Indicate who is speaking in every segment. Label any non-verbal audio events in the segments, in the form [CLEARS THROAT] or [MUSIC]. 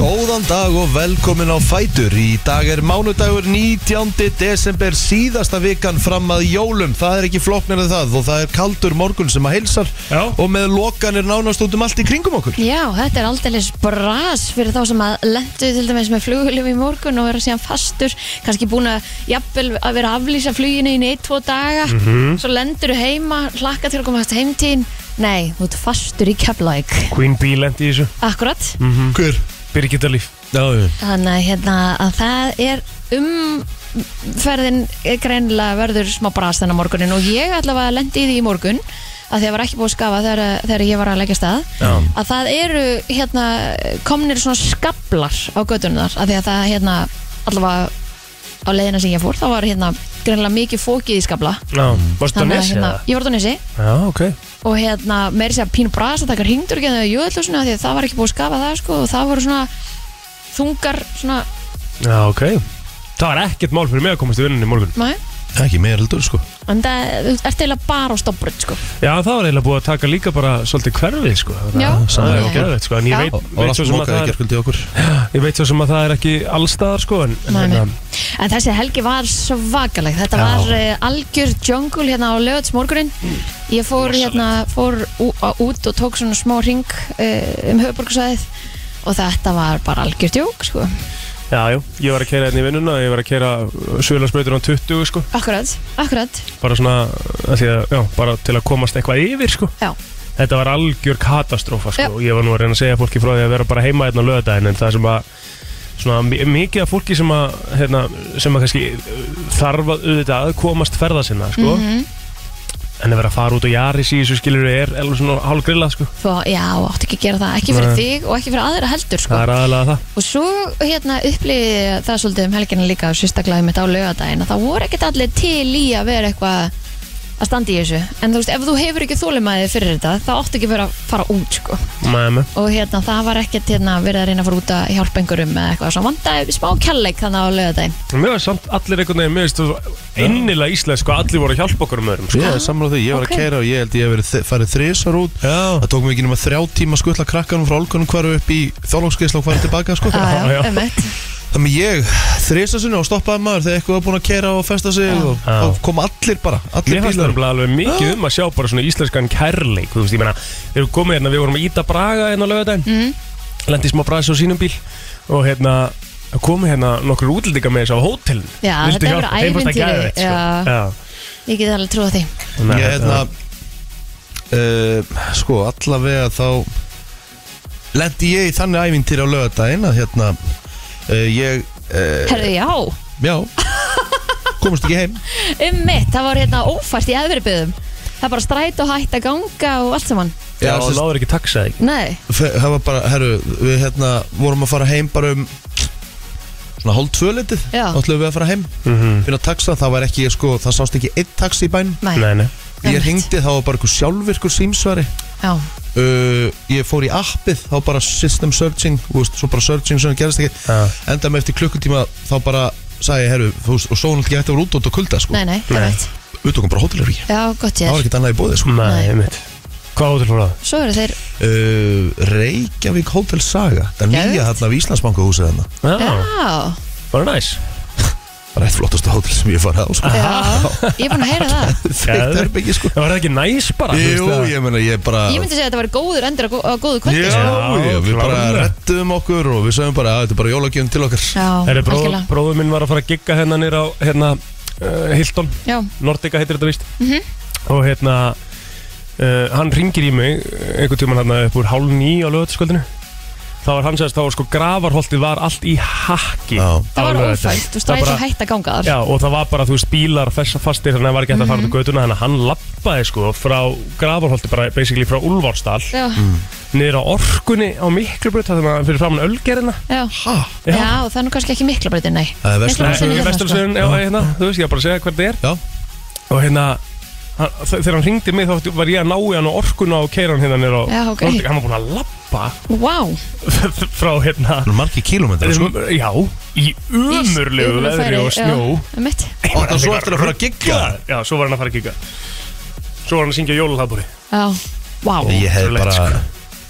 Speaker 1: Góðan dag og velkomin á Fætur Í dag er mánudagur 19. desember síðasta vikan fram að jólum Það er ekki flóknir en það og það er kaldur morgun sem að heilsar
Speaker 2: Já.
Speaker 1: Og með lokanir nánast út um allt í kringum okkur
Speaker 3: Já, þetta er aldeilis bras fyrir þá sem að lendu til dæmis með flugulum í morgun og vera síðan fastur, kannski búin að jafnvel að vera að aflýsa fluginu í 1-2 daga, svo lendur heima, hlakka til að komast heimtíðin Nei, þú ert fastur í keflæk
Speaker 2: Queen Bee lendi í þessu
Speaker 3: Akkurat,
Speaker 2: Mhm.
Speaker 1: Hver?
Speaker 2: Birgitta Líf
Speaker 1: Já, já
Speaker 3: þannig að, hérna, að það er umferðin greinlega verður smá bras þennan morgunin og ég allavega lendi í því í morgun að því að var ekki búið að skafa þegar, þegar ég var að leggja stað
Speaker 2: Já.
Speaker 3: að það eru hérna, komnir svona skablar á göttunar af því að það hérna, allavega á leiðina sem ég fór þá var hérna greinlega mikið fókið í skabla
Speaker 2: Já,
Speaker 1: Mm.
Speaker 2: varstu á
Speaker 3: Þannig að,
Speaker 2: Nesi?
Speaker 3: hérna,
Speaker 2: eða?
Speaker 3: ég var á Nesi
Speaker 2: Já, ok
Speaker 3: og hérna meiri sér að pínu brasa takkar hringdur ekki að jöðlúsinu af því að það var ekki búið að skafa það sko, og það voru svona þungar svona,
Speaker 2: Já, ok Það var ekkert mál fyrir mig að komast í vinninni í morgun
Speaker 3: mæ,
Speaker 1: Ekki meir heldur sko
Speaker 3: en það þú ert eiginlega bara á stopbrönd sko.
Speaker 2: Já, það var eiginlega búið að taka líka bara svolítið hverfið, sko
Speaker 3: Já.
Speaker 2: Það er
Speaker 3: Já.
Speaker 2: ógeðveitt, sko En
Speaker 3: Já.
Speaker 2: ég veit,
Speaker 1: Og og
Speaker 2: veit,
Speaker 1: allt
Speaker 2: svo sem að
Speaker 1: mokað í
Speaker 2: það er,
Speaker 1: gerkvöldi okkur
Speaker 2: ég veit svo sem að það er ekki allstaðar, sko En, en
Speaker 3: Nei, nei.
Speaker 2: hérna,
Speaker 3: En þessi helgi var svakaleg Þetta
Speaker 2: Já.
Speaker 3: var uh, algjör jungle hérna á lögatsmorgunin Ég fór hérna fór ú, á, út og tók svona smá ring uh, um höfuborgsvæðið og þetta var bara algjör djók sko.
Speaker 2: já, jú, ég var að keira hérna í vinnuna Ég var að keira Sjöðlarsbrautur án 20, sko
Speaker 3: Akkurat, akkurat
Speaker 2: Bara svona, að því að, já, bara til að komast eitthvað yfir, sko
Speaker 3: Já,
Speaker 2: Þetta var algjör katastrófa sko.
Speaker 3: Já.
Speaker 2: og ég var nú að reyna að segja fólki frá því að vera bara heima hérna á lögadaginn en það sem að svona, mi- mikið af fólki sem að, hérna, sem að kannski uh, þarf að auðvitað að komast ferða sinna sko. en að vera að fara út og jaris í þessu skilur er alveg svona hálgrilla sko.
Speaker 3: Svo, já, átti ekki að gera það, ekki fyrir
Speaker 2: Nei.
Speaker 3: þig og ekki fyrir aðra heldur sko.
Speaker 2: það er aðalega það
Speaker 3: Og svo hérna upplýði ég það svolítið um helgina líka og sérstaklega mitt á laugadaginn að það voru ekkert allir til í að vera eitthvað að standa í þessu en þú veist, ef þú hefur ekki þólimaðið fyrir þetta þá áttu ekki að vera að fara út sko.
Speaker 2: Nei, nei.
Speaker 3: og hérna, það var ekkert hérna, verið að reyna að fara út að hjálpa einhverjum eða eitthvað svo vandaði smá kjalleg þannig á laugadaginn
Speaker 2: Mér var samt allir einhvern veginn mér veist þú, innilega íslensk sko, allir voru að hjálpa okkur um öðrum sko.
Speaker 1: Ég er sammála því, ég var
Speaker 3: ok.
Speaker 1: að keira og ég held ég hef verið þ- farið þrisar út
Speaker 2: Já,
Speaker 1: Það tók mig ekki nema þrjá tíma að skutla krakkanum frá olgunum hvaru upp í þjólókskeisla og hvaru tilbaka sko
Speaker 2: já, já.
Speaker 3: ummitt
Speaker 1: Þannig ég þrisa sinni og stoppaði maður þegar eitthvað var búin að kera og festa sig og,
Speaker 2: Já.
Speaker 1: og kom allir bara, allir
Speaker 2: Mér fannst
Speaker 1: bílar
Speaker 2: það alveg mikið um að sjá bara svona íslenskan kærleik Þú veist, ég meina, við erum komið hérna, við vorum að íta Braga hérna á laugardaginn
Speaker 3: Mhm.
Speaker 2: mm. Lendi smá brasi á sínum bíl Og hérna, það komið hérna nokkur útlendingar með þessu á hótelin
Speaker 3: Já, þetta er bara ævintýri,
Speaker 2: sko.
Speaker 3: já.
Speaker 2: Já,
Speaker 3: Ég get alveg trúið því
Speaker 2: þannig
Speaker 1: Ég
Speaker 2: að
Speaker 1: hérna
Speaker 2: þetta-
Speaker 1: uh, Sko, allavega þá Lendi ég í þannig ævintýri á lögadaginn að hérna uh, Ég, uh,
Speaker 3: Herðu, já,
Speaker 1: já
Speaker 2: [LAUGHS]
Speaker 1: Komast ekki heim
Speaker 3: ummitt, það var hérna ófært í aðverjubiðum Það bara stræt og hætt að ganga og allt saman
Speaker 1: Já,
Speaker 2: Já, og
Speaker 1: sérst,
Speaker 2: náður ekki taxaði
Speaker 3: Nei,
Speaker 1: fe- Það var bara, herru, við hérna vorum að fara heim bara um Svona hálf tvölitið
Speaker 3: Já.
Speaker 1: ætlum við að fara heim
Speaker 2: mm -hmm.
Speaker 1: Finna taxa, það var ekki, sko, það sást ekki einn taxi í bænum
Speaker 3: nei,
Speaker 2: Nei, nei
Speaker 1: Ég
Speaker 3: Einmitt.
Speaker 1: hringdi, þá var bara einhver sjálfvirkur símsvari
Speaker 3: já,
Speaker 1: uh, ég fór í appið þá bara system searching þú veist, svo bara searching sem gerist ekki
Speaker 2: Já.
Speaker 1: enda með eftir klukkutíma þá bara sagði ég, herru, þú veist, og svo náttúrulega eftir að vera út út og kulda, sko,
Speaker 3: nei, nei, ummitt
Speaker 1: við tókum bara hótelherbergi
Speaker 3: Já, gott
Speaker 1: það
Speaker 3: ég
Speaker 1: var ekkert annað í bóði, sko
Speaker 2: Nei,
Speaker 3: Nei.
Speaker 2: einmitt Hvað hótel fór það?
Speaker 3: Svo eru þeir
Speaker 1: uh, Reykjavík Hotel Saga það er
Speaker 3: Geðveikt.
Speaker 1: nýja hérna af Íslandsbanku húsið hérna
Speaker 2: Já,
Speaker 3: Já,
Speaker 2: bara næs
Speaker 1: bara eitt flottastu hótel sem ég farið á,
Speaker 2: Ah,
Speaker 1: sko
Speaker 3: já, ég er búin að heyra það
Speaker 1: þreytt herbyggi, sko
Speaker 2: Það var það ekki næs bara þú
Speaker 1: Jú,
Speaker 2: veist að-
Speaker 1: ég meina, ég bara
Speaker 3: Ég myndi segja að þetta var góður endur á gó- á góðu kvöldi
Speaker 1: Já,
Speaker 3: sko.
Speaker 1: já, við bara
Speaker 2: klárlega.
Speaker 1: rettum okkur og við sagðum bara að þetta er bara jólagjöfn til okkar
Speaker 3: Já,
Speaker 2: Herri, bróð,
Speaker 3: algjörlega
Speaker 2: bróður minn var að fara að gigga hérna nýra á hérna, uh, Hilton,
Speaker 3: Já,
Speaker 2: Nordica heitir þetta víst
Speaker 3: Mhm.
Speaker 2: og hérna uh, hann ringir í mig uh, einhvern tímann hérna upp úr hálf ný á lögataskvöldinu þá var hann segist þá var sko gravarholtið var allt í hakki
Speaker 1: Já.
Speaker 3: það var
Speaker 2: Alveg,
Speaker 3: ófælt,
Speaker 2: þetta-
Speaker 3: þú
Speaker 2: það
Speaker 3: stræðis
Speaker 2: bara-
Speaker 3: og hætt að ganga þar
Speaker 2: Já, og það var bara, þú veist, bílar fessa fastir þannig að það var ekki hægt að
Speaker 3: Mhm.
Speaker 2: fara til göduna þannig að hann lappaði sko frá gravarholti bara basically frá Ulfárstall
Speaker 3: Já,
Speaker 2: Mm. niður á orkunni á miklubrut þannig að fyrir framann ölgerina
Speaker 3: já,
Speaker 1: Ha?
Speaker 2: Já.
Speaker 3: já, og það er nú kannski ekki mikla breytin, nei
Speaker 1: Það er
Speaker 3: Mikla
Speaker 1: verslun-
Speaker 3: breytin
Speaker 2: Nei,
Speaker 3: er hérna, sko.
Speaker 2: Vesturlsveðin, já, hérna, þú veist, ég er bara að segja hvernig þetta er
Speaker 1: Já,
Speaker 2: og hérna hann, þ- þegar hann ringdi mig þá átti- var ég að ná í hann og orkuna og keira hann hérna nýra og
Speaker 3: Já, ok.
Speaker 2: hann var búinn að lappa
Speaker 3: Vá,
Speaker 2: [LAUGHS] frá hérna
Speaker 1: margir kílómetrar, sko
Speaker 2: já, í umurlegu veðri og snjó
Speaker 3: Mitt,
Speaker 1: Og það er svo eftir að fara að gigga
Speaker 2: já, svo var hann að fara að kíka svo var hann að syngja jólalabúri
Speaker 3: já, vá
Speaker 1: Ég hef
Speaker 2: Ótrúlegt,
Speaker 1: bara
Speaker 2: sko.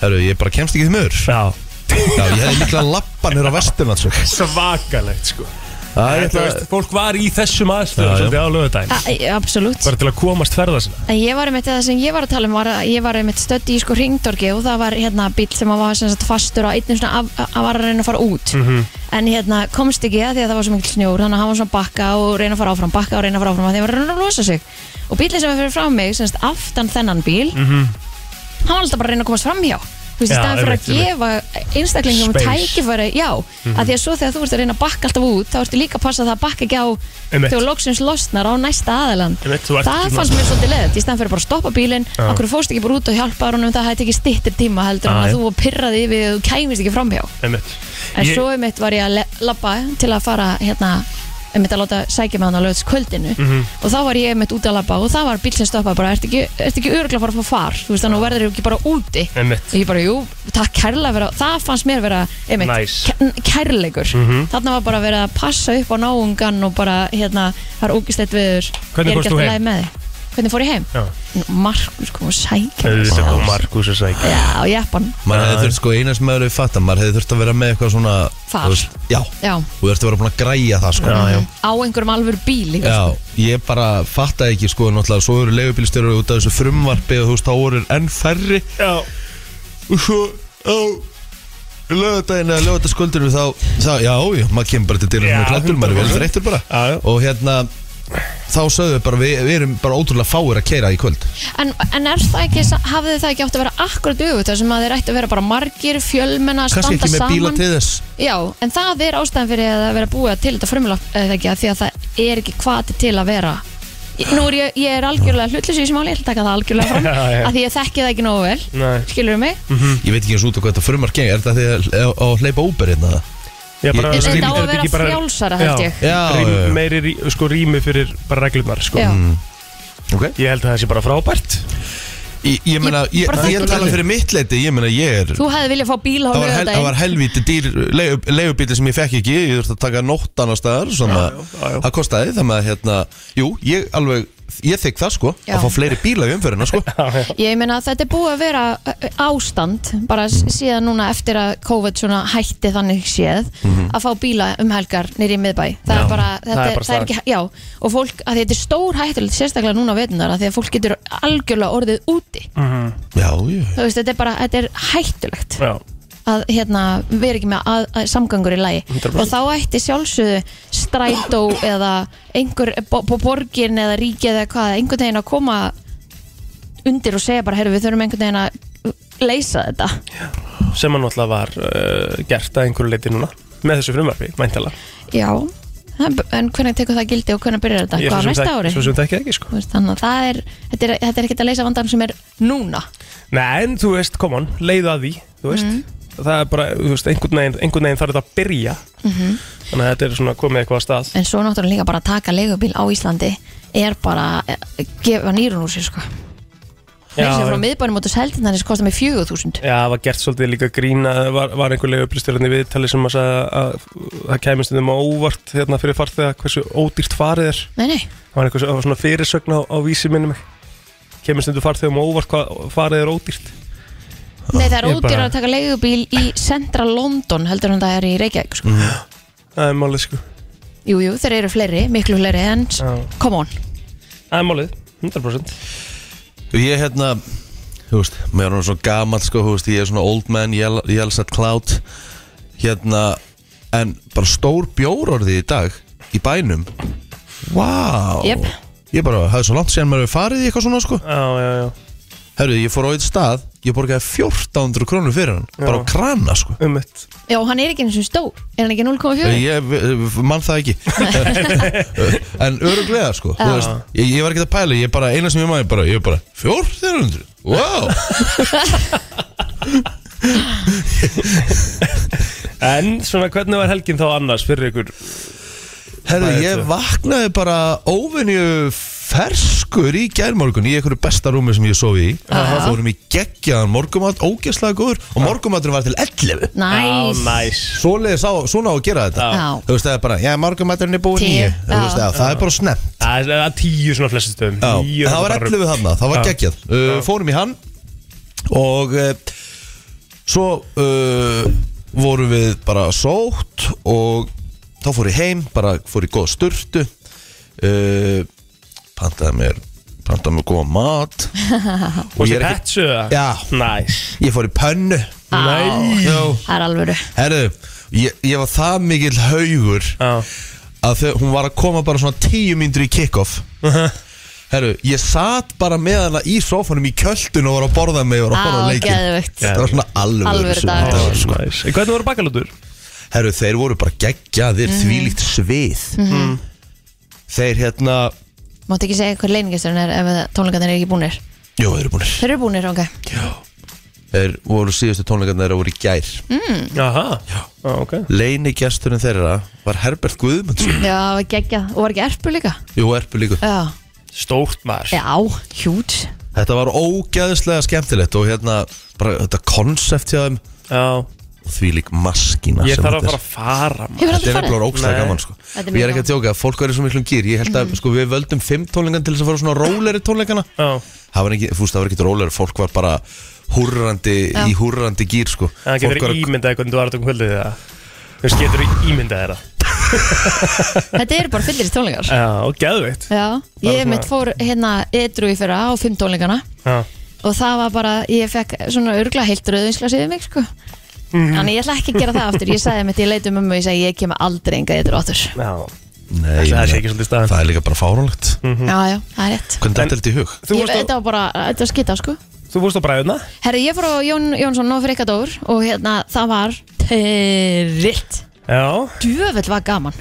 Speaker 1: Herru, ég bara kemst ekki því möður
Speaker 2: já,
Speaker 1: Já, ég hefði líklega lappanir á vesturlandsug
Speaker 2: Svakalegt sko
Speaker 1: Það
Speaker 2: Þetta, veist, Fólk var í þessum
Speaker 1: Já,
Speaker 2: aðstöðum
Speaker 1: já.
Speaker 2: svolítið á lögadaginn
Speaker 3: Æ, e, Absolutt
Speaker 2: Bara til að komast ferða sinna
Speaker 3: En ég var einmitt, það sem ég var að tala um var að ég var einmitt stödd í sko ringdorgi og það var hérna bíl sem að var sem sagt fastur á einnig svona af- að var að reyna að fara út
Speaker 2: Mhm.
Speaker 3: en hérna komst ekki að því að það var svo mikil snjór þannig að hann var svona að bakka og reyna að fara áfram bakka og reyna að fara áfram að því að hann var að reyna að losa sig og bílinn sem var fyrir frá mig, sem sagt aftan þennan bíl hann var alltaf bara að reyna að komast fram hjá Þú veist, í
Speaker 2: Mhm. Já,
Speaker 3: staðan fyrir að
Speaker 2: einmitt, einmitt.
Speaker 3: gefa einstaklingum
Speaker 2: Space. Mhm.
Speaker 3: tækifæri, já, mm að því að svo þegar þú ert að reyna að bakka alltaf út, þá ertu líka að passa að það bakka ekki á
Speaker 2: Einmitt.
Speaker 3: þegar loksins losnar á næsta aðilan
Speaker 2: Einmitt, þú ert
Speaker 3: það
Speaker 2: ekki-
Speaker 3: fannst mér svolítið leðið í staðan fyrir bara að stoppa bílinn
Speaker 2: Já.
Speaker 3: okkur fórst ekki bara út og hjálpa honum um það hætti ekki stittir tíma heldur en
Speaker 2: Já,
Speaker 3: að
Speaker 2: já.
Speaker 3: þú var pyrraði yfir því að þú kæmist ekki framhjá
Speaker 2: Einmitt.
Speaker 3: en
Speaker 2: Ég-
Speaker 3: svo um eitt var ég að le- labba til að fara hérna um eitt að láta sækja með hann á lögðs kvöldinu
Speaker 2: Mhm.
Speaker 3: og þá var ég um eitt út að labba og það var bíl sem stoppaði bara, ert ekki, ert ekki örgla bara að fá far þú veist þannig að þú verður ekki bara úti
Speaker 2: Einmitt.
Speaker 3: og ég bara, jú, takk kærlega vera það fannst mér vera, einmitt,
Speaker 2: Nice. Mhm.
Speaker 3: kær- kærleikur þarna var bara verið að passa upp á náungan og bara, hérna, það er ógistleitt viður
Speaker 2: Hvernig
Speaker 3: Ég er
Speaker 2: fórst
Speaker 3: ekki
Speaker 2: þú
Speaker 3: alltaf í
Speaker 2: heim?
Speaker 3: lagi með þig. hvernig fór ég heim?
Speaker 2: Já. Ah.
Speaker 3: Markus kom og sækja mig.
Speaker 2: Þetta kom Markus að sækja
Speaker 3: já, jeppan,
Speaker 1: Maður hefði þurft sko eina sem maður hefði fatt maður hefði þurft að vera með eitthvað svona
Speaker 3: Far.
Speaker 1: þú veist, Já,
Speaker 3: já,
Speaker 1: og þú ert að vera búin að græja það sko
Speaker 2: Já, já.
Speaker 3: á einhverjum alvöru bíl líka,
Speaker 1: Já, ég bara fattaði ekki sko náttúrulega, svo eru leigubílstjórar út af þessu frumvarpi og þú veist, þá voru enn færri
Speaker 2: Já,
Speaker 1: og svo á lögadaginn eða lögadagskvöldinu þá, þá, já, já, maður kemur bara til dyrum
Speaker 2: Já,
Speaker 1: og klættur, maður er vel
Speaker 2: 100%.
Speaker 1: þreyttur bara
Speaker 2: Já, já.
Speaker 1: og hérna þá sögðu við bara, við, við erum bara ótrúlega fáir að keira í kvöld
Speaker 3: en, en er það ekki hafði það ekki átt að vera akkurat öfut þar sem að þeir ætti að vera bara margir, fjölmenna
Speaker 1: kannski
Speaker 3: standa
Speaker 1: ekki með bíla
Speaker 3: saman
Speaker 1: til þess
Speaker 3: já, en það er ástæðan fyrir að það vera búið til þetta frumlagt eða ekki, af því að það er ekki hvati til að vera nú er ég, ég er algjörlega hlutlis í sem áli, ég ætla að taka það algjörlega
Speaker 1: [LAUGHS]
Speaker 3: fram
Speaker 2: Já, já.
Speaker 3: af því ég þekki það ekki nógu vel,
Speaker 2: Nei.
Speaker 3: skilur mig
Speaker 1: Ég veit ekki eins út á hvað þetta frumvarp gengur Er þetta því að, að, að hleypa Uber hérna?
Speaker 2: ég bara,
Speaker 1: Ég-
Speaker 2: rým-
Speaker 3: Þetta á að
Speaker 2: er
Speaker 3: vera
Speaker 2: ekki bara-
Speaker 3: frjálsara, held
Speaker 2: Já.
Speaker 3: ég.
Speaker 1: Já,
Speaker 2: Rým,
Speaker 1: já, já.
Speaker 2: meiri rí, sko, rými fyrir bara reglurnar sko.
Speaker 3: já,
Speaker 1: Ok
Speaker 2: Ég held að það sé bara frábært
Speaker 1: Ég, ég meina, ég,
Speaker 3: Bara
Speaker 1: ég,
Speaker 3: þekki
Speaker 1: tala
Speaker 3: það.
Speaker 1: fyrir mitt leiti Ég meina, ég er
Speaker 3: þú hefði viljað fá bíl á
Speaker 1: Það var, hel, það var
Speaker 3: lögadaginn
Speaker 1: helvíti dýr leigubíli sem ég fekk ekki Ég þurfti að taka nótt annars staðar Svona,
Speaker 2: Já, já, já, já.
Speaker 1: það kostaði Þannig að, hérna, jú, ég alveg Ég þykk það, sko
Speaker 3: Já.
Speaker 1: Að fá fleiri bíla í umferðina,
Speaker 2: [LAUGHS]
Speaker 1: sko
Speaker 3: Ég meina að þetta er búið að vera ö, ö, ástand bara s- síðan núna eftir að COVID svona hætti þannig séð að fá bíla um helgar nýri í miðbæ það
Speaker 2: Mhm. Já,
Speaker 3: er bara,
Speaker 2: það
Speaker 3: þetta,
Speaker 2: er
Speaker 3: er
Speaker 2: bara
Speaker 3: það er ekki, já og fólk, að þetta er stór hættulegt sérstaklega núna á vetunar að því að fólk getur algjörlega orðið úti
Speaker 2: Mhm.
Speaker 1: Já, já
Speaker 3: þú veist, þetta er bara, þetta er hættulegt
Speaker 2: Já,
Speaker 3: að hérna, vera ekki með að, að samgangur í lagi
Speaker 2: 100%.
Speaker 3: og þá ætti sjálfsögðu strætó eða einhver bo- bo- borgin eða ríki eða hvað, einhvern veginn að koma undir og segja bara, heyrðu við þurfum einhvern veginn að leysa þetta
Speaker 2: sem hann náttúrulega var uh, gert að einhverju leiti núna með þessu frumvarfi, mæntala
Speaker 3: já, en en hvernig tekur það gildi og hvernig byrjar þetta, hvað næsta ári
Speaker 2: Svo sem það ekki ekki sko
Speaker 3: Þú veist, þannig að það er, þetta er, þetta er ekkert að leysa vandan sem er núna
Speaker 2: Nei, en þú veist, kom on, leiðu að því Þú veist,
Speaker 3: Mhm.
Speaker 2: það er bara, þú veist, einhvern veginn, einhvern veginn þarf þetta að byrja
Speaker 3: Mhm.
Speaker 2: Þannig að þetta er svona komið eitthvað að stað
Speaker 3: en svo náttúrulega líka bara að taka leigubíl á Íslandi er bara að gefa nýrun úr sér sko Þeir sem frá
Speaker 2: já,
Speaker 3: miðbænum út á Seltindanis kostar mig 4.000
Speaker 2: já, það var gert svolítið líka grína Var, var einhverlega upplýstjörðin í viðtali sem að sagði að það kæmist um á óvart hérna fyrir farþega hversu ódýrt farið er
Speaker 3: Nei, nei,
Speaker 2: Það var eitthvað það var svona fyrirsögn á, á vísi minni mig Kemur stundu farþegum á óvart hvað farið er ódýrt
Speaker 3: Nei, það er
Speaker 2: Ég
Speaker 3: ódýrar
Speaker 2: bara-
Speaker 3: að taka leigubíl í centra London heldur en það er í Reykjavík sko.
Speaker 2: Mhm. Það er málið sko
Speaker 3: Jú, jú, þeir eru fleiri, miklu fleiri en s-
Speaker 2: Já.
Speaker 3: come on
Speaker 2: Það er málið, 100%
Speaker 1: Ég, hérna, þú veist Mér er hann svo gamall, sko, þú veist Ég er svona old man, yell- yells at cloud Hérna, en bara stór bjór orðið í dag Í bænum Vá
Speaker 3: Jep.
Speaker 1: Ég bara, hafði svo langt síðan maður hefur farið í eitthvað svona, sko
Speaker 2: Já, já, já,
Speaker 1: Herru, ég fór á eitt stað, ég borgaði 1400 krónur fyrir hann, bara á krana sko
Speaker 2: um mitt
Speaker 3: Já, hann er ekki eins og stór, er hann ekki 0,4?
Speaker 1: Ég eh, man það ekki En öruglega sko þú veist, ég, ég var ekki að pæla, ég bara eina sem ég maður bara, ég bara, 1400 Wow,
Speaker 2: En svona, hvernig var helgin þá annars fyrir ykkur?
Speaker 1: herru,
Speaker 2: Hvað er
Speaker 1: ég
Speaker 2: þetta?
Speaker 1: vaknaði bara óvenju ferskur í gærmorgun Í einhverju besta rúmi sem ég sofi í Fórum í geggjaðan morgumat, ógeðslega góður Og morgumaturinn var til 11
Speaker 2: Já,
Speaker 3: Næs
Speaker 2: næs
Speaker 1: Svoleiðis á, svona á að gera þetta
Speaker 3: Já.
Speaker 1: Þú veist það er bara, já morgumaturinn er búin
Speaker 3: Tíu.
Speaker 1: í Þú veist
Speaker 3: Já.
Speaker 1: það, það er bara snemt
Speaker 2: Það er- það er tíu svona flestu stöðum
Speaker 1: Já,
Speaker 2: Níu
Speaker 1: en það var
Speaker 2: bara-
Speaker 1: 11 þarna, það var
Speaker 2: Já.
Speaker 1: geggjað uh, Fórum í hann Og uh, Svo uh, vorum við bara sótt og þá fór ég heim, bara fór ég góð sturtu uh, pantaði mér pantaði mér góða
Speaker 2: [LAUGHS]
Speaker 1: mat og
Speaker 2: Og
Speaker 1: ég
Speaker 2: sér
Speaker 1: er ekki
Speaker 2: hættu það?
Speaker 1: Já.
Speaker 2: Næs
Speaker 1: ég fór í pönnu
Speaker 2: Nei.
Speaker 1: Já.
Speaker 3: Það er alvöru
Speaker 1: herðu, ég, ég var það mikill haugur
Speaker 2: Já.
Speaker 1: að þau, hún var að koma bara svona tíu mínútur í kickoff
Speaker 2: Uh-huh.
Speaker 1: herru, ég satt bara með hana í sofanum í kjöldun og var að borða mig og var að
Speaker 3: Á,
Speaker 1: borða leikin
Speaker 3: geðvögt
Speaker 1: það var svona alveg
Speaker 3: Alvöru dagur.
Speaker 1: var, sko.
Speaker 2: Næs En Hvernig voru bakalútur?
Speaker 1: herru, þeir voru bara geggjaðir
Speaker 3: Mhm.
Speaker 1: þvílíkt svið þeir hérna
Speaker 3: Máttu ekki segja hver leiningesturinn er ef tónleikarnir er ekki búnir
Speaker 1: jú, þeir eru búinir
Speaker 3: Þeir eru búnir, ok
Speaker 1: þeir voru síðustu tónleikarnir þeirra voru í gær
Speaker 2: Aha Já Ok
Speaker 1: leinigesturinn þeirra var Herbert Guðmundsson
Speaker 3: Já, það var geggja Og var ekki erpu líka?
Speaker 1: jú, erpu líka
Speaker 3: Já,
Speaker 2: Stórt maður
Speaker 3: já, hjút
Speaker 1: þetta var ógeðislega skemmtilegt og hérna bara þetta konsept hjá þeim
Speaker 2: Já
Speaker 1: og því lík maskina
Speaker 2: Ég
Speaker 1: sem
Speaker 2: þarf
Speaker 1: þetta
Speaker 2: að
Speaker 1: er.
Speaker 2: fara að fara maður.
Speaker 3: Hefur
Speaker 1: Þetta
Speaker 3: aldrei
Speaker 1: er
Speaker 3: farið?
Speaker 1: nefnilega ógstlega
Speaker 2: Nei.
Speaker 1: gaman sko.
Speaker 3: Þetta er
Speaker 1: Og Ég er
Speaker 3: mjög Mhm.
Speaker 1: ekki að tjóka, fólk verður svo miklum gýr Ég held að sko, við völdum fimm tónleikana til þess að fara svona róleri tónleikana
Speaker 2: Já
Speaker 1: Það var ekki, fúst, það var ekki róleri, fólk var bara húrrandi, í húrrandi gýr sko.
Speaker 2: En það
Speaker 1: Fólk
Speaker 2: getur
Speaker 1: var að-
Speaker 2: ímyndað hvernig þú var þetta um kvöldið það Þú veist, getur ímyndað þér það
Speaker 3: Þetta eru bara fyllir tónleikar
Speaker 2: Já, og geðveitt
Speaker 3: Já,
Speaker 2: Eh. svona-
Speaker 3: ég mitt fór hérna edru í fyrra á fimm tónleikana
Speaker 2: Já,
Speaker 3: og það var bara, ég fekk svona örgla heilt rauðinsglasi yfir mig sko
Speaker 2: Mhm.
Speaker 3: Þannig ég ætla ekki að gera það aftur, ég sagði mitt, ég leit um um og ég sagði ég kem aldrei engað edru áttur
Speaker 2: já
Speaker 1: Nei,
Speaker 2: Það
Speaker 1: ég
Speaker 2: sé
Speaker 1: meina,
Speaker 2: ekki Mm. svolítið staðan
Speaker 1: það er líka bara fáránlegt
Speaker 3: Já, já, það er rétt
Speaker 1: Hvernig þetta er þetta í hug?
Speaker 2: Mhm. Þú
Speaker 3: ég,
Speaker 2: fórst á,
Speaker 3: Þetta var bara, þetta var skita sko
Speaker 2: þú fórst á bræðuna
Speaker 3: Herri, ég fór á Jón Jónsson og Frikadór og hérna það var terrilt
Speaker 2: Já,
Speaker 3: Djöfell var gaman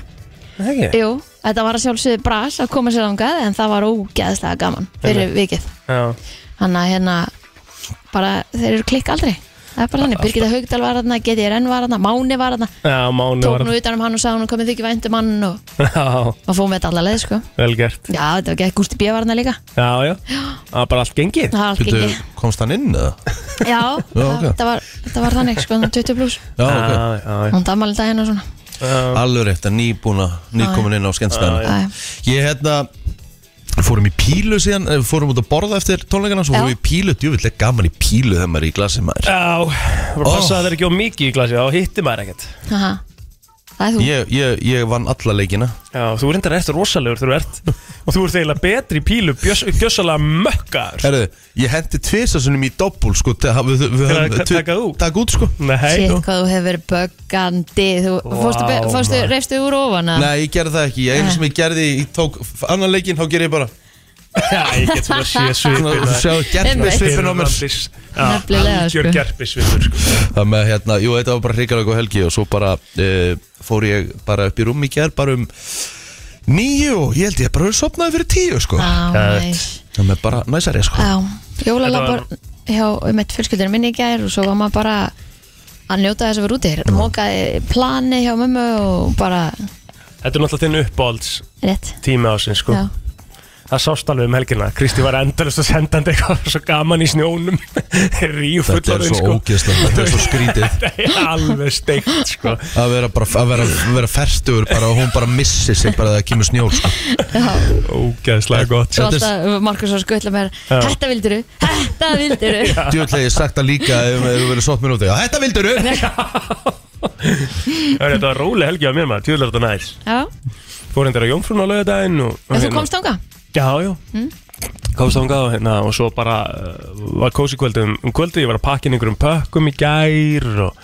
Speaker 2: það ekki
Speaker 3: Jú, þetta var að sjálfsögðu bras að koma sér langað en það var ógeðslega gaman fyrir vikið
Speaker 2: Já,
Speaker 3: Þannig að hérna bara þeir eru klikk aldrei Það er bara þannig, Birgitta Haugdal var þarna, GTRN var þarna, Máni var þarna
Speaker 2: já mánu
Speaker 3: Tók
Speaker 2: var
Speaker 3: nú utan um hann og sagði hann komið þykir væntum hann og
Speaker 2: [LAUGHS] Já,
Speaker 3: maður fóðum við þetta alla leið sko
Speaker 2: vel gert
Speaker 3: Já, þetta var ekki Gústi B var þarna líka
Speaker 2: Já, já Það var bara allt gengið
Speaker 3: Það var allt
Speaker 1: Bíddu,
Speaker 3: gengið
Speaker 1: komst hann inn eða?
Speaker 3: Já,
Speaker 1: Já,
Speaker 3: það-
Speaker 1: ok.
Speaker 3: þetta var, þetta var þannig sko, 20 pluss
Speaker 1: Já,
Speaker 2: Já,
Speaker 1: ok,
Speaker 2: já,
Speaker 3: Hún damalinn daginn og svona
Speaker 2: já
Speaker 1: alveg rétt að nýbúna, nýkomin inn á skemmstæðan
Speaker 3: Æ.
Speaker 1: Ég hérna fórum í pílu síðan, eh, fórum út að borða eftir tónleikana svo
Speaker 3: Já.
Speaker 1: fórum við í pílu, djúvillig gaman í pílu þegar maður er í glasi maður
Speaker 2: Já, bara
Speaker 1: Ó.
Speaker 2: passa að það er ekki á mikið í glasi þá hittir maður ekkert
Speaker 3: Aha. Það er þú
Speaker 1: Ég, ég, ég vann alla leikina
Speaker 2: Já, þú reyndar eftir rosalegur þegar þú ert og þú ert eiginlega betri í pílu bjöss, bjössalega mökkaður
Speaker 1: Herðu, ég hendi tvisasunum í doppul sko, til að- við, við höfum
Speaker 2: Taka- taka út?
Speaker 1: taka út sko
Speaker 2: Nei,
Speaker 3: Sitt hvað þú hefur verið böggandi Þú
Speaker 2: Vá,
Speaker 3: fórstu, be- fórstu,
Speaker 2: maður.
Speaker 3: reifstu úr ofan að-
Speaker 1: Nei, ég gerði það ekki, ég einu sem ég gerði ég tók annan leikinn, þá gerði ég bara
Speaker 2: já, ég get svona að sé
Speaker 3: [LAUGHS]
Speaker 1: svona,
Speaker 2: svipin
Speaker 1: sjá, gerði
Speaker 3: Einmitt.
Speaker 1: svipin á mér
Speaker 3: Nefnilega,
Speaker 2: Algjör
Speaker 3: sko.
Speaker 2: gerpisvipur sko.
Speaker 1: Það með hérna, jú, þetta var bara hrikalega góð helgi og svo bara uh, fór ég bara upp í rúm í gerð bara um níu og ég held ég bara verið sopnaði fyrir tíu sko
Speaker 3: Á,
Speaker 2: Gæt.
Speaker 3: næs.
Speaker 1: Það með bara næsari sko
Speaker 3: Á, Jólalabbar
Speaker 2: Þetta
Speaker 3: hjá um eitt fjölskyldinu minni í gær og svo var maður bara að njóta þess að vera úti Þetta mókaði plani hjá mömmu og bara
Speaker 2: Þetta er náttúrulega þinn uppáhalds
Speaker 3: rétt
Speaker 2: tími ásinn sko.
Speaker 3: Já,
Speaker 2: Það sást alveg um helgina Kristi var endalist að senda hann eitthvað svo gaman í snjónum [LAUGHS] Rífull
Speaker 1: Þetta er svo ógeðslega, þetta er svo skrítið
Speaker 2: sko. [LAUGHS] Þetta er alveg steikt sko.
Speaker 1: að vera bara, að vera, vera ferstugur bara og hún bara missi sig bara þegar það kemur snjór sko
Speaker 3: já
Speaker 2: Ógeðslega gott
Speaker 3: Svo
Speaker 1: Þetta er-
Speaker 3: alltaf Markus var skuttla mér
Speaker 2: Já.
Speaker 3: Þetta vilduru, þetta
Speaker 1: [LAUGHS]
Speaker 3: vilduru
Speaker 1: Djúlega ég sagt það líka ef ef þú verður sótt mér út Já, þetta vildur upp
Speaker 2: Það er þetta var róleg helgi á mér maður, tjóðlega þetta næs
Speaker 3: Já,
Speaker 2: Fór hendur á Jómfrún á laugardaginn og, og hérna-
Speaker 3: en
Speaker 1: hérna.
Speaker 3: þú komst ánga
Speaker 2: Já, já
Speaker 3: Mm.
Speaker 2: Komst þangað og hérna og svo bara uh, var kósi kvöldið um, um kvöldið, ég var að pakka inn einhverjum pökkum í gær og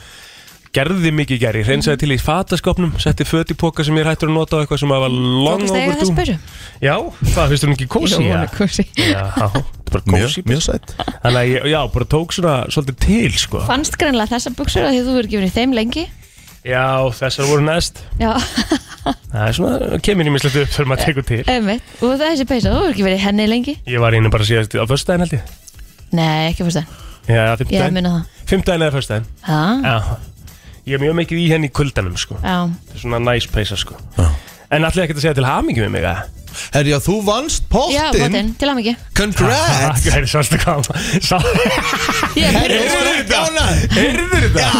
Speaker 2: gerði mikið í gær, ég
Speaker 3: Mm.
Speaker 2: hreinsaði til í fataskopnum, setti föt í póka sem ég er hættur að nota og eitthvað sem að var
Speaker 3: Mm.
Speaker 2: long
Speaker 3: Tókast eiga þess
Speaker 2: overdue
Speaker 3: byrju
Speaker 2: Já, það finnst hún ekki kósi
Speaker 3: Jó, [LAUGHS] hún er kósí.
Speaker 2: Já, þetta er bara
Speaker 1: Mjög,
Speaker 2: kósi
Speaker 1: mjög sætt
Speaker 2: Þannig að ég, já, bara tók svona svolítið til, sko
Speaker 3: Fannst greinlega þessar buksur að því þú verður gefin í þeim lengi
Speaker 2: Já, þessar voru næst
Speaker 3: Já, [LAUGHS]
Speaker 2: Það er svona, kemur í mislegt upp þegar maður tekur til
Speaker 3: einmitt Og þessi peysa, þú verður ekki verið í henni lengi
Speaker 2: Ég var einu bara síðast á föstudaginn held ég
Speaker 3: Nei, ekki fyrst það,
Speaker 2: Já,
Speaker 3: ég
Speaker 2: fimmtudaginn
Speaker 3: muna það
Speaker 2: Fimmtudaginn eða föstudaginn
Speaker 3: Já,
Speaker 2: Já, ég er mjög mikið í henni í kuldanum sko
Speaker 3: já,
Speaker 2: Þetta er Svona næs peysa sko
Speaker 1: Já.
Speaker 2: En allir ekkert að segja til hamingi með mig að
Speaker 1: Herri, já, þú vannst
Speaker 3: já,
Speaker 1: pottin
Speaker 3: bóttinn, til að mikið
Speaker 2: [LAUGHS]
Speaker 1: Congrats
Speaker 2: Það er svolítið hvað hann- sá-
Speaker 3: Ég er
Speaker 1: Heyrðu þetta?
Speaker 2: Heyrðir þetta?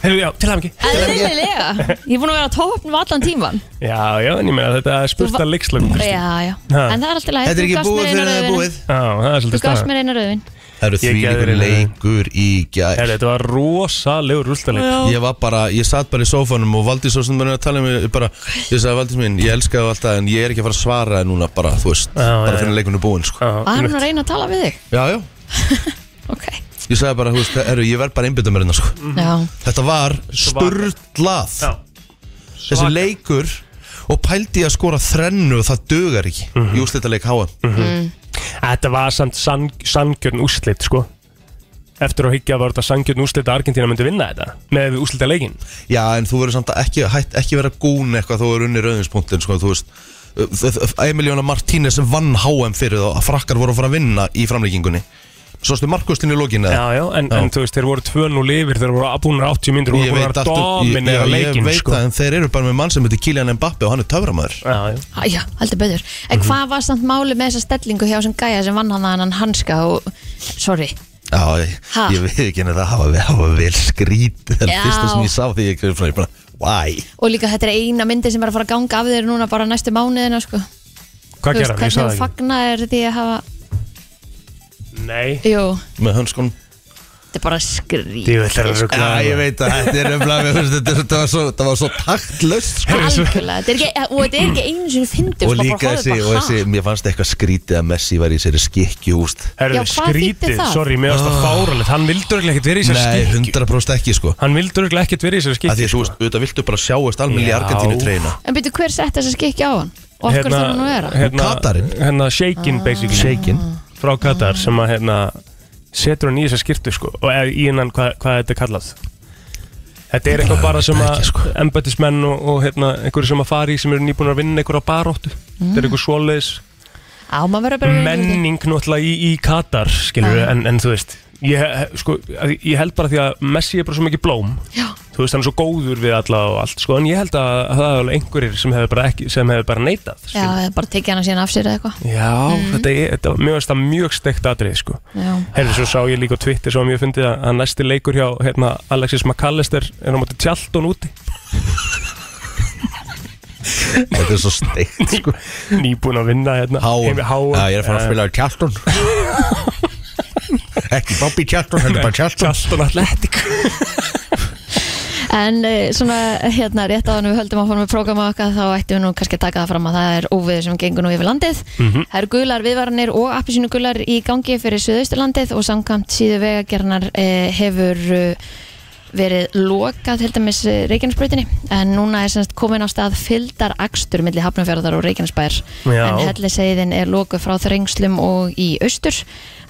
Speaker 2: Heyrðu, já, til hamingi
Speaker 3: Eðlilega, ég er búin að vera á tópnum allan tíman
Speaker 2: Já, já, en ég meina þetta er spurt
Speaker 3: Þú va-
Speaker 2: að leikslögum
Speaker 3: Já, já,
Speaker 2: Ha.
Speaker 3: en það er alltaf læg
Speaker 1: Þetta er ekki búið fyrir það er búið
Speaker 2: Já, það er
Speaker 3: Þú
Speaker 2: svolítið
Speaker 3: gafst
Speaker 2: staðan
Speaker 3: mér eina rauðin
Speaker 1: Það eru
Speaker 2: Ég
Speaker 1: því
Speaker 2: gerði
Speaker 1: líkur
Speaker 2: reyndar-
Speaker 1: leikur í gær
Speaker 2: Herri, þetta var rosalegur rústaleg
Speaker 3: Já.
Speaker 1: Ég var bara, ég satt bara í sófanum og Valdís og sem mér að tala um ég bara, ég sagði Valdís mín, ég elska það alltaf en ég er ekki að fara að svara þér núna bara, þú veist,
Speaker 2: Já,
Speaker 1: bara
Speaker 2: já,
Speaker 1: fyrir leikunum búinn sko.
Speaker 3: Var hann að reyna að tala við þig?
Speaker 1: Já, já,
Speaker 3: Ok,
Speaker 1: ég sagði bara, þú veist, herru, ég verð bara einbytta mér hérna sko.
Speaker 3: já
Speaker 1: Þetta var sturlað Þessi leikur og pældi ég að skora þrennu og það dugar ekki mm
Speaker 2: Mhm.
Speaker 1: -hmm. Í úrslitaleik háa
Speaker 2: Þetta var samt sann- sanngjöfn úrslit sko Eftir að higgja var þetta sangjörn úrslit að Argentina myndi vinna þetta með við úrslita leikin
Speaker 1: Já, en þú verður samt að ekki, hætt, ekki vera gún eitthvað þú verður unni rauðinspunktin, sko, þú veist Emiliona Martínez vann HM fyrir þá að frakkar voru að fara að vinna í framlíkingunni Svo stu Markustin í lokinu eða?
Speaker 2: Já, já, en,
Speaker 1: Já.
Speaker 2: en þú veist, þeir voru 2-0 yfir þeir voru aðbúnir 80 myndir og
Speaker 1: Ég
Speaker 2: voru búin
Speaker 1: veit,
Speaker 2: að
Speaker 1: aftur, ég, ég,
Speaker 2: dominera
Speaker 1: ég
Speaker 2: leikin
Speaker 1: veit
Speaker 2: sko.
Speaker 1: það, en þeir eru bara með mann sem heitir Kylian Mbappe og hann er töframæður
Speaker 2: Já, já.
Speaker 3: Já, heldur betur. En hvað var samt máli með þessa stellingu hjá sem gæja sem vann hann að hann hanska og, sorry,
Speaker 1: Já, ég,
Speaker 3: Ha?
Speaker 1: ég veit ekki henni það hafa, hafa vel skrítið Það
Speaker 3: Já.
Speaker 1: er fyrsta sem ég sá því ég er bara, why?
Speaker 3: og líka þetta er eina myndi sem er að fara að ganga af þér núna bara næstu mánuðina, sko.
Speaker 2: Hvað
Speaker 3: Þú
Speaker 2: gera hann? Ég
Speaker 3: Hvernig
Speaker 2: sagði
Speaker 3: þú
Speaker 2: það
Speaker 3: fagnaðir því að hafa,
Speaker 2: ekki Nei
Speaker 3: jú,
Speaker 1: Með hönskunum
Speaker 3: þetta er bara sko. skrýt.
Speaker 2: Djú, þetta er
Speaker 1: Já, ég
Speaker 2: ruglaður.
Speaker 1: veit að þetta er umlað Þetta þetta var svo, þetta var svo taktlöst, sko
Speaker 3: Algjörlega, þetta er ekki, og þetta er ekki einu sinni fyndið,
Speaker 1: og
Speaker 3: sko, bara
Speaker 1: líka
Speaker 3: horfið
Speaker 1: þessi, og
Speaker 3: bara,
Speaker 1: þessi, mér fannst eitthvað skrítið að Messi var í sér skikki húst
Speaker 2: Herðu,
Speaker 3: Já, hvað þýddi
Speaker 2: skrítið,
Speaker 3: það?
Speaker 2: sorry, mér varst það fáralegt Hann vildur ekki ekkert verið í sér
Speaker 1: Ah. Nei,
Speaker 2: skikki
Speaker 1: 100% ekki sko
Speaker 2: Hann vildur ekki ekkert verið í sér
Speaker 1: að Því
Speaker 2: skikki
Speaker 1: að þú veist, auðvitað viltu bara sjáast almenni í
Speaker 2: Já.
Speaker 1: Argentínu treyna
Speaker 3: En byrju, hver sett þess að skikja á hann? Og af hverju þarf hann að vera? Ah.
Speaker 2: hérna,
Speaker 1: Katarinn.
Speaker 2: hérna Shaken basically
Speaker 1: Shaken.
Speaker 2: frá Katar sem að hérna setur hann í þessa skirtu sko og eða í hennan hvað, hvað þetta er kallað þetta er eitthvað bara sem að
Speaker 1: ekki, sko.
Speaker 2: embættismenn og, og hérna einhverju sem að fara í sem eru nýbúin að vinna einhverja baróttu þetta er einhver svoleiðis
Speaker 3: Á, maður verður Mm. bara Ah. því.
Speaker 2: menning náttúrulega í, í Katar skilur
Speaker 3: Já.
Speaker 2: en, en þú veist ég, sko, að- ég held bara því að Messi er bara svo mikið blóm
Speaker 3: Já,
Speaker 2: þú veist hann er svo góður við alla og allt sko en ég held að það er alveg einhverjir sem hefur bara, ekki, sem hefur bara neitað
Speaker 3: já,
Speaker 2: skilurðu.
Speaker 3: eða bara tekið hann síðan af sér eða eitthvað.
Speaker 2: Já, þetta er, þetta, mér finnst það mjög steikt atrið sko.
Speaker 3: Mm. Já.
Speaker 2: Herri, svo sá ég líka á Twitter svo mjög fyndið að, að næsti leikur hjá hérna, Alexis McAllister er á móti tjaldun úti [LAUGHS]
Speaker 1: Þetta er svo steikt
Speaker 2: sko. nýbúin að vinna hérna,
Speaker 1: Háum,
Speaker 2: heim- HM,
Speaker 1: Já, ég er að fara að spila á [LAUGHS] Kjartón Ekki Bobby Kjartón,
Speaker 2: Eh,
Speaker 1: heldur bara Kjartón
Speaker 2: tjaldun atletik
Speaker 3: En eh, svona hérna rétt á við höldum að fórum við prógrama okkar þá ættum við nú kannski að taka það fram að það er óviður sem gengur nú yfir landið. Það eru gular viðvaranir og appisínu gular í gangi fyrir Suðausturlandið og samkvæmt síðu vegagernar eh, hefur eh, verið lokað til dæmis eh, Reykjanesbrautinni en núna er semst komin á stað fyldar akstur milli Hafnumfjörðar og Reykjanesbær
Speaker 2: Já.
Speaker 3: en helliseiðin er lokuð frá þrengslum og í austur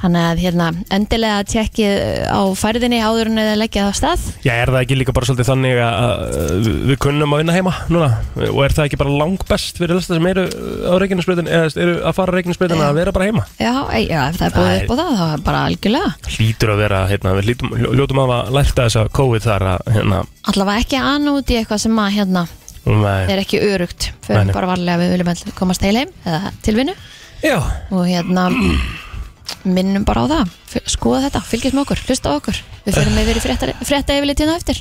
Speaker 3: þannig að hérna endilega tjekkið eh, á færðinni áður en eða leggja það af stað
Speaker 2: Já, er það ekki líka bara svolítið þannig að, að við- við kunnum að vinna heima núna og er það ekki bara langbest fyrir þess sem eru á reikinnsbreytin eða eru að fara reikinnsbreytin að vera bara heima
Speaker 3: Já, ei- já, ef það er búið
Speaker 2: Æ.
Speaker 3: upp á það, þá er bara algjörlega.
Speaker 2: Hlýtur að vera, hérna, við hlýtum, hljótum að hafa lært að þess að COVID þar að hérna, um
Speaker 3: Allavega ekki anút í eitthvað sem að hérna
Speaker 2: nei.
Speaker 3: er ekki örugt.
Speaker 2: Nei,
Speaker 3: Förum
Speaker 2: nei.
Speaker 3: bara varlega við viljum alltaf komast heil heim eða til vinnu
Speaker 2: Já,
Speaker 3: og hérna minnum bara á það. F- Skoða þetta, fylgjast með okkur, hlusta á okkur. Við förum yfir í frétta, frétta yfirlitina eftir.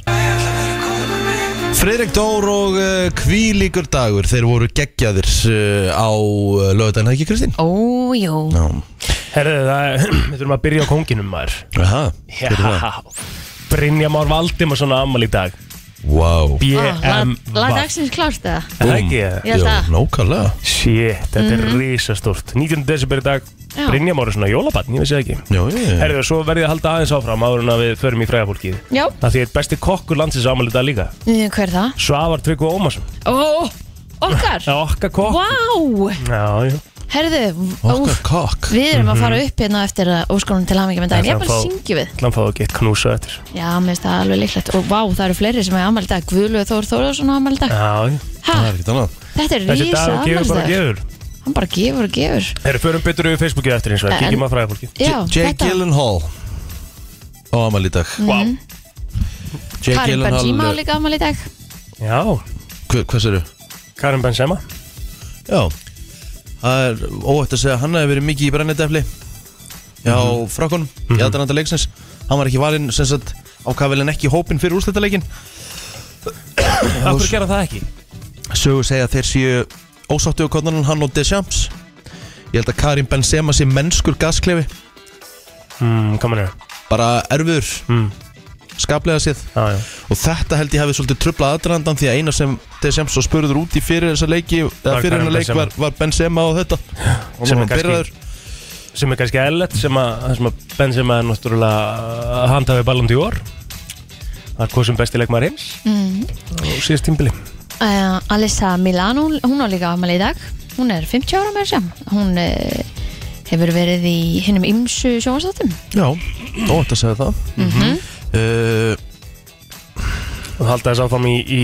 Speaker 1: Freirik Dór og uh, Kvílíkur dagur Þeir voru geggjaðir uh, á uh, lögudaginn, ekki Kristín?
Speaker 3: Ójó,
Speaker 1: Já
Speaker 2: Herðu það, er- [CLEARS THROAT] við þurfum að byrja á konginum maður
Speaker 1: Aha, hver er það?
Speaker 2: Já Brynja Már Valdimarsson á afmæli í dag
Speaker 1: Wow
Speaker 2: BM
Speaker 3: laði Ah, dagsins klárt eða?
Speaker 2: Er það ekki það?
Speaker 3: Ég held
Speaker 1: Já,
Speaker 3: að-
Speaker 1: nákvæmlega
Speaker 2: Shit, þetta er risastórt 19. desember í dag
Speaker 3: Mhm. Já.
Speaker 2: Brynja Már er svona jólabann, ég veist ekki
Speaker 1: Já, ég
Speaker 2: Herðu, svo verðið að halda aðeins áfram áður en að við förum í fræðafólkið
Speaker 3: Já,
Speaker 2: Það því er besti kokkur landsins á afmæli í dag líka
Speaker 3: hver er það?
Speaker 2: Svavar Tryggva Ómarsson
Speaker 3: Ó, okkar!
Speaker 2: Það er okkar kokk
Speaker 3: Vá!
Speaker 2: Já, já
Speaker 3: Herðu,
Speaker 1: Okkar
Speaker 3: úf,
Speaker 1: kokk
Speaker 3: við erum að fara upp hérna eftir að óskonum til hamingjum en daginn.
Speaker 2: Mhm. Ætlar að
Speaker 3: Ég er bara
Speaker 2: fá-
Speaker 3: að syngja við.
Speaker 2: Þannig að fáðu gett knúsa eftir
Speaker 3: Já, mér finnst það alveg líklegt og vá, það eru fleiri sem er afmæli í dag Guðlöð Þór Þórðarsson afmæli í dag
Speaker 2: Já, já
Speaker 3: ha,
Speaker 1: Það er ekkert annað
Speaker 3: Þetta er
Speaker 2: Þessi
Speaker 3: rísa
Speaker 2: dagur gefur bara
Speaker 3: afmæli dag
Speaker 2: gefur
Speaker 3: Hann bara gefur og gefur
Speaker 2: Herru, förum betur yfir Facebookið eftir eins og
Speaker 3: Eh, En-
Speaker 2: Kíkjum að fræðafólkið
Speaker 3: Já,
Speaker 1: J- Jake
Speaker 3: þetta
Speaker 1: Gyllenhaal á amal í dag
Speaker 2: Vá
Speaker 1: Jake
Speaker 3: Karin
Speaker 1: Gyllenhaal, eh,
Speaker 3: Benzema á líka afmæli í dag
Speaker 2: Já,
Speaker 1: hver- Hvers eru?
Speaker 2: Karim Benzema
Speaker 1: Já Það er óætt að segja að hann hefði verið mikið í brennidefli Já, mm -hmm. frákonum í aðdæranda leiksins Hann var ekki valinn sem sagt ákafilin ekki í hópinn fyrir [COUGHS] úrslitaleikin
Speaker 2: Af hverju gera það ekki?
Speaker 1: Sögur segja að þeir séu ósáttu og konan hann og Deschamps Ég held að Karim Benzema sé mennskur gasklefi
Speaker 2: mm, hvað mann er
Speaker 1: bara erfur
Speaker 2: Mm.
Speaker 1: skaplega séð
Speaker 2: Já, já,
Speaker 1: og þetta held ég hafi svolítið trublað aðrandan því að eina sem Desemso spurður út í fyrir þessa leiki eða
Speaker 2: Var
Speaker 1: fyrir hennar
Speaker 2: Karim
Speaker 1: leik var, var Benzema og þetta og
Speaker 2: Sem
Speaker 1: sem
Speaker 2: er
Speaker 1: hann
Speaker 2: kannski-
Speaker 1: byrjaður
Speaker 2: sem er kannski eðlert sem að, sem að Benzema er náttúrulega uh, handhafi Ballon d'Or það er hvað sem besti leikmaður heims og síðast tímbili
Speaker 3: Uh, Alessa Mhm. Milano, hún á líka afmæli í dag hún er 50 ára með þessu hún uh, hefur verið í hinnum ymsu sjónastáttum
Speaker 1: já, óvænt að segja það mm Eh,
Speaker 2: og halda þess áfram í, í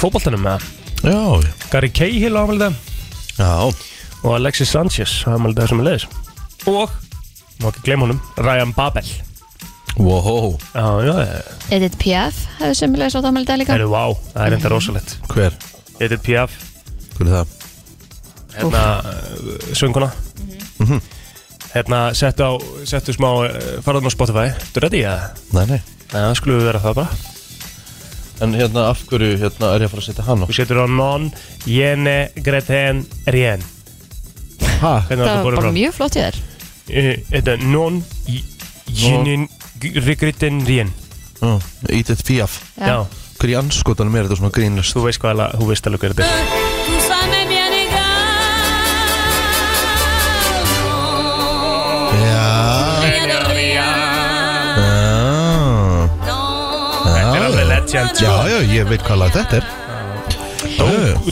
Speaker 2: fótboltanum með
Speaker 1: já,
Speaker 2: Gary Cahill á afmælda
Speaker 1: já
Speaker 2: og Alexis Sanchez á afmælda sem er leiðis og, má ekki gleyma honum Ryan Babel
Speaker 1: wow,
Speaker 2: já, já, já,
Speaker 3: Edith Piaf hefur sömulega sátt afmæli í dag líka
Speaker 2: það er vá það er enda rosalegt
Speaker 1: hver,
Speaker 2: Edith Piaf,
Speaker 1: hver er það
Speaker 2: hérna uh, sönguna Mhm. hérna settu á settu smá, uh, farðum á Spotify Þú ready eða?
Speaker 1: nei, nei.
Speaker 2: Nei, það skulum við vera það bara
Speaker 1: en hérna af hverju hérna, er ég að fara að setja hann á
Speaker 2: Þú setur á non, jene, greten, rien
Speaker 1: ha,
Speaker 2: Hvernig var
Speaker 3: það
Speaker 2: það
Speaker 3: var
Speaker 2: borðið
Speaker 3: bara
Speaker 2: fram?
Speaker 3: mjög flott í þér
Speaker 2: Eh, Þetta er non, jene, greten, rien
Speaker 1: já, Edith Piaf
Speaker 2: Já,
Speaker 1: hverju anskotanum er þetta svona grínast
Speaker 2: þú veist hvað alveg, þú veist alveg hver þetta er
Speaker 4: Tout ça m'est bien égal. Non,
Speaker 1: já,
Speaker 4: rien de rien.
Speaker 1: já
Speaker 4: Non,
Speaker 2: Þetta er alveg legend sko.
Speaker 1: já, ég veit hvað lag þetta er
Speaker 2: Dó,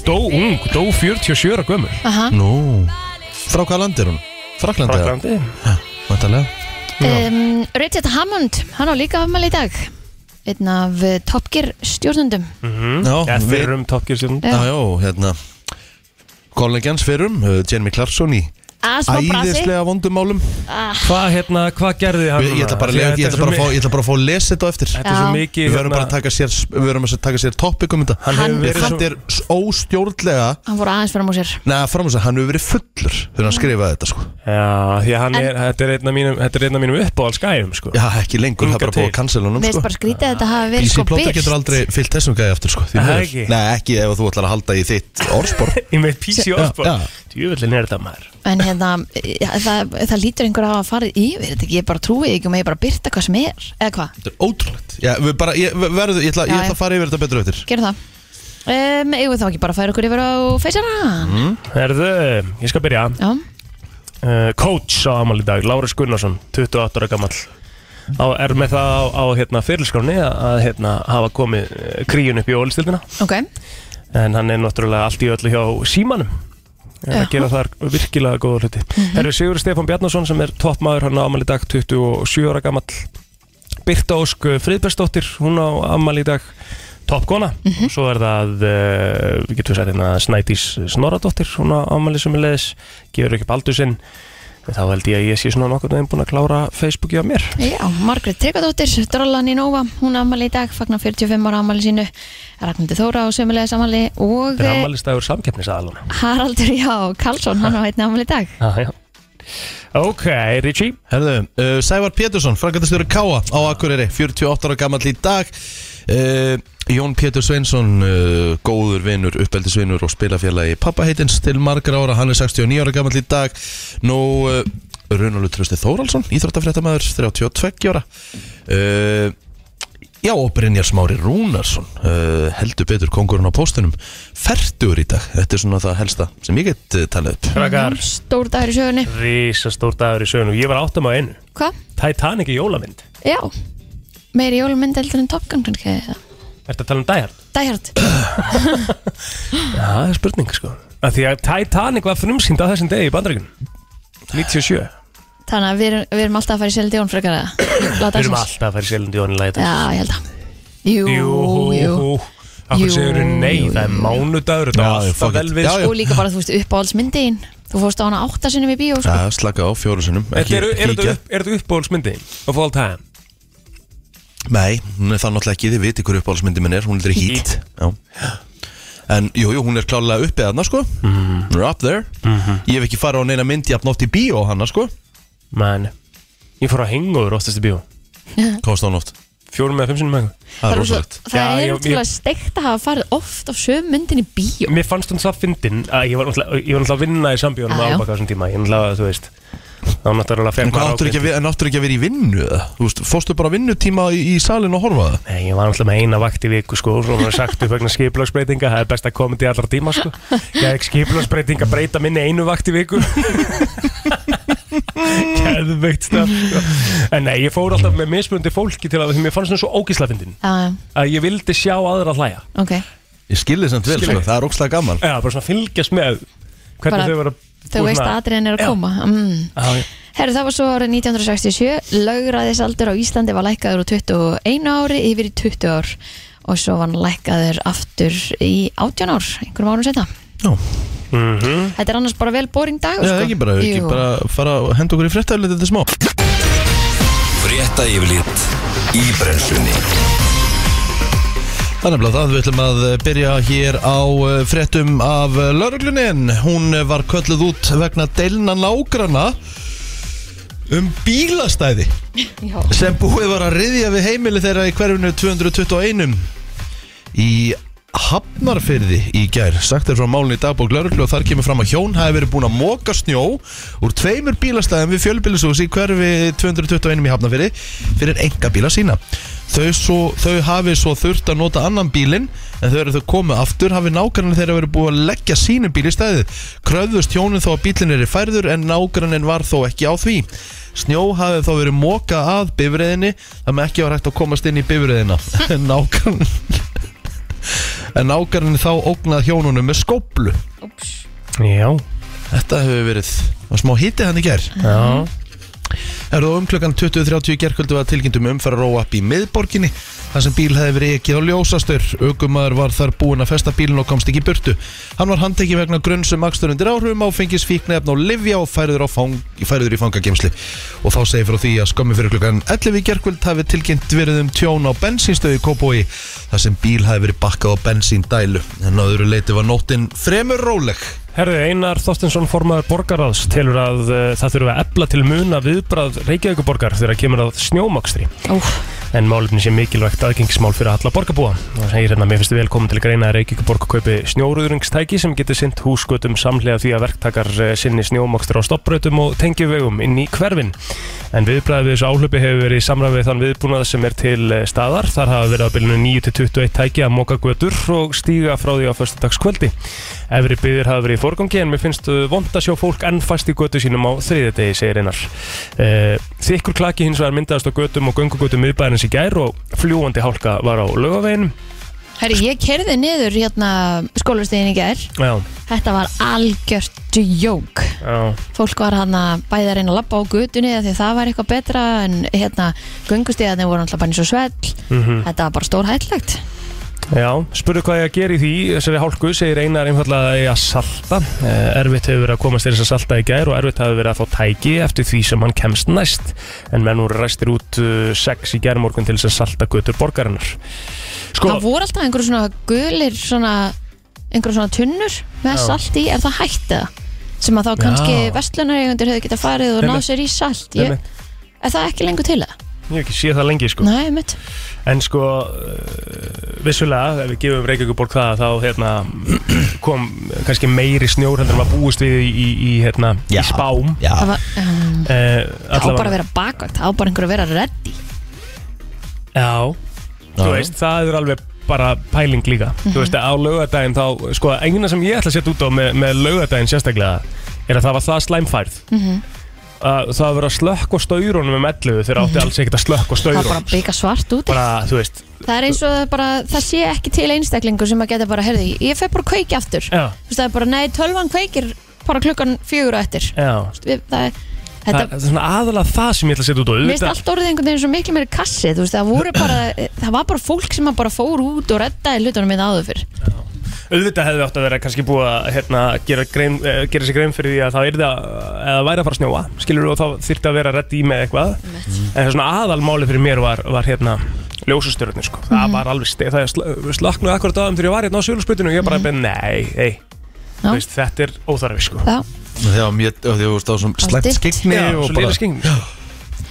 Speaker 2: dó ung, dó 47 ára gömur
Speaker 3: Aha.
Speaker 1: Nú, frá hvað land er hún? Fraklandi?
Speaker 2: Fraklandi
Speaker 1: Vantarlega
Speaker 3: um, Richard Hammond, hann á líka afmæli í dag einn af eh, Top Gear stjórnundum
Speaker 1: Mm. Já,
Speaker 2: Hmm? Eða
Speaker 1: við-
Speaker 2: fyrrum topgjörstjórn
Speaker 1: Já, já, hérna Kollegjans fyrrum, uh, Jeremy Clarkson í
Speaker 3: að smá brasi
Speaker 1: æðislega vondumálum
Speaker 2: Hvað hérna, hvað gerði hann?
Speaker 1: Ég ég ætla bara að
Speaker 2: Því
Speaker 1: lega-
Speaker 2: þetta
Speaker 1: ég
Speaker 2: er
Speaker 1: ætla
Speaker 2: svo
Speaker 1: bara að
Speaker 2: mi-
Speaker 1: fá- ég ætla bara að fá að lesa þetta á eftir
Speaker 2: Þetta er svo
Speaker 3: Já.
Speaker 2: mikið
Speaker 1: Við verðum
Speaker 2: hérna-
Speaker 1: bara að taka sér Við verðum að taka sér topic um þetta
Speaker 2: Hann
Speaker 3: Hann-
Speaker 2: hefur verið
Speaker 1: Þetta
Speaker 2: svo
Speaker 1: er s- óstjórnlega
Speaker 3: hann fór aðeins fram á sér
Speaker 1: Nei, fram þess að hann hefur verið fullur Þegar
Speaker 2: Hmm.
Speaker 1: hann skrifaði þetta, sko
Speaker 2: Já, því að hann er, þetta er einn af mínum, þetta er einn af mínum uppáhaldsgæfum, sko
Speaker 1: Já, ekki lengur, það er bara
Speaker 2: Hingað
Speaker 1: búið að
Speaker 2: til.
Speaker 1: cancela honum,
Speaker 3: Mér finnst
Speaker 1: sko
Speaker 3: bara skrítið að þetta hafi verið
Speaker 1: Ísi
Speaker 3: sko
Speaker 1: Plóta getur
Speaker 3: byrst
Speaker 1: aldrei fyllt þessum gæði aftur, sko því
Speaker 2: Aha,
Speaker 1: miður.
Speaker 2: ekki.
Speaker 1: Nei, ekki ef þú ætlar að halda í þitt
Speaker 3: [LAUGHS]
Speaker 1: orðspor
Speaker 2: Ég með PC Osborn
Speaker 1: já.
Speaker 2: Djúvillin sko. er þetta maður
Speaker 3: en hérna, ja, það, það lítur einhver að hafa farið yfir þetta ekki, ég bara trúi ekki og með ég bara byrta hvað sem er, eða hvað
Speaker 1: Þetta er ótrúlegt Já, við bara, ég, verðu, ég, ætla, ég
Speaker 3: Já, já.
Speaker 1: ætla að fara yfir þetta betur eftir
Speaker 3: gerum það um, eigum við þá ekki bara að færa okkur yfir á feysarann mm.
Speaker 2: Herðu, ég skal byrja
Speaker 3: já,
Speaker 2: uh, Coach á amal í dag, Lárus Gunnarsson 28 ára gamall á, Er með það á, á hérna, fyrirskráni að, að hérna, hafa komið eh, kríun upp í ólistildina
Speaker 3: ok,
Speaker 2: En hann er náttúrulega allt í öllu hjá símanum Er að
Speaker 3: Já.
Speaker 2: gera þar virkilega góða hluti Herðu Sigur Stefán Bjarnason sem er toppmaður hann á amal í dag 27 ára gamall Birta Ósk Friðbergsdóttir, hún á ammali í dag toppkona, svo er það uh, við getum sagt hérna Snædís Snorradóttir, hún á ammali sem er leðis gefur ekki baldur sinn þá held ég að ég sé svona nokkur veginn búin að klára Facebooki á mér
Speaker 3: já, Margrét Tryggvadóttir drollan í Nova, hún ammali í dag fagnar 45 ára ammali sínu Ragnhildur Þóra á sömulega sammali og
Speaker 2: þetta er
Speaker 3: eh,
Speaker 2: ammalistagur samkeppnisaðaluna
Speaker 3: Haraldur, já, Karlsson, hann á einni ammali í dag
Speaker 2: ah, ok, Richie
Speaker 1: Herðu, uh, Sævar Pétursson, frangatastjóri Káa á Akureyri 48 ára gamall í dag uh, Jón Pétur Sveinsson uh, góður vinur, uppeldisvinur og spilafélagi pappaheitins til margra ára hann er 69 ára gamall í dag Nú, uh, Runalur Trösti Þóralsson íþróttafréttamaður, 32 ára uh, Já, og Brynjar Smári Rúnarsson uh, heldur betur kongurinn á póstunum fertur í dag, þetta er svona það helsta sem ég get uh, talað upp
Speaker 2: Krakkar,
Speaker 3: Mhm. stór dagur í sögunni,
Speaker 2: risastór dagur í sögunu ég var áttum á einu,
Speaker 3: hvað?
Speaker 2: Titanic í jólamynd
Speaker 3: já, meiri jólumynd heldur en Top Gun kannski, eða?
Speaker 2: Ertu að tala um dæjar?
Speaker 3: Dæhjart,
Speaker 2: Já, það er spurning sko að Því að Titanic var frumsýnd á þessum degi í bandaríkun 97
Speaker 3: þannig að við, erum- við erum alltaf að fara í seldi jón frekar að láta
Speaker 2: Við erum alltaf að fara í sjælund í onni læta
Speaker 3: já, ég held að jú, jú.
Speaker 2: Akkur
Speaker 3: Jú,
Speaker 2: segur þú nei,
Speaker 3: jú,
Speaker 2: það er
Speaker 3: jú.
Speaker 2: mánudagur Þetta
Speaker 1: Já,
Speaker 2: er
Speaker 1: já, fuck
Speaker 2: alltaf vel
Speaker 1: it.
Speaker 2: við
Speaker 1: Já,
Speaker 2: sko.
Speaker 1: já.
Speaker 3: og líka bara, þú veist, uppáhaldsmyndin þú fórst á hana áttasunum í bíó sko.
Speaker 1: Já, slaka á fjóru sinnum
Speaker 2: Þetta
Speaker 1: ekki
Speaker 2: eru- Er
Speaker 1: híkja.
Speaker 2: þetta upp- er þetta uppbóðsmyndi of all time?
Speaker 1: Nei, hún er það náttúrulega ekki, þið viti hverju uppáhaldsmyndi minn er, hún er hít Já. En jú, jú, hún er klálega uppið þarna sko Hún er up there Ég hef ekki farið á neina mynd jafn oft í bíó hana sko
Speaker 2: Man, ég fór að hengu úr oftast í bíó
Speaker 1: Kost hún oft
Speaker 2: Fjórum eða fimm sinnum eitthvað
Speaker 1: Það er
Speaker 3: svo-
Speaker 1: rosalegt
Speaker 3: það
Speaker 2: Já,
Speaker 3: er
Speaker 2: ég-
Speaker 3: útrúlega
Speaker 2: ég-
Speaker 3: steikt að hafa farið oft á söm myndin í bíó
Speaker 2: Mér fannst hún það fyndin að ég var náttúrulega ég var náttúrulega að vinna í sambíónum
Speaker 3: Já, já.
Speaker 2: ábaka á þessum tíma Ég náttúrulega, þú veist þá náttúrulega
Speaker 1: En
Speaker 2: fekk
Speaker 1: hvað áttur ekki, að
Speaker 2: ákveðið-
Speaker 1: vi- en áttur ekki að vera í vinnu eða? Þú veist, fórstu bara á vinnutíma í, í salin og horfa á það?
Speaker 2: Nei, ég var náttúrulega með eina vakt í viku sko Svo var sagt upp vegna skipulagsbreytinga Það er best að koma til allra tíma
Speaker 3: [LAUGHS]
Speaker 2: sko Gæðið skipulagsbreytinga breyta minni einu vakt í viku Gæðveikt stöf sko. En nei, ég fór alltaf með mismundi fólki til að Því mér fannst það svo ógísla fyndin
Speaker 3: Já, já,
Speaker 2: Að ég vildi sjá aðra hlæja
Speaker 3: ok
Speaker 1: Ég skilði samt vel,
Speaker 2: Skil
Speaker 1: sko,
Speaker 2: ég.
Speaker 1: það er ógslag gaman
Speaker 2: Já, bara svona fylgjast með Hvernig
Speaker 3: Bara-
Speaker 2: þau voru að-
Speaker 3: Þau veist að atriðin er að
Speaker 2: Já.
Speaker 3: koma mm.
Speaker 2: Já, já.
Speaker 3: Herru, það var svo árið 1967 lögræðisaldur á Íslandi var lækkaður úr 21 ári yfir í 20 ár og svo var hann lækkaður aftur í 18 ár, einhverjum árum setna
Speaker 1: Já,
Speaker 2: Mhm.
Speaker 3: Þetta er annars bara vel boring dag
Speaker 1: Já, ekki bara, ekki
Speaker 3: sko- Jú.
Speaker 1: bara fara að henda okkur í fréttaðlið þetta er smá
Speaker 5: Frétta yfirlit í brenslunni
Speaker 1: Þannig að það við ætlum að eh, byrja hér á eh, fréttum af lauruglunin Hún eh, var kölluð út vegna deilna nágrana um bílastæði
Speaker 3: Já.
Speaker 1: sem búið var að riðja við heimili þeirra í hverfinu 221 í Hafnarfyrði í gær sagt er frá málun í dagbók lauruglu og þar kemur fram að hjón hafi verið búin að móka snjó úr tveimur bílastæðum við fjölbýlisús í hverfi 221 í Hafnarfyrði fyrir enga bíla sína þau, svo, þau hafi svo þurft að nota annan bílinn en þau eru þau komu aftur hafi nágrann þeirra verið búið að leggja sínum bíl í stæðið kröðust hjónin þó að bílinn er í færður en nágrannin var þó ekki á því Snjó hafði þá verið móka að bifriðinni þar með ekki var hægt að komast inn í bifriðina [LAUGHS] Nágrann en ágarinn þá ógnað hjónunum með skóplu
Speaker 2: Já,
Speaker 1: Þetta hefur verið var smá hítið hann í ger
Speaker 2: já
Speaker 1: Er það um klukkan 20.30 í gerkvöldu að tilkynntum umferðar óapp um í miðborginni þar sem bíl hefði verið ekki á ljósastur Ögumæður var þar búinn að festa bílinn og komst ekki í burtu Hann var handtekið vegna grunnsum akstur undir áhrifum áfengis fíknefn og livja og færiður, á fang, færiður í fangagemsli og þá segir frá því að skömmi fyrir klukkan 11 í gerkvöld hafi tilkynnt verið um tjón á bensínstöðu í Kópói þar sem bíl hefði verið bakkað á bensíndælu en á öðru leiti var nóttin fremur róleg
Speaker 2: Herðu, Einar Þorstinsson formaður borgarraðs telur að uh, það þurfa að efla til muna viðbrað Reykjavíkuborgar þegar kemur að snjómakstri
Speaker 3: Ó,
Speaker 2: en málefni sé mikilvægt aðgengismál fyrir alla borgarbúa og segir hérna, mér finnst þið vel komin til að greina að Reykjavíkuborg kaupi snjóruðringstæki sem getur sinnt húsgötum samlega því að verktakar eh, sinni snjómakstur á stopprautum og tengjuvegum inn í hverfin en viðbræðið við þessu áhlaupi hefur verið í samræmi við þann viðbúnað sem er til eh, staðar þar hafa verið á bylunu 9-21 tæki að moka götur og stíga frá því á föstudagskvöldi Efri byður hafa verið í forgangi en mér finnst vond að sjá fólk enn fast í götu sínum á þriðidegi, segir Einar Eh, Þykkur klaki hins vegar myndaðast á götum og göngugötum miðbæðarins í gær og fljúandi hálka var á laugavegin
Speaker 3: herri, ég kerði niður hérna skólastegin í gær
Speaker 2: Já,
Speaker 3: Þetta var algjört djók
Speaker 2: já,
Speaker 3: Fólk var hann að bæða að reyna að labba á gutunni af því að það var eitthvað betra en hérna, göngustíðarnir voru alltaf bara eins og svell Þetta var bara stórhætlegt
Speaker 2: mhm. já Spurðu hvað ég að gera í því, þessari hálku segir Einar einfallega að ég að salta Eh, Erfitt hefur verið að komast til þess að salta í gær og erfitt hafi verið að fá tæki eftir því sem hann kemst næst en menn voru ræstir út 6 í gærmorgun til þess að salta götur borgarinnar Sko,
Speaker 3: Það voru alltaf einhverjum svona gulir svona, einhverjum svona tunnur með
Speaker 2: Já.
Speaker 3: salt í, er það hægt eða? sem að þá kannski
Speaker 2: Já.
Speaker 3: vestlunareigundir hefðu getað farið og náð
Speaker 2: Einmitt.
Speaker 3: sér í salt ég,
Speaker 2: einmitt, Sko.
Speaker 3: Er það ekki lengur til það?
Speaker 2: ég hef ekki séð það lengi sko
Speaker 3: Nei, mitt
Speaker 2: En sko, eh, vissulega, ef við gefum Reykjavíkuborg það, þá hérna, [CLEARS THROAT] kom kannski meiri snjór heldur en var búist við í, í, í, hérna, í
Speaker 1: Já.
Speaker 2: spám.
Speaker 1: Já,
Speaker 3: Það var, um,
Speaker 2: Uh,
Speaker 3: það á bara að vera bakvægt, það á bara einhverju að vera reddi
Speaker 2: Já, þú veist, það er alveg bara pæling líka. Þú
Speaker 3: Mhm.
Speaker 2: veist, á laugadaginn þá, sko, eina sem ég ætla að setja út á með, með laugadaginn sérstaklega er að það var það slæmfærð. Mm
Speaker 3: Mhm.
Speaker 2: það var að vera að slökk og staurunum um elluðu þegar átti alls ekkert að slökk og
Speaker 3: Mhm. Það var bara
Speaker 2: staurunum.
Speaker 3: að byggja svart úti
Speaker 2: Bara, þú veist,
Speaker 3: Það er eins og það bara, það sé ekki til einstaklingur sem að geta bara, heyrði, ég fer bara að kveiki aftur Þú
Speaker 2: já,
Speaker 3: veist, það er bara, nei, tölvan kveikir bara klukkan fjögur og eftir
Speaker 2: já.
Speaker 3: Þú veist, við- Það er,
Speaker 2: Það,
Speaker 3: þetta,
Speaker 2: það er svona aðalega það sem ég ætla að setja út á.
Speaker 3: mér
Speaker 2: Auðvitað-
Speaker 3: finnst allt orðið einhvern veginn svo miklu meiri kassi, þú veist, það
Speaker 1: [CLEARS THROAT]
Speaker 3: voru bara það var bara fólk sem að bara fór út og reddaði hlutunum minn áður fyrr
Speaker 2: auðvitað hefði átt að vera kannski búið að hérna, gera, grein, eh, gera sér grein fyrir því að það yrði að eða væri að fara að snjóa skilur og þá þyrfti að vera rétt í með eitthvað en það svona aðalmáli fyrir mér var, var hérna ljósustjörnir sko það var alveg stið, það sl slaknaði akkurat á þeim þegar ég var hérna á sjölusbytinu og ég bara mm. nei, ei,
Speaker 3: Já.
Speaker 2: þú veist, þetta er óþarfi sko
Speaker 3: Já,
Speaker 1: þegar mér, þegar þú veist á svona slæmt
Speaker 3: Allt dimmt.
Speaker 1: skikni
Speaker 2: Já,
Speaker 1: og
Speaker 2: svo
Speaker 1: bara
Speaker 2: lítið skyggnir.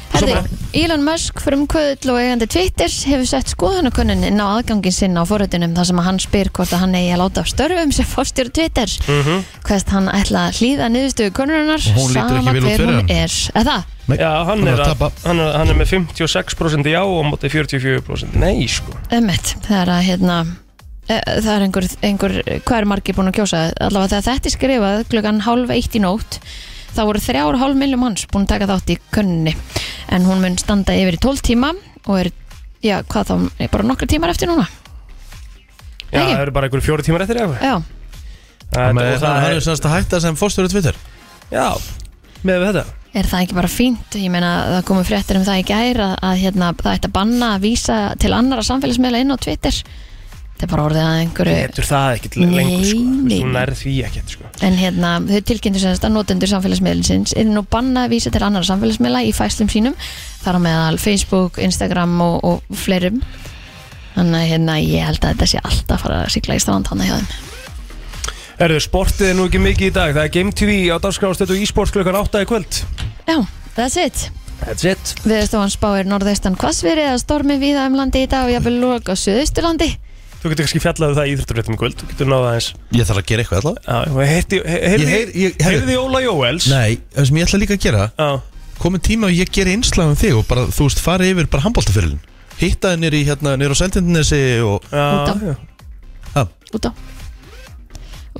Speaker 3: Herði, Elon Musk frumkvöðl og eigandi Twitter hefur sett skoðanakönnun inn á aðgangin sinn á forhundunum þar sem að hann spyr hvort að hann eigi að láta af störfum sem fórstjóri Twitter mm -hmm. hverst hann ætla að hlýða niðurstöðu könnurinnar
Speaker 1: Mhm. Og hún lítur ekki
Speaker 3: sama
Speaker 1: vel út
Speaker 3: hver
Speaker 1: fyrir
Speaker 3: hún
Speaker 1: hann.
Speaker 3: er Eða,
Speaker 2: Já, hann
Speaker 1: Hann
Speaker 2: er,
Speaker 1: er að
Speaker 2: að,
Speaker 1: tapa.
Speaker 2: hann, er, hann er með 56% já og á móti 44% nei, sko.
Speaker 3: ömmett, það er að hérna e, það er einhver, einhver hvað er margir búin að kjósa allavega þegar þetta er skrifað klukkan hálf eitt í nótt þá voru þrjár og hálf miljum manns búin að taka þátt í könnunni en hún mun standa yfir í 12 tíma og er, já, hvað þá, er bara nokkra tímar eftir núna
Speaker 2: Já,
Speaker 3: Ekki?
Speaker 2: það eru bara einhverju fjóri tímar eftir eða eitthvað.
Speaker 3: Já,
Speaker 2: Það-
Speaker 1: Þannig
Speaker 2: og
Speaker 1: að
Speaker 2: það
Speaker 1: hann er semst að hætta sem fórstöru Twitter
Speaker 2: Já, með þetta
Speaker 3: er það ekki bara fínt? Ég meina það komu fréttir um það í gær að, að hérna, það ætti að banna að vísa til annara samfélagsmiðla inn á Twitter Það er bara orðið að einhverju
Speaker 2: Getur það ekkert
Speaker 3: Nei,
Speaker 2: lengur sko. Þú veist, Þú
Speaker 3: nei.
Speaker 2: nærð því ekkert sko.
Speaker 3: En hérna, þau tilkynntu semst að notendur samfélagsmiðlisins er nú banna að vísa til annara samfélagsmiðla í fæslum sínum þar á meðal Facebook, Instagram og, og fleirum Þannig að hérna, ég held að þetta sé alltaf að fara að sigla í strand hana hjá þeim
Speaker 2: Erðu, sportið er nú ekki mikið í dag Það er Game TV á dagskráðstötu og e-sport klukkan 8 í kvöld
Speaker 3: Já, that's it
Speaker 2: That's it
Speaker 3: Viðstofan spáir norðaustan hvassveri eða stormi víða um landi í dag og jafnvel lók á suðausturlandi
Speaker 2: Þú getur kannski fjallað um það í Íþrótturréttum í kvöld Þú getur náða aðeins
Speaker 1: Ég þarf að gera eitthvað allavega
Speaker 2: Já, og heyrði-
Speaker 1: Ég
Speaker 2: Heyrði
Speaker 1: heyr- ég- heyrðu.
Speaker 2: heyrði Óla Jóels
Speaker 1: Nei, það sem ég ætla líka að gera
Speaker 2: Já,
Speaker 1: Komið tíma að ég gera innslag um þig og bara, þú veist, fara yfir bara handbóltafyrilin Hitta þið nýri hérna, nýri á sendindinesi og
Speaker 2: já,
Speaker 3: Út
Speaker 2: já
Speaker 3: út á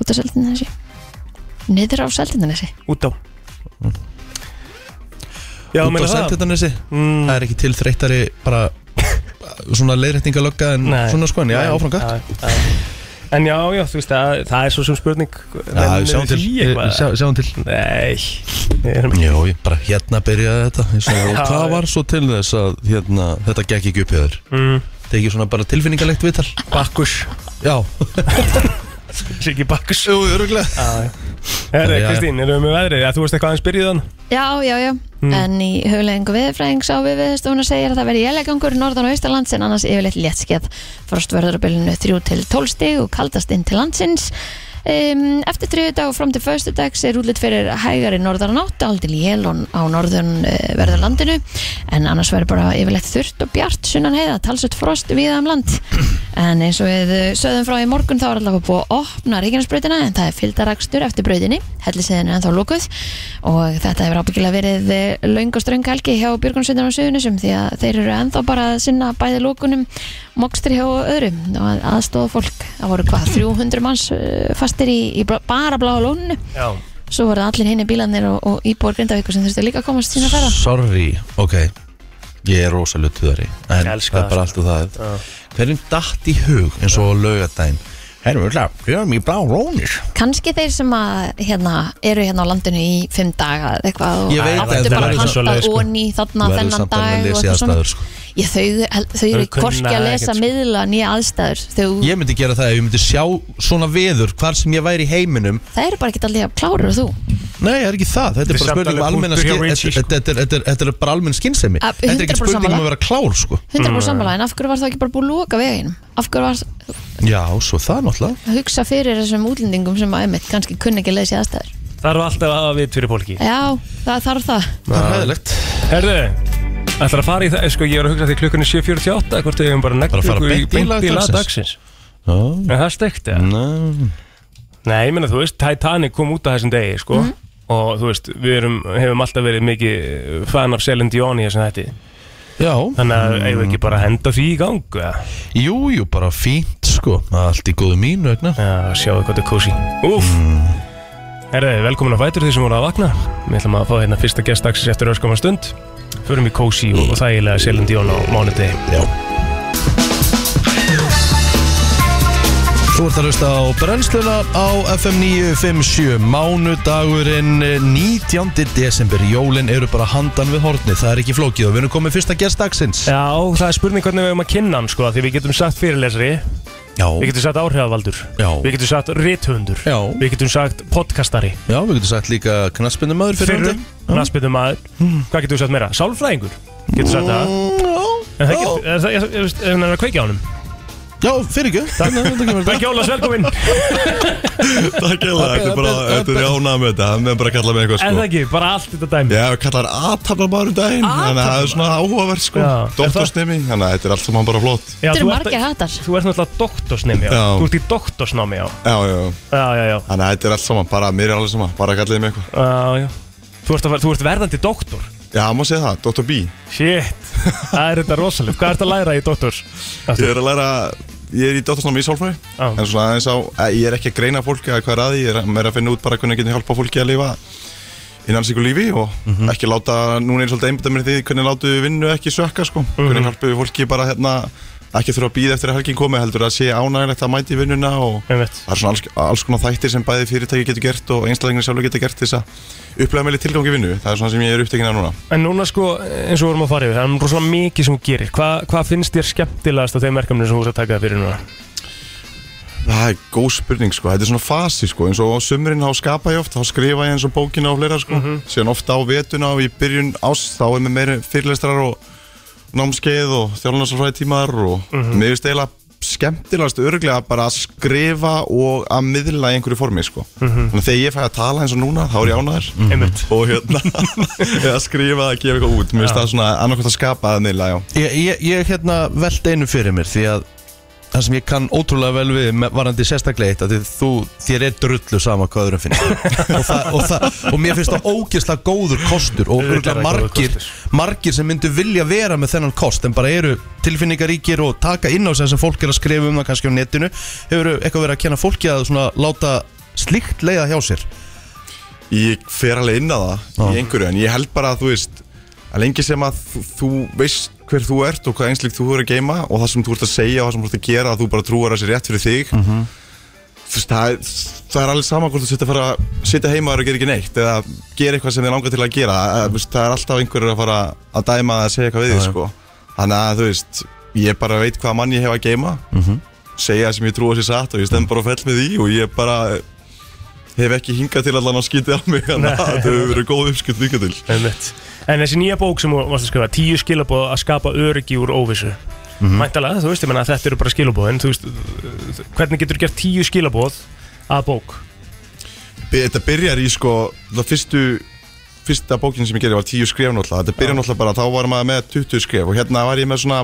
Speaker 3: út á Seltjarnarnesi niður á Seltjarnarnesi
Speaker 2: Út á Já,
Speaker 1: út á
Speaker 2: meina það
Speaker 1: sendindinesi
Speaker 2: Mm,
Speaker 1: Það er ekki til þreyttari bara
Speaker 2: [LAUGHS]
Speaker 1: svona leiðrætningalögga en
Speaker 2: Nei.
Speaker 1: svona sko en já, já, áfram gott
Speaker 2: Já, já. En já, já, þú veist, það, það er svo sem spurning
Speaker 1: Já,
Speaker 2: Rennir
Speaker 1: sjáum til,
Speaker 2: því eitthvað?
Speaker 1: sjá, sjáum til
Speaker 2: Nei, við erum ekki
Speaker 1: Jó, ég bara hérna byrjaði þetta eins og- og
Speaker 2: Já,
Speaker 1: hvað
Speaker 2: já.
Speaker 1: var svo til þess að hérna, þetta gekk ekki upp hjá þér
Speaker 2: Mm.
Speaker 1: Tekið svona bara tilfinningalegt viðtal
Speaker 2: Bakkus
Speaker 1: Já,
Speaker 2: Siggi Bakkus
Speaker 1: jú, öruglega
Speaker 2: Herri,
Speaker 1: Já, já.
Speaker 2: Kristín, erum við með veðrið? Já, þú veist eitthvað aðeins byrjuð hann
Speaker 3: já, já, já, en í höfulegingu viðfræðings á við viðstofuna segir að það veri jælegangur norðan og austalands en annars yfirleitt léttskeið frost verður á bylunu 3 til 12 stig og kaldast inn til landsins Um, eftir þriðu dag og fram til föstu dags er útlitt fyrir hægari norðan átt aldil jél á norðun uh, verður landinu en annars verður bara yfirleitt þurrt og bjart sunnan heiða talsett frost viða um land en eins og við eh, sögðum frá í morgun þá er allavega búið að opna ríkjarnsbrautina en það er fylgdarakstur eftir brautinni hellisegðin er ennþá lókuð og þetta hefur ábyggilega verið eh, löng og ströng helgi hjá Björgunsveitin og Suðunisum því að þeir eru ennþá bara að sinna bæði lókunum mokstri hjá öðrum og að- aðstoða fólk það voru hvað 300 manns eh, fastir í, í bla- bara bláa lóninu
Speaker 2: Já
Speaker 3: svo voru allir hinn í bílanir og, og íbúar grindavíkur sem þurftu líka að komast sína ferða
Speaker 1: Sorry, ok Ég er rosa luttuðari En
Speaker 2: Ég elska
Speaker 1: það er bara alltaf það Hverjum datt í hug eins og lögadaginn Herru, við ætlum að gera mig í blá rónir
Speaker 3: kannski þeir sem að hérna, eru hérna á landinu í fimm daga eða eitthvað og
Speaker 1: Ég veit að
Speaker 3: áttu
Speaker 1: þetta
Speaker 3: bara
Speaker 1: verður
Speaker 3: pantað
Speaker 2: svoleiðis, sko.
Speaker 3: onni þarna
Speaker 1: Verður
Speaker 3: þennan
Speaker 1: samt alveg að
Speaker 3: dag og
Speaker 1: lesa í
Speaker 3: eitthvað svona.
Speaker 1: aðstæður, sko.
Speaker 3: Ég, þau, þau eru
Speaker 2: Þau kunna
Speaker 3: hvorki að lesa
Speaker 2: ekkert, sko.
Speaker 3: miðla nýja aðstæður þau,
Speaker 1: Ég myndi gera það ef ég myndi sjá svona veður Hvar sem ég væri í heiminum
Speaker 3: það eru bara ekki allir að klára þú
Speaker 1: Nei, það er ekki það Þetta
Speaker 2: Þetta er
Speaker 1: er bara
Speaker 2: samt
Speaker 1: spurning um
Speaker 2: alveg
Speaker 1: almenna
Speaker 2: punktur hjá
Speaker 1: skin- þetta-
Speaker 2: Richie, sko.
Speaker 1: þetta er- Þetta er- þetta er bara almenn skinnsemi
Speaker 3: Að-
Speaker 1: Þetta er ekki
Speaker 3: 100%
Speaker 1: spurning um
Speaker 3: sammála.
Speaker 1: að vera klár sko
Speaker 2: Mm.
Speaker 3: 100% sammála, en af hverju var það ekki bara búið að loka veginum af hverju var
Speaker 1: Já, svo það náttúrulega
Speaker 3: að hugsa fyrir þessum útlendingum sem að einmitt kannski kunni ekki að lesa í aðstæður
Speaker 2: Þarf alltaf að hafa vit fyrir fólki
Speaker 3: já, það þarf það
Speaker 1: Það er hæðilegt
Speaker 2: Herðu, ætlar að fara í það Sko, ég var að hugsa því klukkan er 7.48 Hvort við hefum bara nekt
Speaker 1: Bara að fara
Speaker 2: okkur í
Speaker 1: beint í lag
Speaker 2: beint í lag
Speaker 1: dagsins. Mm.
Speaker 2: dagsins En það er steikt, eða? Nei, ég meina, þú veist, Titanic kom út á þessum degi, sko
Speaker 1: Mhm.
Speaker 2: Og þú veist, við erum, hefum alltaf verið mikið fan af Celine Dion í þessum þetta
Speaker 1: Já,
Speaker 2: Þannig að mm. eigum við ekki bara að henda því í gang eða?
Speaker 1: jú, jú, bara fínt sko Allt í góðu mín vegna
Speaker 2: Já, sjáðu hvað þetta er kósi Úf mm. Herði, velkomin að fætur því sem voru að vakna Við ætlum að fá hérna fyrsta gestdagsins eftir öskama stund Förum í kósi og, og þægilega Celine Dion á mánudegi
Speaker 1: Já Þú ert að hlusta á brennsluna á FM 957 Mánudagurinn eh, 19. desember Jólin eru bara handan við horni Það er ekki flókið og við erum komið fyrsta gest dagsins
Speaker 2: Já, það er spurning hvernig við hefum að kynna hann, sko Því við getum sagt fyrirlesari
Speaker 1: Já,
Speaker 2: Við getum sagt áhrifaldur
Speaker 1: Já.
Speaker 2: Við getum sagt rithundur
Speaker 1: Já.
Speaker 2: Við getum sagt podcastari
Speaker 1: já við getum sagt líka knaspinumöður fyrir
Speaker 2: fyrrum landsbytum maður hvað getur þú sagt meira? Sálfræðingur getur þú sagt það
Speaker 1: Já,
Speaker 2: en það
Speaker 1: já
Speaker 2: getur, er það er- er- er- er hann að kveikja á honum
Speaker 1: [LAUGHS] Já, fyrir ekki Takk
Speaker 2: Takk Jólas, velkomin
Speaker 6: Takk ég það, þetta er bara, þetta er jánað með þetta Mér bara að kalla mig eitthvað
Speaker 2: En það
Speaker 6: sko
Speaker 2: ekki, bara allt þetta dæmi
Speaker 6: Já, kallar aðtapnarmaður um daginn Þannig að það er svona áhugavert sko
Speaker 2: Já, er
Speaker 6: Dóttorsnemi, þannig að þetta er allt saman bara flott
Speaker 2: Já,
Speaker 3: Þetta
Speaker 2: þú
Speaker 3: eru
Speaker 2: ert-
Speaker 3: margir hattar
Speaker 2: Þú ert náttúrulega doktorsnemi, já.
Speaker 6: Já.
Speaker 2: Þú ert í doktorsnámi, já.
Speaker 6: Já, já, já
Speaker 2: Já, já, já.
Speaker 6: Þannig að þetta er allt saman, bara mér er alveg saman, bara kallið mig eitthvað
Speaker 2: já, já. Þú, ert að, ver- þú ert verðandi doktor.
Speaker 6: Já, má segja það, Dr. B
Speaker 2: Shit. Það er þetta rosalega. Hvað ert að læra í doktors?
Speaker 6: Ég er að læra, ég er í dottorsnámi í sálfræði
Speaker 2: Já.
Speaker 6: En svona aðeins á, að ég er ekki að greina fólki að hvað er að því Ég er meira að finna út bara hvernig ég geti hjálpa fólki að lifa innan sig og lífi Og ekki láta, núna er svolítið einbæta mér því Hvernig látu vinnu ekki sökka sko Hvernig hjálpu fólki bara hérna Ekki þurfa að býða eftir að helgin komi Heldur að sé ánægilegt að mæti vinnuna og
Speaker 2: Einmitt.
Speaker 6: Það er svona alls, alls konar þættir sem bæði fyrirtæki getur gert og einstaklingar sjálfur getur gert til þess að upplega meðli tilgangi vinnu. Það er svona sem ég er upptekinn af núna.
Speaker 2: En núna sko, eins og við vorum að fara yfir, það er rosalega mikið sem þú gerir. Hva, hvað finnst þér skemmtilegast af þeim verkefninu sem þú ert að taka þér fyrir núna?
Speaker 6: Það er góð spurning sko, þetta er svona fasi sko, eins og á sumrin þá skapa ég oft, þá skrifa ég eins og bókina og fleira sko, síðan ofta á vetuna og í byrjun ást þá er með meiri fyrirlestrar og námskeið og þjálfnarsfræði tímar og mér finnst eiginlega skemmtilegast örglega bara að skrifa og að miðla í einhverju formi sko, þannig að þegar ég fæ að tala eins og núna þá er ég ánæður
Speaker 2: Einmitt.
Speaker 6: og hérna, eða skrifa að gefa eitthvað út, mér finnst
Speaker 2: Já.
Speaker 6: það svona annarkvæmt að skapa að miðla, já.
Speaker 1: Ég, ég, ég hérna veld einu fyrir mér Því að það sem ég kann ótrúlega vel við með- Varandi sérstaklega eitt af Því að þú, þér er drullu sama hvað öðrum finnst
Speaker 2: [LAUGHS]
Speaker 1: og, það, og, það, og mér finnst það ógeðslega góður kostur Og
Speaker 2: Auðvitað er
Speaker 1: örugglega
Speaker 2: það góður
Speaker 1: margir, margir sem myndu vilja vera með þennan kost En bara eru tilfinningaríkir og taka inn á sig sem fólk er að skrifa um það kannski á netinu Hefur eitthvað verið að kenna fólki að svona láta slíkt leiða hjá sér
Speaker 6: Ég fer alveg inn að það í einhverju En ég held bara að þú veist Að lengi sem að þú, þú veist hver þú ert Og hvað einslíkt þú er að geima Og það sem þú ert að segja og það sem þú ert að gera Að þú bara trúar að sé rétt fyrir þig Þú veist, það, er- það er alveg sama hvort þú setja að fara Sitja heima og gera ekki neitt Eða gera eitthvað sem þið langar til að gera að, þú veist, Það er alltaf einhverjur að fara að dæma Að segja eitthvað við þig sko Þannig að þú veist, ég bara veit hvað mann ég hef að geima Segja það sem ég trú að sé satt Og ég stem bara og fell með því Og ég bara hef ekki hingað til allan að skýti á mig þannig að þetta hefur verið góð uppskipt líka til
Speaker 2: Einmitt. En þessi nýja bók sem þú varst að skrifa, tíu skilabóð að skapa öryggi úr óvissu. Mm Mæntalega, þú veist, ég menna að þetta eru bara skilabóð, en þú veist, hvernig getur þú gert tíu skilabóð að bók?
Speaker 6: Þetta byrjar í sko, það fyrstu fyrsta bókin sem ég gerði var tíu skref náttúrulega þetta byrjar náttúrulega bara, þá var maður með 20 skref og hérna var ég með svona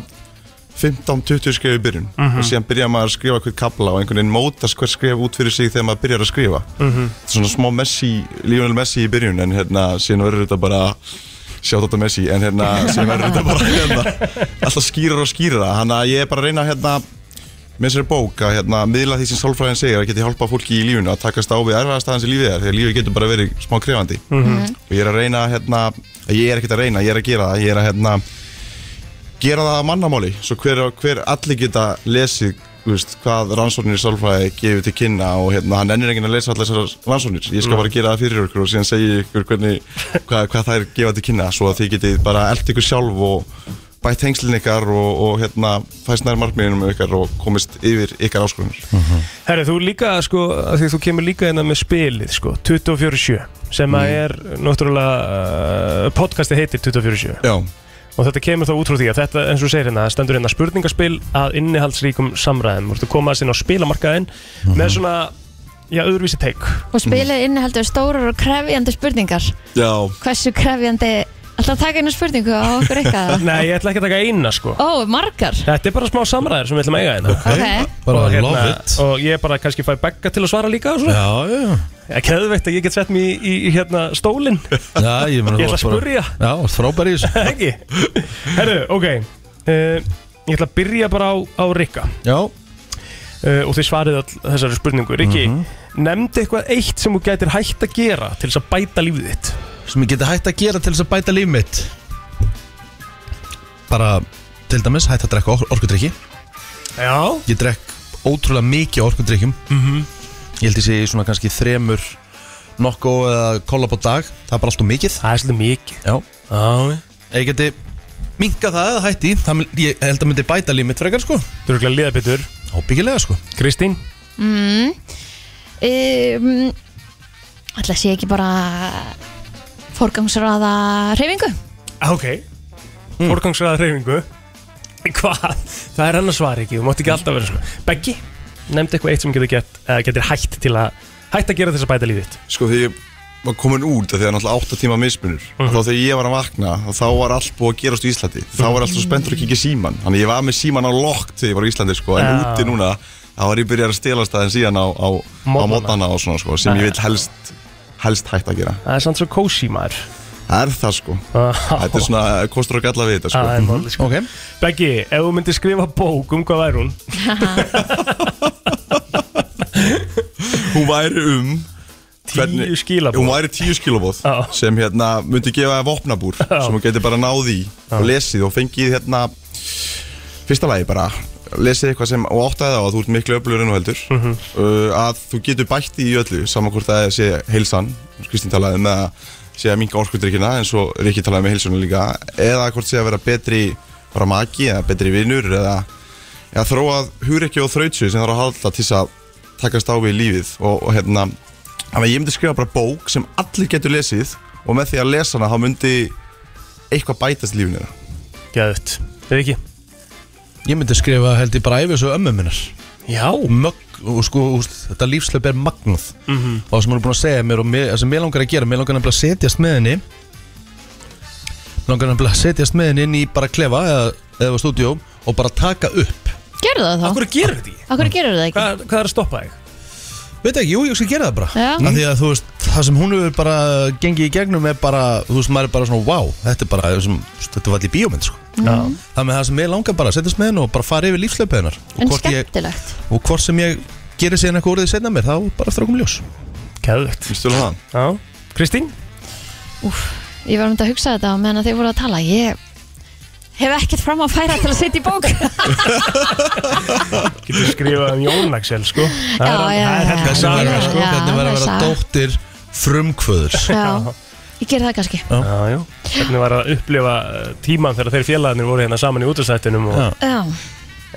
Speaker 6: 15-20 skref í byrjun og síðan byrjar maður að skrifa hvert kabla og einhvern veginn mótast hvert skref út fyrir sig þegar maður byrjar að skrifa Þetta er svona smá Messi, Lionel Messi í byrjun en hérna síðan verður þetta bara sjátt þetta Messi en hérna síðan verður þetta bara [LAUGHS] hérna, alltaf skýrar og skýrar þannig að ég er bara að reyna hérna með þessari bók að hérna, miðla því sem sálfræðin segir að geti hjálpa fólki í lífinu að takast á við erfaðastæðan sem lífið er því að lífið getur bara verið smá krefandi og ég er að reyna hérna, að ég er ekkert að reyna, ég er að gera það ég er að hérna, gera það að mannamáli svo hver, hver allir geta lesið þú veist, hvað rannsóknir í sálfræði gefið til kynna og hérna, hann ennir enginn að lesa allar þessar rannsóknir ég skal bara gera það fyrir ykkur og síðan segja ykkur hvernig, hvað, hvað þær gefa til kynna svo að þið getið bara eld ykkur sjálf og bætt hengslinn ykkar og, og hérna, fæst nær markmiðinum ykkar og komist yfir ykkar áskorunir
Speaker 2: Herri, þú líka, sko, af því að þú kemur líka hérna með spilið, sko, 24-7 sem að
Speaker 1: Mm.
Speaker 2: er, náttúrulega, uh, podcasti heitir 24-7
Speaker 6: Já,
Speaker 2: og þetta kemur þá út frá því að þetta, eins og þú segir hérna, það stendur hérna spurningaspil að innihaldsríkum samræðum, þú komast inn á spilamarkaðin með
Speaker 1: Mhm.
Speaker 2: svona, já, öðruvísi teik
Speaker 3: Og
Speaker 1: Mm.
Speaker 3: spilið innihaldur stórar og krefjandi spurningar
Speaker 6: já
Speaker 3: Hversu krefjandi Alltaf að taka einu spurningu á okkur eitthvað
Speaker 2: Nei, ég ætla ekki að taka eina, sko
Speaker 3: Ó, margar
Speaker 2: Þetta er bara smá samræður sem við ætlum að eiga hérna
Speaker 3: Ok,
Speaker 1: Bara
Speaker 2: og,
Speaker 1: love it
Speaker 2: hérna- og ég bara kannski fæ begga til að svara líka og svona.
Speaker 1: Já, já,
Speaker 2: Ég keðveitt að ég get sett mér í, í, í hérna stólinn,
Speaker 1: já Ég, meina, þú
Speaker 2: Ég ætla að
Speaker 1: varst bara-
Speaker 2: spurja.
Speaker 1: Já, þú varst frábær í þessu
Speaker 2: [LAUGHS] ekki? Herru, ok uh, Ég ætla að byrja bara á, á Rikka
Speaker 1: Já,
Speaker 2: uh, og þið svarið all þessari spurningu Rikki, nefndi eitthvað eitt sem þú gætir hægt að gera til þess að bæta lífið þitt
Speaker 1: sem ég geti hægt að gera til þess að bæta líf mitt bara til dæmis hægt að drekka or orkudrykki
Speaker 2: Já
Speaker 1: ég drekk ótrúlega mikið af orkudrykkjum ég held ég sé í svona kannski þremur nokko eða kollab á dag það er bara allt og mikið
Speaker 2: Það er svolítið mikið
Speaker 1: Já.
Speaker 2: Já
Speaker 1: ef ég geti minka það eða hætti það mun- ég held að myndi bæta líf mitt frekar sko
Speaker 2: Þú eru ekki að liða betur
Speaker 1: ábyggilega sko
Speaker 2: Kristín
Speaker 3: um, Alltaf sé ekki bara Forgangsraða reyfingu
Speaker 2: ah, Ok mm. Forgangsraða reyfingu Hmm. Hvað? Það er hennar svar ekki, þú mátt ekki alltaf vera svona Beggi, nefndi eitthvað eitt sem getur, gert, eða getur hætt til að hætt að gera þess að bæta lífið þitt.
Speaker 6: sko þegar ég var komin út af því að náttúrulega átta tíma mismunur og þá þegar ég var að vakna þá var allt búið að gerast í Íslandi þá var alltaf spenntur að kíkja í síman þannig að ég var með síman á lokt þegar ég var í Íslandi sko, en
Speaker 2: Já.
Speaker 6: úti núna þá var ég byrjað að stela staðin síðan á, á, á
Speaker 2: Morgnana.
Speaker 6: mótana og svona sko, sem ég vil helst helst hægt að gera
Speaker 2: Það er samt svo kósi maður
Speaker 6: það er það sko, þetta er svona eh, kostur og galla við þetta sko
Speaker 2: Það er málið, sko.
Speaker 1: Ok
Speaker 2: Beggi, ef þú myndir skrifa bók um hvað væri hún
Speaker 6: hún væri um Hvernig-
Speaker 2: Tíu skilabók
Speaker 6: hún væri tíu skilabóð
Speaker 2: Já.
Speaker 6: sem hérna myndi gefa þér vopnabúr sem hún geti bara náð í og lesið og fengið hérna fyrsta lagi bara lesið eitthvað sem og áttaði á að þú ert miklu öflugur en þú heldur uh, að þú getur bætt í öllu saman hvort það sé heilsan Kristinn talaði um að sé að minga orkudrykkina eins og Rikki talaði með heilsuna líka eða hvort sé að vera betri bara maki eða betri vinnur eða eða þróað hugrekki og þrautsu sem þarf að halda til þess að takast á við lífið og, og hérna Þannig að ég myndi skrifa bara bók sem allir getur lesið og með því að lesa hana þá myndi eitthvað bætast lífinu
Speaker 2: Gæðut, eða ekki?
Speaker 1: Ég myndi skrifa held ég bara æfis og ömmu minnar
Speaker 2: Já
Speaker 1: Mögg, og sko, úst, þetta lífslaup er magnað og það sem hún er búin að segja mér og mér, það sem mér langar að gera, mér langar nefnilega að setjast með henni Mér langar nefnilega að setjast með henni inn í bara klefa eða, eða stúdíó og bara taka upp
Speaker 3: Gerðu það þá?
Speaker 2: Akkur gerir þetta ekki?
Speaker 3: Af hverju gerur það ekki?
Speaker 2: Hvað, hvað er að stoppa þig?
Speaker 1: Veit ekki, jú, ég skal gera það bara
Speaker 3: Já.
Speaker 1: Af Því að þú veist, það sem hún hefur bara gengið í gegnum er bara, þú veist, maður er bara svona Vá, þetta er bara, sem, þetta var allir bíómynd, sko
Speaker 2: Já
Speaker 1: Það með það sem ég langar bara að setjast með henni og bara fara yfir lífslaup hennar Og
Speaker 3: En
Speaker 1: hvort ég-
Speaker 3: skemmtilegt
Speaker 1: Og hvort sem ég gerir síðan eitthvað úr því setna mér, þá bara eftir að koma í ljós
Speaker 2: Gæðut
Speaker 6: Vistu alveg það?
Speaker 2: Já Kristín?
Speaker 3: Ég var um þetta að hugsa þetta á meðan að þið voru að tala Ég hef ekkert fram að færa til að setja í bók
Speaker 2: Getur skrifað um Jón Axel, sko Það er-
Speaker 3: Já,
Speaker 2: það er
Speaker 3: já, já,
Speaker 2: heldur
Speaker 3: já.
Speaker 1: Hvernig
Speaker 2: saga,
Speaker 1: verður að, sko,
Speaker 3: já,
Speaker 1: hvernig verður að vera
Speaker 3: saga.
Speaker 1: dóttir frumkvöðurs
Speaker 3: Já, ég ger það kannski
Speaker 2: Já, já Hvernig var að upplifa eh, tímann þegar þeir félagarnir voru hérna saman í útastættinum og
Speaker 1: Já.
Speaker 3: Já,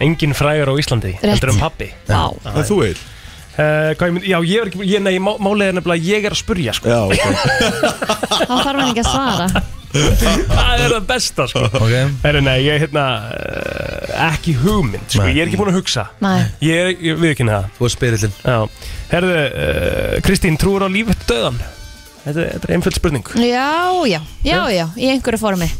Speaker 2: engin frægur á Íslandi
Speaker 3: Rétt.
Speaker 2: heldur en pappi
Speaker 3: vá
Speaker 6: En þú Eil?
Speaker 2: uh, ég mynd, Já, ég er ekki, ég, nei, má, málið er nefnilega að ég er að spurja sko.
Speaker 6: Já, ok
Speaker 3: Þá þarf hann ekki að svara
Speaker 2: Það er það besta sko. [LAUGHS]
Speaker 1: Ok,
Speaker 2: Heru, nei, ég er hérna uh, ekki hugmynd sko.
Speaker 1: Nei.
Speaker 2: Ég er ekki búin að hugsa
Speaker 3: Nei,
Speaker 2: Ég er, ég, við ekki hérna
Speaker 1: þú er spyrillin
Speaker 2: Herðu, uh, Kristín, trúur á lífið döðan? Þetta, þetta er einföld spurning
Speaker 3: já, já, já, já, í einhverju formi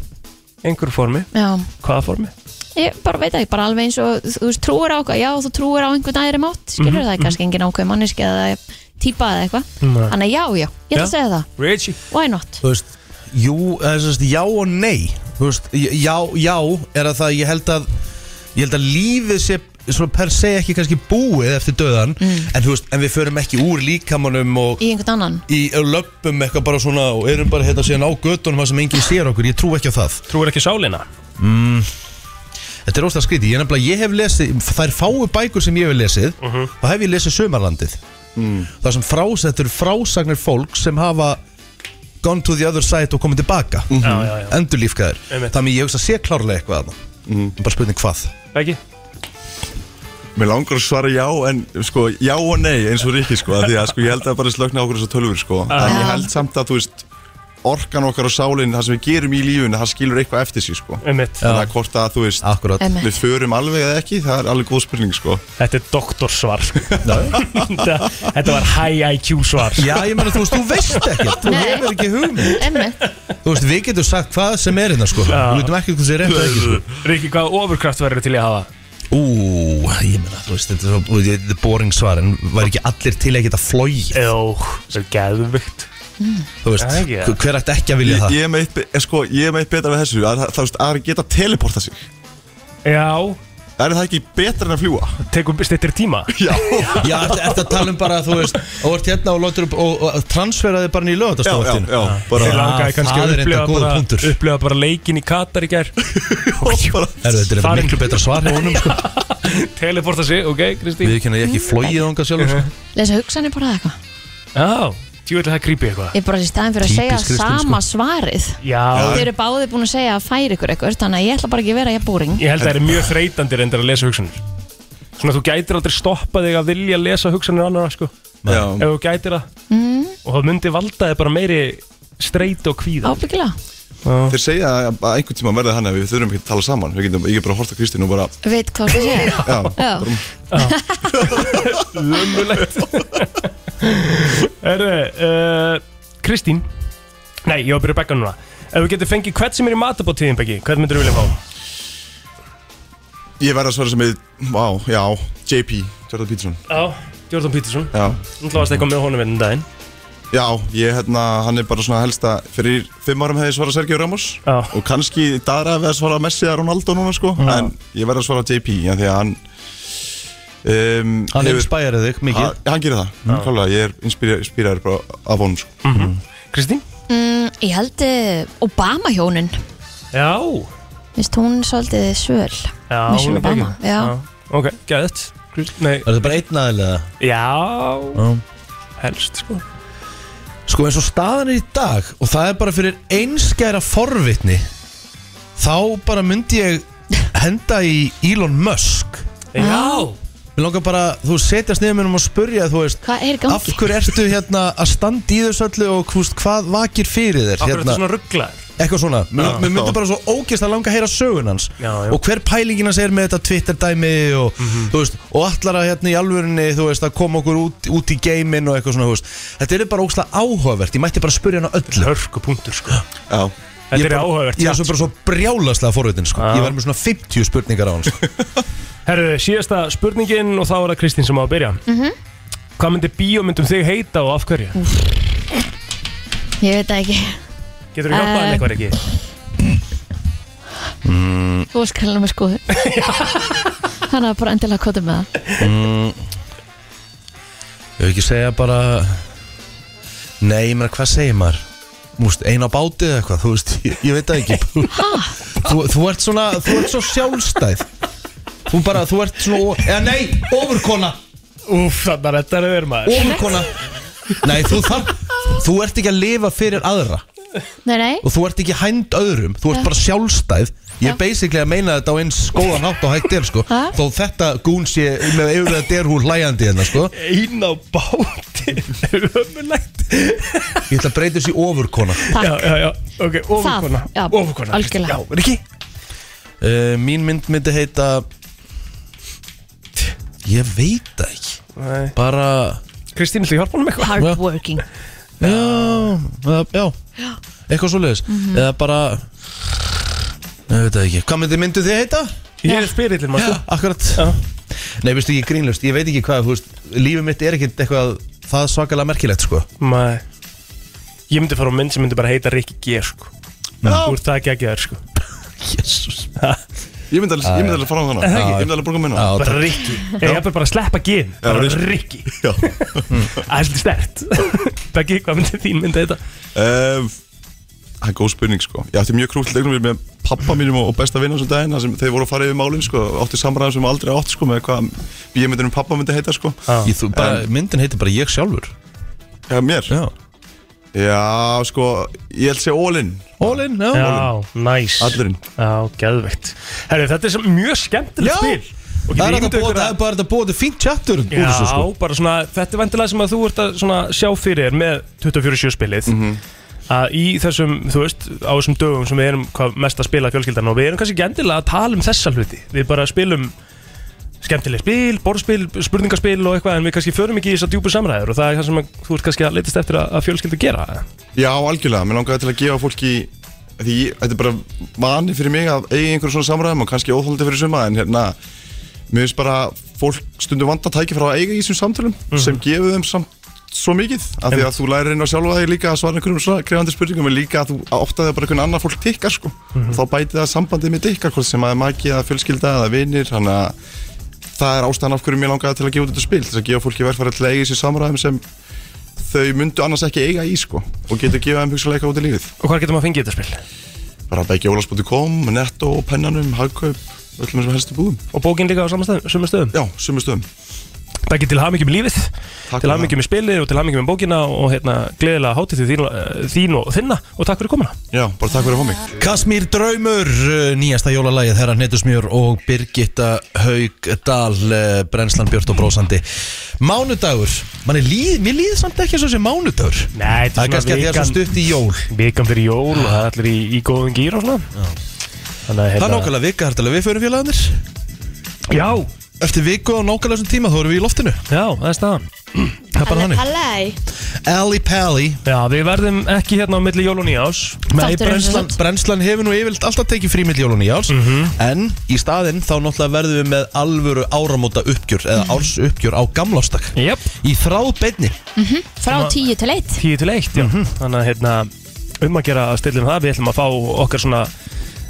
Speaker 2: Einhverju formi,
Speaker 3: Já,
Speaker 2: hvaða formi?
Speaker 3: ég bara veit ekki, bara alveg eins og þú veist, trúir á eitthvað, já, þú trúir á einhvern æðri mátt skilur það er kannski engin ákveð manneski eða típa eða eitthvað,
Speaker 2: Nei.
Speaker 3: þannig að já, já
Speaker 2: Mhm.
Speaker 3: ég ætla
Speaker 2: Já.
Speaker 3: að segja það,
Speaker 2: Richie
Speaker 3: why not
Speaker 1: Þú veist, jú, eða sem sagt, já og nei Þú veist, já, já er að það ég held að ég held að lífið sé svona per se ekki kannski búið eftir döðan en þú veist, en við förum ekki úr líkamanum og
Speaker 3: í einhvern annan,
Speaker 1: í löpum eitthvað bara svona og erum bara hérna síðan á göttunum það sem enginn sér okkur, ég trú ekki á það
Speaker 2: Trúur ekki á sálina?
Speaker 1: Þetta er óslega skríti, ég nefnilega, ég hef lesið þær fáu bækur sem ég hef lesið uh þá hef ég lesið Sumarlandið þar sem frás, þetta eru frásagnir fólk sem hafa gone to the other side og komið tilbaka mm
Speaker 2: Já, já, já.
Speaker 1: endurlífkaðir,
Speaker 2: Einmitt.
Speaker 1: þannig ég hugsa að sé klárlega eitthvað þarna, bara spurning hvað
Speaker 2: Ekki?
Speaker 6: Mér langar að svara já en sko já og nei eins og Rikki sko af Því að sko ég held að bara slökna okkur þessar tölfur sko En ég held samt að þú veist orkan okkar og sálinn, það sem við gerum í lífinu það skilur eitthvað eftir sig sko
Speaker 2: Einmitt
Speaker 6: Þannig að hvort að þú veist
Speaker 1: Akkurat,
Speaker 3: emmi
Speaker 6: við förum alveg eða ekki, það er alveg góð spurning sko
Speaker 2: Þetta er
Speaker 1: [LAUGHS]
Speaker 2: doktorsvar Þetta þetta var high IQ svar
Speaker 1: já ég meina þú veist, þú veist ekkert þú
Speaker 3: Nei.
Speaker 1: hefur ekki hugmynd
Speaker 3: emmi,
Speaker 1: þú veist, við getum sagt hvað sem er hérna sko
Speaker 2: Já.
Speaker 1: við veitum ekki hvað sem er hérna ekki sko
Speaker 2: Riki, hvaða ofurkraft verður til í að hafa?
Speaker 1: ú, ég meina, þú veist, þetta er svo þú veist, þetta er boring svar, en var ekki allir til að geta flóið,
Speaker 2: Jó, það er geðvikt
Speaker 1: þú veist,
Speaker 2: Já, ekki.
Speaker 1: hver ætti ekki að vilja
Speaker 6: Ég,
Speaker 1: það
Speaker 6: ég, er með eitt be- eh, sko, ég er meitt betra við þessu að, það, að geta teleporta sig
Speaker 2: Já,
Speaker 6: Er það ekki betra en að fljúa?
Speaker 2: tekum stittir tíma
Speaker 6: Já
Speaker 1: Já, ertu ert að tala um bara, þú veist og ert hérna og lótur upp og, og, og transferaði bara inn í lögatastofattinu
Speaker 6: já, bara
Speaker 2: Ég
Speaker 1: Já,
Speaker 2: langaði kannski
Speaker 1: það
Speaker 2: að
Speaker 1: er
Speaker 2: upplifa
Speaker 1: enda góður
Speaker 2: bara,
Speaker 1: punktur.
Speaker 2: upplifa bara leikin í Katar í gær
Speaker 1: Herru, þetta er
Speaker 2: Farin.
Speaker 1: miklu betra svar hjá honum, sko
Speaker 2: Teleporta sig, ok, Kristín
Speaker 1: Við kynna ég ekki flóið ánga sjálfur, sko
Speaker 3: lesa hugsanir bara eða eitthvað
Speaker 2: Já, tjú ætla það creepy eitthvað
Speaker 3: ég bara í staðin fyrir að
Speaker 1: Típisk
Speaker 3: segja
Speaker 1: Kristín,
Speaker 3: sama svarið
Speaker 2: Já,
Speaker 3: þið eru báði búin að segja að færi ykkur eitthvað þannig að ég ætla bara ekki að vera ég búring
Speaker 2: ég held að það er mjög þreytandi reyndar að lesa hugsanir Svona þú gætir aldrei stoppa þig að vilja lesa hugsanir annara sko
Speaker 6: já.
Speaker 2: Ef þú gætir það Og það myndi valda þig bara meiri streit og kvíða
Speaker 3: ábyggilega,
Speaker 2: Já.
Speaker 6: þeir segja að að einhvern tíma verði hann að við þurfum ekki að tala saman við getum, ég get bara að horta Kristín og bara
Speaker 3: Veit hvað það sé
Speaker 6: já,
Speaker 3: Já.
Speaker 6: bara,
Speaker 2: Ömulegt [LAUGHS] Herru, uh, Kristín Nei, ég var að byrja að begga núna Ef við getum fengið hvert sem er í matabóttíðin, Beggi Hvern myndir þú vilja fá?
Speaker 6: ég verði að svara sem við, vá, já JP, Jordan Peterson
Speaker 2: Já, Jordan Peterson
Speaker 6: já,
Speaker 2: Þú varst eitthvað með honum einn daginn
Speaker 6: já ég, hérna, hann er bara svona helsta fyrir fimm árum hefði ég svarað Sergio Ramos
Speaker 2: Já.
Speaker 6: og kannski í dagra við að svara Messi eða Ronaldo núna sko, en ég verði að svara JP já, því að hann um,
Speaker 1: Hann
Speaker 6: hefur-
Speaker 1: inspærið þig mikið
Speaker 6: Hann- hann gerir það, klálega, ég er inspíraður bara af honum sko.
Speaker 2: Kristín?
Speaker 3: mm, Ég held eh, Obama hjónin
Speaker 2: Já
Speaker 3: Vist hún svolítið svöl
Speaker 2: Já, hún
Speaker 3: Michelle
Speaker 2: er Beggi.
Speaker 3: Obama, já.
Speaker 2: Ok, gæðið Nei,
Speaker 1: Er þetta bara einn aðilega?
Speaker 2: já, helst sko
Speaker 1: Sko eins og staðan er í dag og það er bara fyrir einskæra forvitni þá bara myndi ég henda í Elon Musk
Speaker 2: Já
Speaker 1: Mér langar bara, þú setjast niður minnum og spurja þú veist,
Speaker 3: Hvað er í
Speaker 1: af
Speaker 3: gangi?
Speaker 1: hverju ertu hérna að standa í þessu öllu og húst, hvað vakir fyrir þér
Speaker 2: Akkur er
Speaker 1: hérna,
Speaker 2: þetta svona rugglaður
Speaker 1: eitthvað svona Mér
Speaker 6: Já.
Speaker 1: mér myndi bara svo ógist að langa að heyra sögun hans
Speaker 2: Já, já. Mhm.
Speaker 1: og hver pælingin hans er með þetta Twitter dæmi og, þú veist, og allar að hérna í alvörunni þú veist, að koma okkur út, út í geiminn og eitthvað svona, þú veist. þetta er bara ógstlega áhugavert ég mætti bara spurja hann á öllu
Speaker 2: Hörku punktur sko
Speaker 6: já,
Speaker 2: Þetta
Speaker 1: Ég
Speaker 2: er
Speaker 1: bara-
Speaker 2: áhugavert
Speaker 1: Ég er svo bara svo brjálaslega forvitin sko.
Speaker 2: Já.
Speaker 1: Ég var með svona 50 spurningar á sko. hans
Speaker 2: Herru, síðasta spurningin og þá er það Kristín sem á að byrja
Speaker 3: Mhm.
Speaker 2: Hvað myndi bíómyndum þig heita og af hverju?
Speaker 3: Ég veit það ekki
Speaker 2: Getur þú hjálpað henni
Speaker 3: Eh.
Speaker 2: eitthvað ekki?
Speaker 3: Þú veist kallar með skoður
Speaker 1: [LAUGHS]
Speaker 3: Hann hafði bara endilega kotið með það
Speaker 1: Ég vil ekki segja bara Nei, ég meina hvað segir maður Múst, ein á báti eða eitthvað Þú veist, ég, ég veit það ekki þú, þú ert svona, þú ert svo sjálfstæð Þú bara, þú ert svona o- Eða nei, ofurkona
Speaker 2: Úf, þannig að þetta er öður maður
Speaker 1: Ofurkona Nei, þú þarf Þú ert ekki að lifa fyrir aðra
Speaker 3: Nei, nei,
Speaker 1: og þú ert ekki hænd öðrum þú ert bara sjálfstæð ég er basically að meina þetta á eins góðan hátt og hægt er sko.
Speaker 3: Ha?
Speaker 1: þó þetta gún sé með yfirlega derhúr hlæjandi hérna sko.
Speaker 2: Einn á [LAUGHS] báti Ömulegt
Speaker 1: ég ætla að breyta þessi ofurkona
Speaker 2: Já,
Speaker 3: takk
Speaker 2: já, já, ok, ofurkona
Speaker 3: já,
Speaker 2: Ofurkona, Kristín.
Speaker 3: algjörlega.
Speaker 2: Já, Riki
Speaker 1: uh, mín mynd myndi heita ég veit það ekki
Speaker 2: Nei.
Speaker 1: bara
Speaker 2: Kristín, ætlaðu hjálpa honum eitthvað?
Speaker 3: Hardworking
Speaker 1: já, eða, já, eitthvað svo leiðis eða bara ég veit það ekki hvað myndi myndu þið heita?
Speaker 2: Ég er spyrillin maður sko.
Speaker 1: akkurat
Speaker 2: Já.
Speaker 1: nei, veistu ég er grínlust ég veit ekki hvað þú veist, lífið mitt er ekkert eitthvað það svakalega merkilegt sko
Speaker 2: Nei Ég myndi fara á mynd sem myndi bara heita Riki G sko Úr það ekki ekki þær sko
Speaker 1: Jésús
Speaker 6: ég myndi alveg, ég myndi alveg fara á þannig
Speaker 2: það
Speaker 6: ég
Speaker 2: ekki?
Speaker 6: myndi alveg borga minna
Speaker 1: Já,
Speaker 2: Bara Riki Ég er bara að sleppa G-in Bara
Speaker 6: veist.
Speaker 2: Riki
Speaker 6: Já.
Speaker 2: Það er svolítið stert [LAUGHS] Beggi, hvað myndi þín myndi heita?
Speaker 6: Eh, Það er góð spurning sko Ég átti mjög krúll leiknum með pappa mínum og og besta vinna sem daginn þar sem þeir voru að fara yfir málin sko átti samræðum sem aldrei átt sko með hvað bíómyndunum pappa myndi heita sko
Speaker 1: Ég, þú, bara, myndin heitir bara ég sjálfur
Speaker 6: Já, mér
Speaker 1: Já
Speaker 6: Já, sko, ég held sé ólinn
Speaker 1: All in, já,
Speaker 2: Já, næs
Speaker 6: Allurinn
Speaker 2: Já, geðveikt Herru, þetta er sem- mjög skemmtilegt
Speaker 1: Já.
Speaker 2: spil Og
Speaker 1: Það er hægt
Speaker 2: getur
Speaker 1: að
Speaker 2: ímyndað
Speaker 1: búa-
Speaker 2: ykkur
Speaker 1: það er
Speaker 2: að
Speaker 1: bara þetta bóði fínt chattur úr
Speaker 2: Já,
Speaker 1: þessu sko
Speaker 2: bara svona, þetta er vendilega sem að þú ert að svona sjá fyrir þér með 24-7 spilið að í þessum, þú veist, á þessum dögum sem við erum hvað mest að spila fjölskyldan og við erum kannski ekki endilega að tala um þessa hluti við bara spilum skemmtileg spil, borðspil, spurningaspil og eitthvað en við kannski förum ekki í þessar djúpu samræður og það er það sem að, þú ert kannski að litast eftir að, að fjölskyldu gera
Speaker 6: Já, algjörlega, mér langaði til að gefa fólki Því ég- þetta er bara vani fyrir mig að eiga einhverjum svona samræðum og kannski óþólandi fyrir suma En hérna, mér finnst bara fólk stundum vanda tæki frá að eiga í þessum samtölum Sem gefur þeim samt svo mikið Af því að þú lærir inn á sjálfa þig líka að svara einhverjum svona krefandi spurningum En líka að þú áttaði bara hvernig annar fólk tikkar sko Þá bæti það sambandið með tikkar, hvort sem að er maki eða fjölskylda eða vinir Þannig að það er ástæðan af hverju mér langaði til að gefa út þetta spil Til að gefa fólki verðfæri til að eiga í þessum samræðum sem þau myndu annars ekki eiga í sko og getur gefið þeim hugsalega eitthvað út í lífið
Speaker 2: og hvað getum að fengið þetta spil?
Speaker 6: bara að begja ólags.com, netto, pennanum, hagkaup öllum þessum helstu búðum
Speaker 2: Og bókin líka á saman stöðum, sömu stöðum
Speaker 6: já, sumu stöðum
Speaker 2: Beggi til hamingjum lífið,
Speaker 6: Takk
Speaker 2: til
Speaker 6: fyrir
Speaker 2: hamingjum með spilið og til hamingjum með bókina og hérna, gleðilega hátíð til þín, eh, þín og þinna og takk fyrir komuna.
Speaker 6: Já, bara takk fyrir að fá mig
Speaker 1: Kasmír Draumur, uh, nýjasta jólalagið Herra Netusmjör og Birgitta Haugdal, uh, Brennslan Björn og Brósandi Mánudagur, manni líð, mér líð samt ekki svo sem mánudagur
Speaker 2: Nei,
Speaker 1: Það er kannski að því að það er svo stutt í jól
Speaker 2: vikan fyrir jól og það er allir í, í góðum gýr og svona. Þannig að
Speaker 1: Það er
Speaker 2: hérna,
Speaker 1: nákvæmlega vika þar til að við förum félagarnir
Speaker 2: já,
Speaker 1: Eftir viku og nákvæmlega þessum tíma þá erum við í loftinu
Speaker 2: já, það er staðan.
Speaker 1: Það er bara
Speaker 3: Hallei,
Speaker 1: hannig
Speaker 3: hallei
Speaker 1: Ellie Pally
Speaker 2: Já, við verðum ekki hérna á milli jól og nýjás.
Speaker 1: Nei,
Speaker 3: Þátturinn er
Speaker 1: brennslan,
Speaker 3: sent.
Speaker 1: brennslan hefur nú yfirlt alltaf tekið frí mill jólun í árs En í staðinn þá náttúrulega verðum við með alvöru áramóta uppgjör Eða
Speaker 3: Mhm.
Speaker 1: árs uppgjör á gamlástak
Speaker 2: Jep,
Speaker 1: Í þráð beinni
Speaker 3: Frá tíu til eitt
Speaker 2: tíu til eitt, já.
Speaker 1: Mhm.
Speaker 2: Þannig að hérna, um að gera að stillum það, við ætlum að fá okkar svona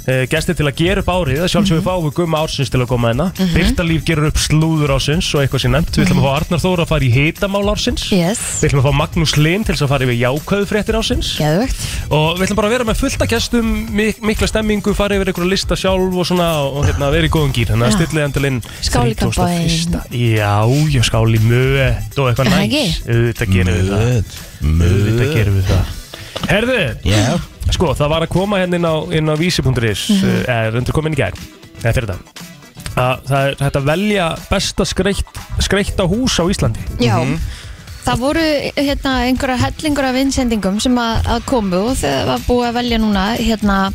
Speaker 2: uh, gesti til að gera upp árið, sjálfsög við fáum við gumma ársins til að koma hérna. Mm Byrtalíf gerur upp slúður ársins og eitthvað sem nefnt. Við ætlum að fá Arnar Þóra að fara í hitamál ársins.
Speaker 3: Yes,
Speaker 2: Við ætlum að fá Magnús Lind til þess að fara yfir jákvæðu fréttir ásins
Speaker 3: geðvögt
Speaker 2: og við ætlum bara að vera með fullta gestum, mik mikla stemmingu, fara yfir einhverja lista sjálf og svona og hérna vera í góðum gýr. Þannig að
Speaker 3: Já.
Speaker 2: stillið endalinn
Speaker 3: Skál í kampavín.
Speaker 2: Já, já, skál í möt og eitthvað
Speaker 3: Er það
Speaker 2: næs. Auðvitað
Speaker 3: ekki?
Speaker 2: gerum við það. Auðvitað gerum við það. Herðu,
Speaker 1: Já.
Speaker 2: sko það var að koma hérna inn á, inn á vísi.is,
Speaker 3: Mhm.
Speaker 2: eða undir komin í gær, eða fyrir það. Að það er hægt að velja besta skreitt, skreitt hús á Íslandi.
Speaker 3: Já
Speaker 1: Mhm.
Speaker 3: Það voru hérna, einhverja hellingur af innsendingum sem að, að komu og það var búið að velja núna hérna,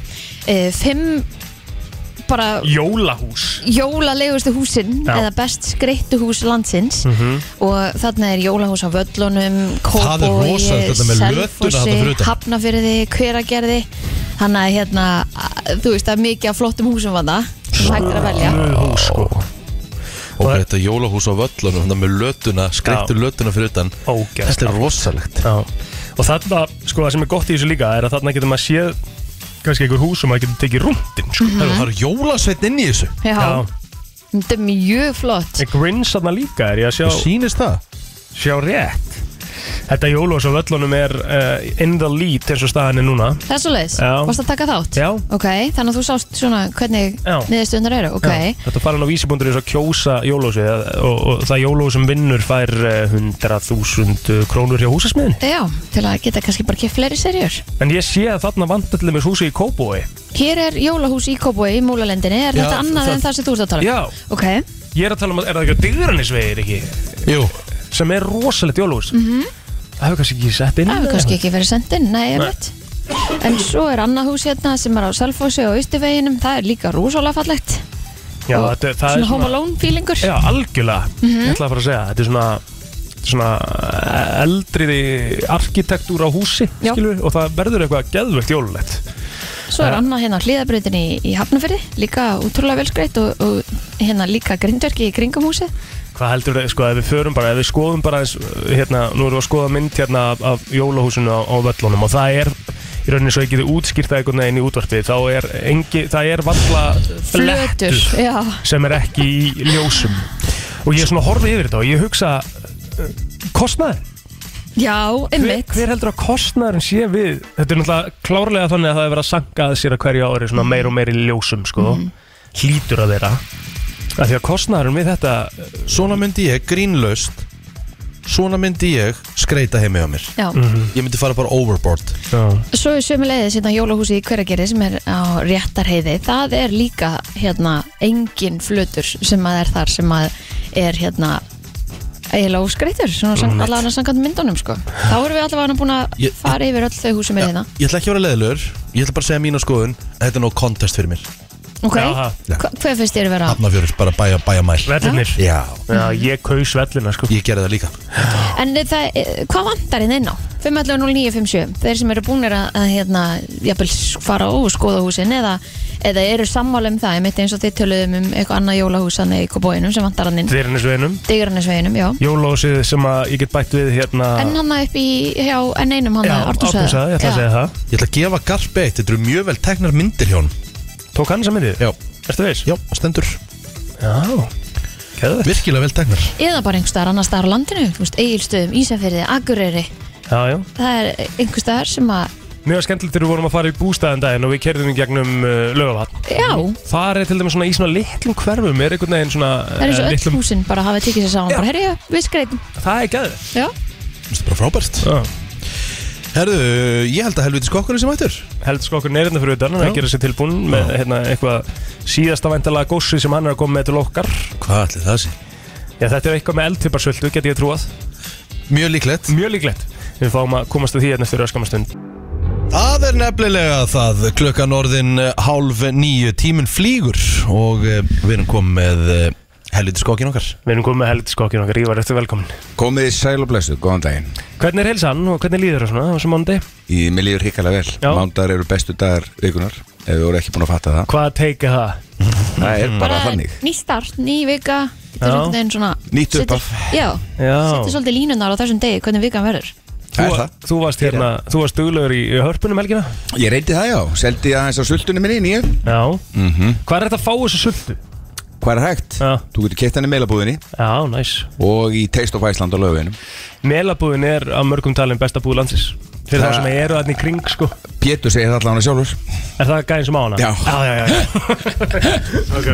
Speaker 3: e, fimm bara
Speaker 2: Jólahús.
Speaker 3: jólalegustu húsin
Speaker 2: Já.
Speaker 3: eða best skreittu hús landsins
Speaker 1: Mhm.
Speaker 3: og þarna er jólahús á völlunum Kópói,
Speaker 1: rosalegt, þetta með lötuna þarna fyrir
Speaker 3: Selfossi,
Speaker 1: utan.
Speaker 3: Hafnafyrði, Hveragerði þannig að hérna, að- þú veist það er mikið af flottum húsum vanda hægt er að velja
Speaker 1: Mm.
Speaker 2: Hús, sko.
Speaker 1: Og bara þetta jólahús á völlunum Þannig með lötuna, skreittu lötuna fyrir utan
Speaker 2: Ógeðslega.
Speaker 1: Þetta er rosalegt
Speaker 2: Já, og þarna, sko, það sem er gott í þessu líka er að þarna getur maður séð kannski einhver hús og maður getur tekið rúndin, sko.
Speaker 1: Það eru- það eru jólasveitn inn í þessu
Speaker 3: Já, þetta er mjög flott
Speaker 2: En grins þarna líka er ég
Speaker 1: Það
Speaker 2: að sjá,
Speaker 1: sýnist það
Speaker 2: sjá rétt. Þetta jólós á völlunum er uh, in the lead eins og staðan er núna.
Speaker 3: Það er svo leiðis,
Speaker 2: Já.
Speaker 3: varst að taka þátt?
Speaker 2: Já.
Speaker 3: Ok, þannig að þú sást svona hvernig
Speaker 2: Já.
Speaker 3: niðurstöndar eru, ok
Speaker 2: Já, Þetta farin á vísibundur þess að kjósa jólósi og, og það jólós sem vinnur fær eh, 100.000 krónur hjá húsasmiðin.
Speaker 3: Já, til að geta kannski bara keft fleiri serjur
Speaker 2: En ég sé að þarna vantar til þess húsi í Kóbói.
Speaker 3: Hér er jólahús í Kópói í Múlalendinni,
Speaker 1: Já,
Speaker 3: er þetta
Speaker 1: það-
Speaker 3: annað en það sem þú ert að tala um?
Speaker 2: Já,
Speaker 3: Ok,
Speaker 2: ég er að tala um að er það ekki að dygranisvegir ekki?
Speaker 1: Jú,
Speaker 2: sem er rosalegt jólús Það hefur kannski ekki sett inn
Speaker 3: Mhm. það hefur kannski ekki verið sendt inn, nei, er mitt En svo er annað hús hérna sem er á Selfossi og Austuveginum, það er líka rosalega fallegt
Speaker 2: Já,
Speaker 3: Og
Speaker 2: þetta, það
Speaker 3: Svona Mhm.
Speaker 2: er
Speaker 3: home
Speaker 2: svona
Speaker 3: alone feelingur
Speaker 2: Já, algjörlega Ég ætla að fara að segja Þetta er svona svona eh, eldriði arkitektúr á húsi
Speaker 3: Já.
Speaker 2: skilur, og það verður eitthvað geðvögt jólulegt
Speaker 3: Svo er annað hérna á hliðabröðinni í, í Hafnafyrði, líka útrúlega velskreitt og, og hérna líka grindverki í kringum húsið
Speaker 2: hvað heldur þau, sko, ef við förum bara ef við skoðum bara, eins, hérna, nú erum við að skoða mynd hérna af, af jólahúsinu á, á völlunum og það er, í rauninni svo ég geti útskýrt það einhvern veginn í útvarpið, þá er engi, það er valla
Speaker 3: Flötur,
Speaker 2: blettur
Speaker 3: já.
Speaker 2: sem er ekki í ljósum og ég svona horfi yfir þetta og ég hugsa eh, kostnaður
Speaker 3: Já,
Speaker 2: hver,
Speaker 3: einmitt
Speaker 2: hver heldur að kostnaðurinn sé við þetta er náttúrulega klárlega þannig að það er verið að sanka að sér að hverju ári svona meir og meir í ljósum sko, hlýtur að vera af því að kostnaðurinn við þetta
Speaker 1: svona myndi ég grínlaust Svona myndi ég skreita heimi á mér
Speaker 2: Mm.
Speaker 3: Já.
Speaker 1: Ég myndi fara bara overboard
Speaker 3: Svo er sömu leiðis hérna jólahúsi í Hveragerði sem er á réttarheiði Það er líka hérna engin flutur sem að er þar sem að er hérna eiginlega óskreitur, svona sang, allavega samkvæmt myndunum sko. Þá erum við allavega búin að
Speaker 1: Ég-
Speaker 3: fara yfir öll þau hús sem er hérna
Speaker 1: Ég ætla ekki að vera leðilur Ég ætla bara að segja mína skoðun Þetta er nóg contest fyrir mér
Speaker 3: Ok,
Speaker 2: Jaha.
Speaker 1: Já.
Speaker 3: Hva- hver finnst þér vera?
Speaker 1: Hafnafjörður, bara bæja, bæja mæl
Speaker 2: vellinir
Speaker 1: Já,
Speaker 2: Já, ég kaus vellina sko
Speaker 1: ég gerði það líka
Speaker 3: En það, eh, hvað vantar hérna inn á? 511-0957, þeir sem eru búinir að, að hérna, jafnvel s- fara og skoða húsin eða, eða eru sammála um það, ég mitt eins og þið töluðum um eitthvað annað jólahús hann í kobóinum sem vantar hann inn,
Speaker 2: þeir henni sveinum
Speaker 3: digranesveginum, já.
Speaker 2: jólósið sem að ég get bætt við hérna
Speaker 3: En hann upp í, hjá, en einum hann
Speaker 2: já,
Speaker 3: að
Speaker 2: Artúrsaða, ég ætla að segja það
Speaker 1: Ég ætla að gefa garpi eitt, þetta eru mjög vel teknar myndir hjá hún
Speaker 2: tók hann sem myndið,
Speaker 1: Já,
Speaker 2: ertu veist?
Speaker 1: já, stendur
Speaker 2: já, keðvett
Speaker 1: Virkilega vel teknar
Speaker 3: Eða bara einhver staðar annar staðar á landinu, þú veist, Egilstöðum, Ísafyrði, Akureyri,
Speaker 2: já, já,
Speaker 3: það er einhver staðar sem að
Speaker 2: Mér var skemmtilegt þegar við vorum að fara í bústæðan daginn og við kerðum í gegnum uh, lögavatn
Speaker 3: Já,
Speaker 2: Þar er til dæmis svona í svona litlum hverfum er einhvern veginn svona
Speaker 3: það er eins
Speaker 2: eh,
Speaker 3: og öll húsin bara hafa tekið sér saman
Speaker 2: Já.
Speaker 3: bara, herri, já, við skreitum
Speaker 2: Það er gæður
Speaker 3: Já,
Speaker 1: Þetta er bara frábært
Speaker 2: Já
Speaker 1: Herðu, ég held að helviti skokkurinn sem ættur
Speaker 2: Heldur sko okkur neyrðna fyrir utan Það
Speaker 1: Já.
Speaker 2: gerir sér tilbúin með hérna, eitthvað síðasta væntalega gósi sem hann er að koma með til okkar
Speaker 1: Hvað ætli það sé?
Speaker 2: Já, þetta er eitthvað með eldtiparsvöldu, get ég trúað
Speaker 1: Mjög líklegt
Speaker 2: Mjög líklegt Við fáum að komast að því hérna fyrir öskamastund
Speaker 1: Það er nefnilega það klukkan orðin eh, hálf nýju tíminn flýgur og eh, við erum komið með eh, helviti skokkin okkar
Speaker 2: Við erum komið með heldskokkin okkar, Ívar, eftir velkomin
Speaker 7: Komið í sæl og blessu, góðan daginn
Speaker 2: Hvernig er heilsan og hvernig líður það svona á þessum mándi?
Speaker 7: Í mér líður hrikalega vel
Speaker 2: Já.
Speaker 7: Mándagar eru bestu dagar vikunar Ef við voru ekki búin að fatta það
Speaker 2: Hvað teika það?
Speaker 7: Það er bara þannig
Speaker 3: ný start, ný vika Þetta
Speaker 2: Já.
Speaker 3: er svolítið einn svona
Speaker 7: Nýtt
Speaker 3: setur-
Speaker 7: upphaf.
Speaker 3: Já,
Speaker 2: Já
Speaker 3: þetta er svolítið línunar á þessum degi, hvernig vikan verður
Speaker 7: Það
Speaker 2: Þú,
Speaker 7: er það
Speaker 2: þú varst hérna, þú varst duglögur í í hörpunum helgina
Speaker 7: Ég reyndi það já, seldi aðeins á sultunni minni nýju
Speaker 2: Já
Speaker 7: Mhm.
Speaker 2: Hvað er þetta að fá þessu sultu?
Speaker 7: Hvað er hægt?
Speaker 2: Já.
Speaker 7: Þú getur keitt hann í meilabúðinni
Speaker 2: Já, næs
Speaker 7: Og í Taste of Iceland á löfinum
Speaker 2: Melabúðin er af mörgum talin besta búð landsins Fyrir
Speaker 7: Það-
Speaker 2: þá sem eru þarna í kring sko
Speaker 7: Pétur segir það allan að sjálfur
Speaker 2: Er það gæðin sem á hana?
Speaker 7: Já.
Speaker 2: Já, já,
Speaker 7: [LAUGHS]
Speaker 2: já, já. ok, ok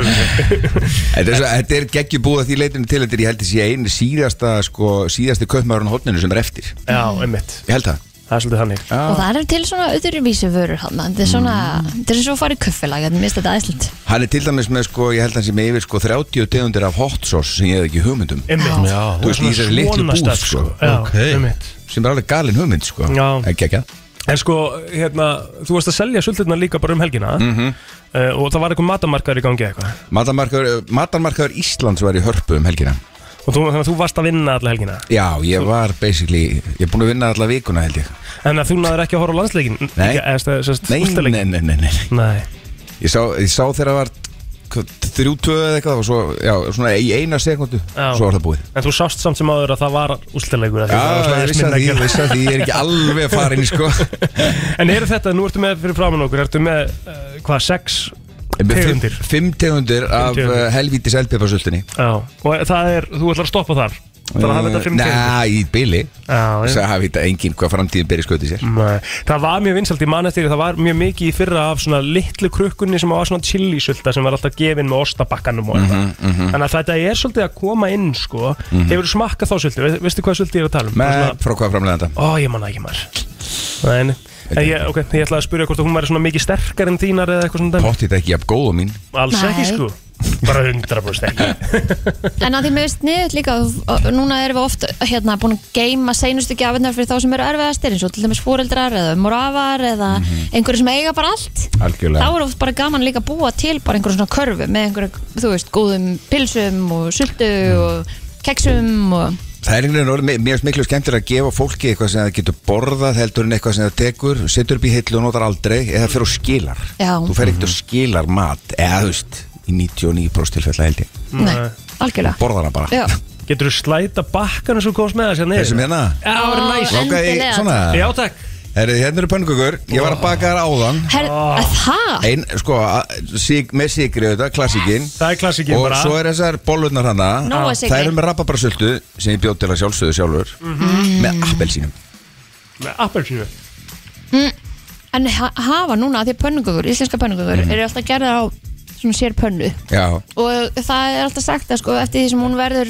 Speaker 7: Þetta er, svo- þetta er geggjubúð að því leitinu til Þetta er ég held að sé einu síðasta sko, Síðasti kaupmaðurinn á hotninu sem er eftir
Speaker 2: Já, einmitt
Speaker 7: Ég held það
Speaker 2: Það er svolítið þannig
Speaker 3: Og það er til svona öðruvísi vörur hann Þetta er svona,
Speaker 2: Mm.
Speaker 3: þetta er svo að fara í kuffilag Þetta minnst þetta æsland
Speaker 7: Hann er til dæmis með sko, ég held hann sem yfir sko 30 tegundir af hot sauce sem ég hef ekki hugmyndum
Speaker 2: Einmitt
Speaker 1: Já.
Speaker 7: Þú veist, í þessari litlu
Speaker 2: Svona
Speaker 7: búð,
Speaker 2: stöð,
Speaker 7: sko.
Speaker 2: Já,
Speaker 1: Ok.
Speaker 2: einmitt
Speaker 7: sem er alveg galin hugmynd sko
Speaker 2: Já.
Speaker 7: ekki ekki
Speaker 2: En sko, hérna, þú varst að selja sulturnar líka bara um helgina
Speaker 7: Mhm.
Speaker 2: uh, og það var eitthvað matamarkaður í gangi eitthvað
Speaker 7: Matarmarkaður, eh, matarmarkaður Íslands var í hörpu um helgina
Speaker 2: og þú, þannig að þú varst að vinna alla helgina
Speaker 7: Já, ég var basically ég er búin að vinna alla vikuna held ég
Speaker 2: en að þú næður ekki að horfa á landsleikin
Speaker 7: Nei.
Speaker 2: ekki, eða, sest,
Speaker 7: Nei, nei, nei, nei, nei.
Speaker 2: nei.
Speaker 7: Ég, sá, ég sá þegar það var hvað, þrjú tvöð eða eitthvað og svo, já, svona í eina sekundu
Speaker 2: Já.
Speaker 7: svo var það búið
Speaker 2: en þú sást samt sem áður að það var úrstæðleikur
Speaker 7: Já, ég vissi að því, ég vissi að því, ég er
Speaker 2: [LAUGHS]
Speaker 7: ekki alveg farin sko
Speaker 2: en eru þetta, nú ertu með fyrir framann okkur ertu með, uh, hvað, sex
Speaker 7: Ég er með fimm-
Speaker 2: Tegundir.
Speaker 7: Fimm tegundir af
Speaker 2: tegundir.
Speaker 7: uh, helvítis eldpipasultinni
Speaker 2: já, og það er, þú ætlar að stoppa þar það er að hafa þetta
Speaker 7: Eh,
Speaker 2: fimm tegundir.
Speaker 7: Næ, í byli
Speaker 2: Já, já.
Speaker 7: Það hafi þetta enginn hvað framtíðin byrja skautið sér
Speaker 2: Nei. Það var mjög vinsalt í manastýri, það var mjög mikið í fyrra af svona litlu krukkunni sem var svona chilisulta sem var alltaf gefin með ostabakkanum og eitthvað.
Speaker 7: Mhm,
Speaker 2: Þannig að þetta er svolítið að koma inn sko, hefur þú smakkað þá sultu, Ve veistu hvað sulti ég er að tala um?
Speaker 7: Með
Speaker 2: Svona-
Speaker 7: Eh, frá hvað framlega þetta
Speaker 2: Ó, ég manna ekki maður. Nei, nei. En ég, ok, ég ætlaði að spyrja hvort að hún væri svona mikið sterkar en þínar eða eitthvað svona dæmi.
Speaker 7: Pottið ekki af góða mín
Speaker 2: Alls
Speaker 3: Nei.
Speaker 2: ekki sko, bara 100% ekki.
Speaker 3: En að því mér veist niður líka og núna erum við oft hérna búin að geima seinustu gjafinnar fyrir þá sem eru erfiðastir eins og til dæmis fóreldrar eða morafar eða einhverju sem eiga bara allt
Speaker 7: Algjörlega.
Speaker 3: Þá er oft bara gaman líka að búa til bara einhverju svona körfu með einhverju, þú veist, góðum pilsum og sultu og keksum og
Speaker 7: Það er einhvern veginn orðið, mér mér finnst miklu skemmtir að gefa fólki eitthvað sem það getur borðað heldur en eitthvað sem það tekur, setur upp í hillu og notar aldrei eða fyrir og skilar.
Speaker 3: Já.
Speaker 7: Þú fer ekkert og skilar mat, eða þú veist, í 99% tilfella held ég.
Speaker 3: Nei, algjörlega
Speaker 7: Borðar hana bara.
Speaker 3: Já,
Speaker 2: Getur þú slæta bakkanu sem þú komst með þess hérna
Speaker 7: Þessum hérna.
Speaker 2: Já, það var næs.
Speaker 3: Ó,
Speaker 7: Langaði í
Speaker 3: endilega.
Speaker 7: svona.
Speaker 2: Já, takk.
Speaker 7: Herri, hérna eru pönnukökur, ég var að baka þær áðan.
Speaker 3: Her, það,
Speaker 7: Ein, sko, að- síg, með sigri auðvitað, klassíkin.
Speaker 2: Það er klassíkin
Speaker 7: Og
Speaker 2: bara.
Speaker 7: svo er þessar bollurnar hana.
Speaker 3: Nóg af sykri.
Speaker 7: Það eru með rababrasultu sem ég bjóð til að sjálfsögðu sjálfur.
Speaker 2: Mhm.
Speaker 7: Með appelsínum.
Speaker 2: Með appelsínu.
Speaker 3: en ha- hafa núna af því að pönnugugur, íslenska pönnugugur eru alltaf gerðar á svona sér pönnu
Speaker 7: Já.
Speaker 3: og það er alltaf sagt að sko eftir því sem hún verður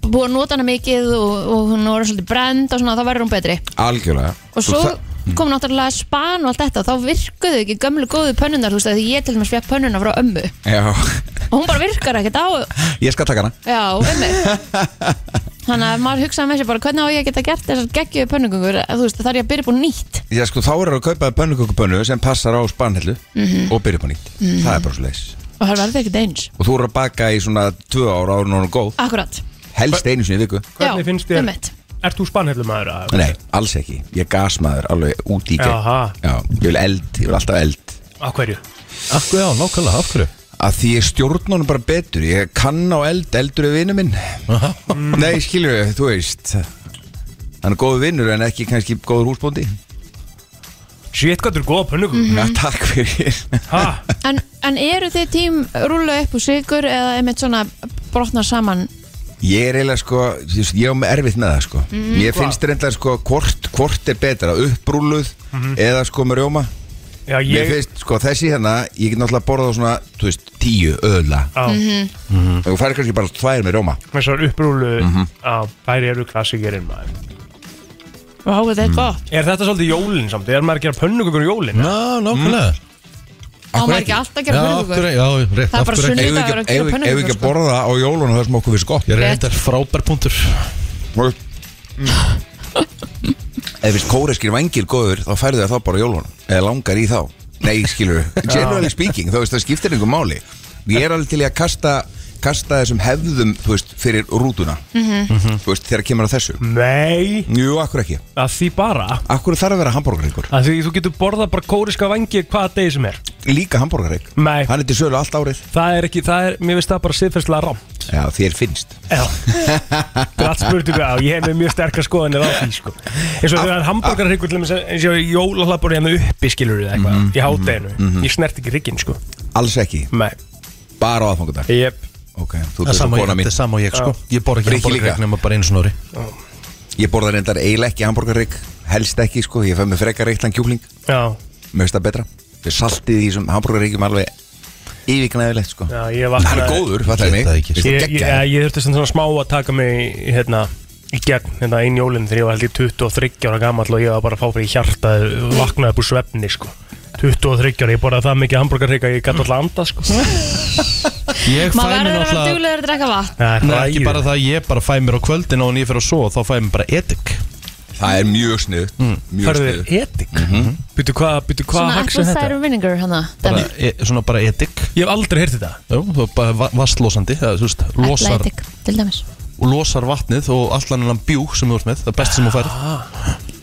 Speaker 3: búið að nota hana mikið og, og hún voru svolítið brend og svona þá verður hún betri
Speaker 7: Algjörlega.
Speaker 3: og svo
Speaker 7: það-
Speaker 3: kom náttúrulega span og allt þetta og þá virkuðu ekki gömlu góðu pönnunar þú veist að ég til dæmis fekk pönnuna frá ömmu
Speaker 7: Já,
Speaker 3: og hún bara virkar ekkert á
Speaker 7: ég skal taka hana
Speaker 3: já, ömmu þannig að maður hugsaði með sér bara hvernig á ég að geta gert þessar geggjöðu pönnugungur þú veist það er ég að byrja búin nýtt
Speaker 7: Já, sko, þá eru að kaupa pönnukökupönnu sem passar á spanhellu og byrja upp á nýtt Það er bara svo leis
Speaker 3: og það verður ekkert eins
Speaker 7: Og þú eru að baka í svona tvö ára ára núna góð
Speaker 3: akkurat
Speaker 7: Helst einu sinni í viku
Speaker 2: Hvernig finnst þér-
Speaker 3: einmitt.
Speaker 2: Ert þú spannhellumæður að?
Speaker 7: Nei, alls ekki Ég er gasmaður alveg út í gegn
Speaker 2: Jaha.
Speaker 7: Já, ég vil eld, ég vil alltaf eld
Speaker 2: Á hverju?
Speaker 1: Af hverju á, nákvæmlega, af hverju?
Speaker 7: Að því ég stjórn honum bara betur Ég kann á eld, eldur er vinnu minn
Speaker 1: Aha.
Speaker 7: [LAUGHS] Nei, skilur við, þú veist Hann er góður vinnur en ekki kannski góður húsbóndi
Speaker 2: Shit, hvað þú er góða pönnugur
Speaker 7: Já, takk fyrir
Speaker 2: Ha?
Speaker 3: En, en eru þið tím rúla upp úr sigur eða einmitt svona brotnar saman
Speaker 7: Ég er eiginlega sko, þú veist, ég er með erfitt með það sko
Speaker 3: Mhm.
Speaker 7: Ég finnst reyndar sko hvort, hvort er betra, upprúluð
Speaker 3: Mhm.
Speaker 7: eða sko með rjóma
Speaker 2: Já,
Speaker 7: Mér
Speaker 2: ég,
Speaker 7: finnst sko þessi hérna, ég get náttúrulega borðað svona, þú veist, tíu öðla
Speaker 2: á,
Speaker 3: Mhm.
Speaker 7: mm. og færi kannski bara tvær með rjóma
Speaker 2: þessar upprúlu,
Speaker 1: Mhm.
Speaker 2: á, þær eru klassikerinn maður.
Speaker 3: Vá, þetta er gott
Speaker 2: Er þetta svolítið jólinn samt? Er maður að gera um pönnugugur jólinn?
Speaker 1: Ná, nákvæmlega
Speaker 3: Á maður ekki alltaf að gera
Speaker 1: Mm. Já,
Speaker 3: pönnukökur?
Speaker 1: aftur ekki- Já, rétt,
Speaker 3: Það er bara
Speaker 1: aftur ekki
Speaker 3: sunnudagur.
Speaker 7: Eigum við
Speaker 3: að
Speaker 7: ekki-
Speaker 3: gera
Speaker 7: eigum við- eigum við ekki að
Speaker 3: pönnukökur, sko.
Speaker 7: borða það á jólunum það sem okkur finnst gott
Speaker 1: Ég er
Speaker 3: Rétt.
Speaker 1: reyndar frábær punktur
Speaker 7: Ef finnst kóreskir vangir góður þá færðu það þá bara á jólunum eða langar í þá Nei, skilur við Generally speaking, þá veist það skiptir einhver máli Ég er alveg til í að kasta, kasta þessum hefðum þú veist, fyrir rútuna
Speaker 1: Mhm.
Speaker 7: Mhm. þú veist, þegar kemur að þessu
Speaker 1: Mm.
Speaker 2: Nei,
Speaker 7: Jú, akkur ekki
Speaker 2: að því bara
Speaker 7: Akkur þarf að vera hambúrgarengur
Speaker 2: að því þú getur borðað bara kóriska vangi hvaða degi sem er.
Speaker 7: Líka hambúrgareng
Speaker 2: Nei,
Speaker 7: Hann er til sölu allt árið
Speaker 2: það er ekki, það er, mér finnst það bara siðferðslega rám.
Speaker 7: Já, þér finnst
Speaker 2: Já, [LAUGHS] það er allt spurningu á, ég hef með mjög sterkar skoðanir á því sko. eins og þegar hambúrgarhryggur eins og jólahlappur hérna uppi skilur þið eitthvað
Speaker 7: Mhm,
Speaker 2: í hádeginu, ég snert ekki hrygginn sko.
Speaker 7: Alls ekki,
Speaker 2: Nei,
Speaker 7: bara á aðfangundag
Speaker 2: ég,
Speaker 7: Ok,
Speaker 1: Það er
Speaker 7: þú ert þessu
Speaker 1: sama og ég-
Speaker 7: kona mín
Speaker 1: þetta er sama og ég sko Ég borð ekki
Speaker 7: Rikki líka.
Speaker 1: hambúrgarreik nema bara einu snori
Speaker 7: Ég borða reyndar eiginlega ekki hambúrgarrygg Helst ekki sko, ég fæ mig frekar reyktan kjúkling
Speaker 2: já,
Speaker 7: Mér finnst það betra Við saltið í þessum hambúrgarryggjum alveg Yfirgnæðilegt sko
Speaker 2: já, ég
Speaker 7: Hann er
Speaker 2: vaknaði
Speaker 7: góður, fattar
Speaker 1: Ég
Speaker 7: mig
Speaker 1: veit það ekki,
Speaker 7: Finnst
Speaker 1: sko.
Speaker 7: það
Speaker 2: ég, ég,
Speaker 7: geggjað?
Speaker 2: ég, ég þurfti sem svona smá að taka mig í- hérna, í gegn, hérna einn jólinn þegar ég var held ég 23 ára gamall og ég var bara að fá fyrir hjarta vaknaði upp úr svefni sko 23 ára, ég borðaði það mikið hambúrgarhrygg að ég gæti alltaf
Speaker 1: [LAUGHS]
Speaker 2: anda sko
Speaker 1: Ég fæ
Speaker 3: Maður
Speaker 1: mér
Speaker 3: verður að vera
Speaker 1: náttúrulega
Speaker 3: duglegur að drekka vatn
Speaker 2: Nei,
Speaker 1: Nei, ekki
Speaker 2: hræðilegt.
Speaker 1: bara það, ég bara fæ mér á kvöldin og en ég fyrir að svo, þá fæ ég mér bara etik
Speaker 7: Það er mjög snið Mjög Mhm.
Speaker 2: Hörðu,
Speaker 7: snið
Speaker 2: etik Býtu hvað, býtu hvað
Speaker 3: Svona
Speaker 2: haxi
Speaker 3: apple
Speaker 2: þetta?
Speaker 3: cider vinegar hana
Speaker 1: bara,
Speaker 3: dæmi.
Speaker 1: e, Svona bara etik
Speaker 2: Ég hef aldrei heyrt þetta
Speaker 1: Jú, þú er bara va- vastlosandi það, þú veist, losar,
Speaker 3: Athletic, til dæmis
Speaker 1: losar vatnið og allan annan bjúk sem þú ert með, það er best sem þú færð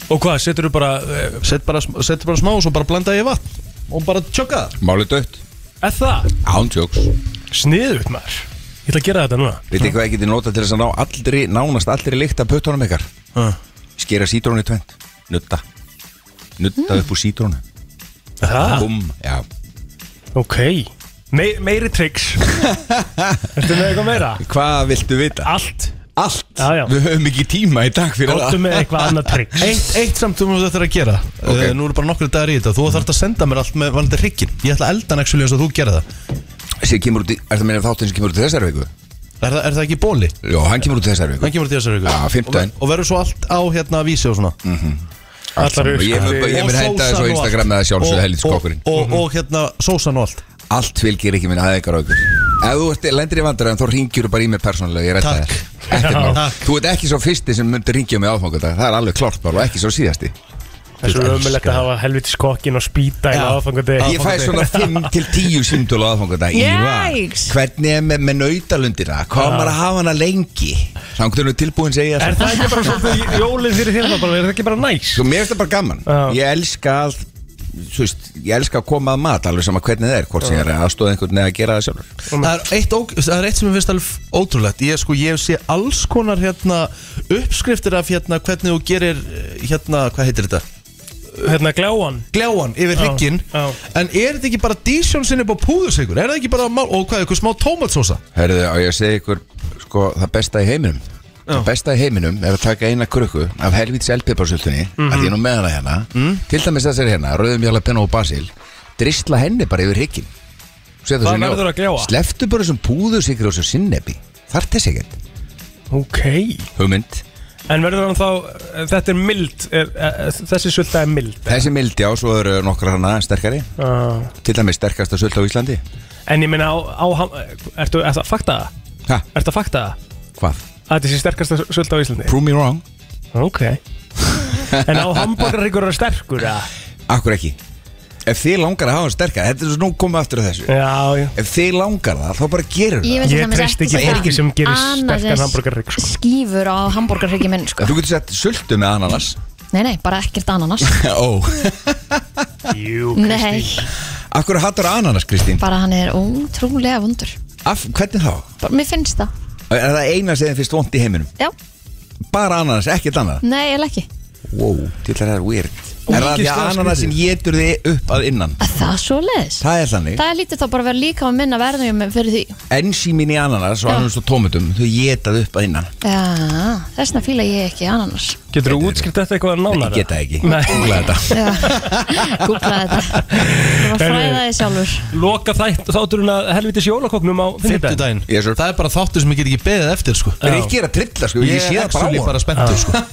Speaker 2: Og hvað, setur þú bara eh,
Speaker 1: Sett bara, sm- sett bara smá og svo bara blanda ég vatn og bara tjöka það
Speaker 7: Málið dött
Speaker 2: Er það?
Speaker 7: Ándjóks
Speaker 2: Sniðugt maður Ég ætla að gera þetta núna
Speaker 7: Við tekið hvað ég geti notað til þess að ná allri, nánast allri lykt af pötunum ykkar
Speaker 1: Ha.
Speaker 7: Skera sítrónu í tvent Nutta Nutta upp úr sítrónu
Speaker 2: Það?
Speaker 7: Búm Já
Speaker 2: Ok
Speaker 7: [LAUGHS]
Speaker 2: Me Meiri tricks Ertu með eitthvað meira?
Speaker 7: Hvað viltu vita?
Speaker 2: Allt
Speaker 7: Allt
Speaker 2: Já, um- já.
Speaker 7: Við höfum ekki tíma í dag fyrir
Speaker 2: Góttu með eitthvað annað tricks
Speaker 1: Eitt, eitt samt þú þetta að gera
Speaker 7: Ok.
Speaker 1: okay. Nú eru bara nokkru dagar í þetta Þú þarft að senda mér allt með valandi hryggjinn Ég ætla að eldan ekki eins og þú gera það
Speaker 7: það Sér kemur út í, er það meina þáttin sem kemur út í þessari viku?
Speaker 1: Er, það- er það ekki í bóli?
Speaker 7: Jó, hann kemur út í þessari viku
Speaker 1: Hann kemur til þessari viku
Speaker 7: Já, fimmtudaginn.
Speaker 1: Og, ver- og verður svo allt á hérna vísi og svona
Speaker 7: Allt
Speaker 2: Allar
Speaker 7: saman.
Speaker 2: upp,
Speaker 7: Ég mun- ég mun
Speaker 1: Og
Speaker 7: henda
Speaker 1: sósan
Speaker 7: þessu á
Speaker 1: og
Speaker 7: Instagram
Speaker 1: allt.
Speaker 7: með það sjálfsögðu
Speaker 1: Og-
Speaker 7: helvitskokkurinn
Speaker 1: og, og, og hérna sósan og allt
Speaker 7: Allt fylgir ekki minn aðeikar aukur Ef þú ert lendir í vandræðum þá ringjur þú bara í mig persónulega Ég rætta
Speaker 1: Takk.
Speaker 7: þér Ekkert
Speaker 2: Já.
Speaker 7: mál.
Speaker 1: Takk.
Speaker 7: Þú ert ekki svo fyrsti sem myndir ringja mig áfangat Það er alveg klart bara og ekki svo síðasti
Speaker 2: Þessu er ömulegt að hafa helvitis kokkin og spýta í
Speaker 1: Já.
Speaker 2: aðfangandi
Speaker 7: Ég fæ svona 5 til 10 símtölu aðfangat
Speaker 3: Jæks.
Speaker 7: Hvernig er með, með nautalundina? Hvað á maður að hafa hana lengi? Þannig er tilbúin segja
Speaker 2: Er
Speaker 7: það
Speaker 2: það ekki bara svolítið jólinn fyrir þér það bara? Er það ekki bara næs?
Speaker 7: Svo mér finnst það bara gaman
Speaker 2: Já.
Speaker 7: Ég elska að Þú veist, ég elska að koma að mat alveg sama hvernig það er hvort sem ég er að aðstóða einhvern eða að gera það sjálfur
Speaker 1: Það er, eitt, óg- það er eitt sem ég finnst alveg ótrúlegt Ég, sko, ég sé alls konar hérna, uppskriftir af hérna, hvernig þú gerir eh, hérna, hvað heitir þetta?
Speaker 2: Hérna gláan
Speaker 1: Gljáan yfir
Speaker 2: Já,
Speaker 1: hrygginn
Speaker 2: já.
Speaker 1: En er þetta ekki bara dísjón sinni upp á púðusigur? Er það ekki bara, mál- og hvað, eitthvað smá tómatsósa?
Speaker 7: Herðu, á ég að segja ykkur sko, það besta í heiminum Það besta í heiminum er að taka eina krukku af helvítis eldpiparsöltunni
Speaker 2: Mhm.
Speaker 7: að ég er nú með hana hérna
Speaker 2: Mm.
Speaker 7: til dæmis þessari hérna, rauðum jalapenna og basil dristla henni bara yfir hryggjum
Speaker 2: Hvað verður að gljáa?
Speaker 7: Sleftu bara þessum púðusikri og þessum sinnebi Þar þess ekkert
Speaker 2: Ok
Speaker 7: Hugmynd
Speaker 2: En verður hann þá, þetta er mild er, er, Þessi sulta er mild
Speaker 7: Þessi mildi á, svo eru nokkra hana sterkari
Speaker 2: uh.
Speaker 7: Til dæmis sterkasta sölta á Íslandi
Speaker 2: En ég meina á, á ham- Ertu, ertu að fakta það?
Speaker 7: Ha,
Speaker 2: Ertu að fakta það?
Speaker 7: hvað?
Speaker 2: Að þetta sé sterkasta sölda á Íslandi?
Speaker 7: Prove me wrong
Speaker 2: Ok En á hambúrgarryggur er sterkur að?
Speaker 7: Akkur ekki Ef þið langar að hafa hann sterkar Þetta er svo nú komið aftur að
Speaker 2: Eh.
Speaker 7: þessu
Speaker 2: Já, já
Speaker 7: Ef þið langar það, þá bara gerur það
Speaker 3: Ég veit til
Speaker 2: Ég
Speaker 3: dæmis
Speaker 2: treysti ekki
Speaker 3: það
Speaker 2: fólki sem gerir
Speaker 3: annað
Speaker 2: sterkan
Speaker 3: en
Speaker 2: hamborgarhrygg, sko.
Speaker 3: Skýfur á hambúrgarhryggi minn sko
Speaker 7: Þú getur sett sultu með ananas
Speaker 3: Nei, nei, bara ekkert ananas
Speaker 7: [LAUGHS] Ó
Speaker 2: Jú,
Speaker 3: Nei,
Speaker 7: Akkur hattur ananas, Kristín?
Speaker 3: bara hann er ótrúlega vondur
Speaker 7: Af, hvernig þá?
Speaker 3: bara, Mér finnst það
Speaker 7: Er það eina sem þið finnst vond í heiminum?
Speaker 3: Já,
Speaker 7: Bara ananas, ekkert annað
Speaker 3: nei, eða ekki
Speaker 7: Wow, til það er weird Er það því að
Speaker 2: Ógeðslega
Speaker 7: ananasin getur þið upp að innan
Speaker 3: Að það svo leiðis
Speaker 7: Það er þannig
Speaker 3: Það lítur þá bara að vera líka að minna verðum fyrir því
Speaker 7: Ensímin í ananas og
Speaker 3: Já.
Speaker 7: ananas og tómutum Þau getað upp að innan
Speaker 3: Já, þessna fíla ég ekki ananas
Speaker 2: Getur þú útskilt þetta eitthvað nánar?
Speaker 7: Ég geta það ekki
Speaker 2: Nei.
Speaker 7: Googla þetta.
Speaker 3: [LAUGHS] Já, gúklaði þetta Það var fræðaði sjálfur
Speaker 2: Loka þætt, þátturinn að helvitis jólakoknum á
Speaker 1: Fimmtudaginn
Speaker 2: fimmtudaginn.
Speaker 7: Yes, sir.
Speaker 1: Það er bara þáttur sem ég get ekki beðið eftir sko
Speaker 2: Já.
Speaker 7: Rikki er Ah. að trilla sko Ég sé það bara á
Speaker 1: actually
Speaker 7: honum.
Speaker 1: bara spenntur sko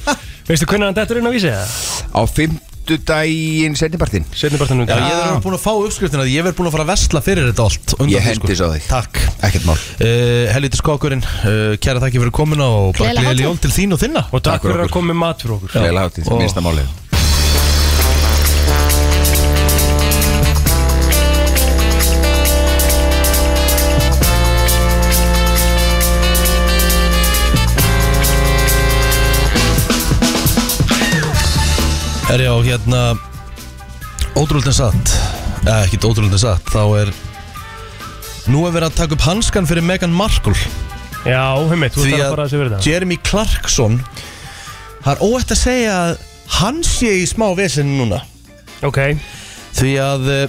Speaker 2: Veistu hvernig hann dettur inn á vísi það?
Speaker 7: Á fimmtudaginn setnipartinn
Speaker 2: Setni bara þannig
Speaker 1: Já, ég er búin að fá uppskriftina Ég verð búin að fara að vesla fyrir þetta allt undan
Speaker 7: Ég
Speaker 1: því,
Speaker 7: hendis á þig.
Speaker 1: Takk
Speaker 7: Ekkert mál
Speaker 1: uh, Helvitis kokkurinn, uh, kæra þakki fyrir komuna og bara
Speaker 3: Gleðilega
Speaker 1: gleðileg
Speaker 3: hátíð.
Speaker 1: jól til þín og þinna
Speaker 2: Og
Speaker 7: Takk
Speaker 2: takk
Speaker 7: fyrir
Speaker 2: fyrir að
Speaker 7: okkur.
Speaker 2: koma með mat fyrir okkur.
Speaker 7: Vel hátíð,
Speaker 1: Og-
Speaker 7: minnsta málið
Speaker 1: Er já, hérna Ótrúldin satt Eða ekkert ótrúldin satt Þá er Nú er verið að taka upp hanskan fyrir Meghan Markle
Speaker 2: Já, heimitt, þú
Speaker 1: Því
Speaker 2: þarf bara að segja
Speaker 1: að
Speaker 2: verið það.
Speaker 1: Jeremy Clarkson Það er óætt að segja að Hann sé í smá vesinn núna
Speaker 2: Ok,
Speaker 1: Því að uh,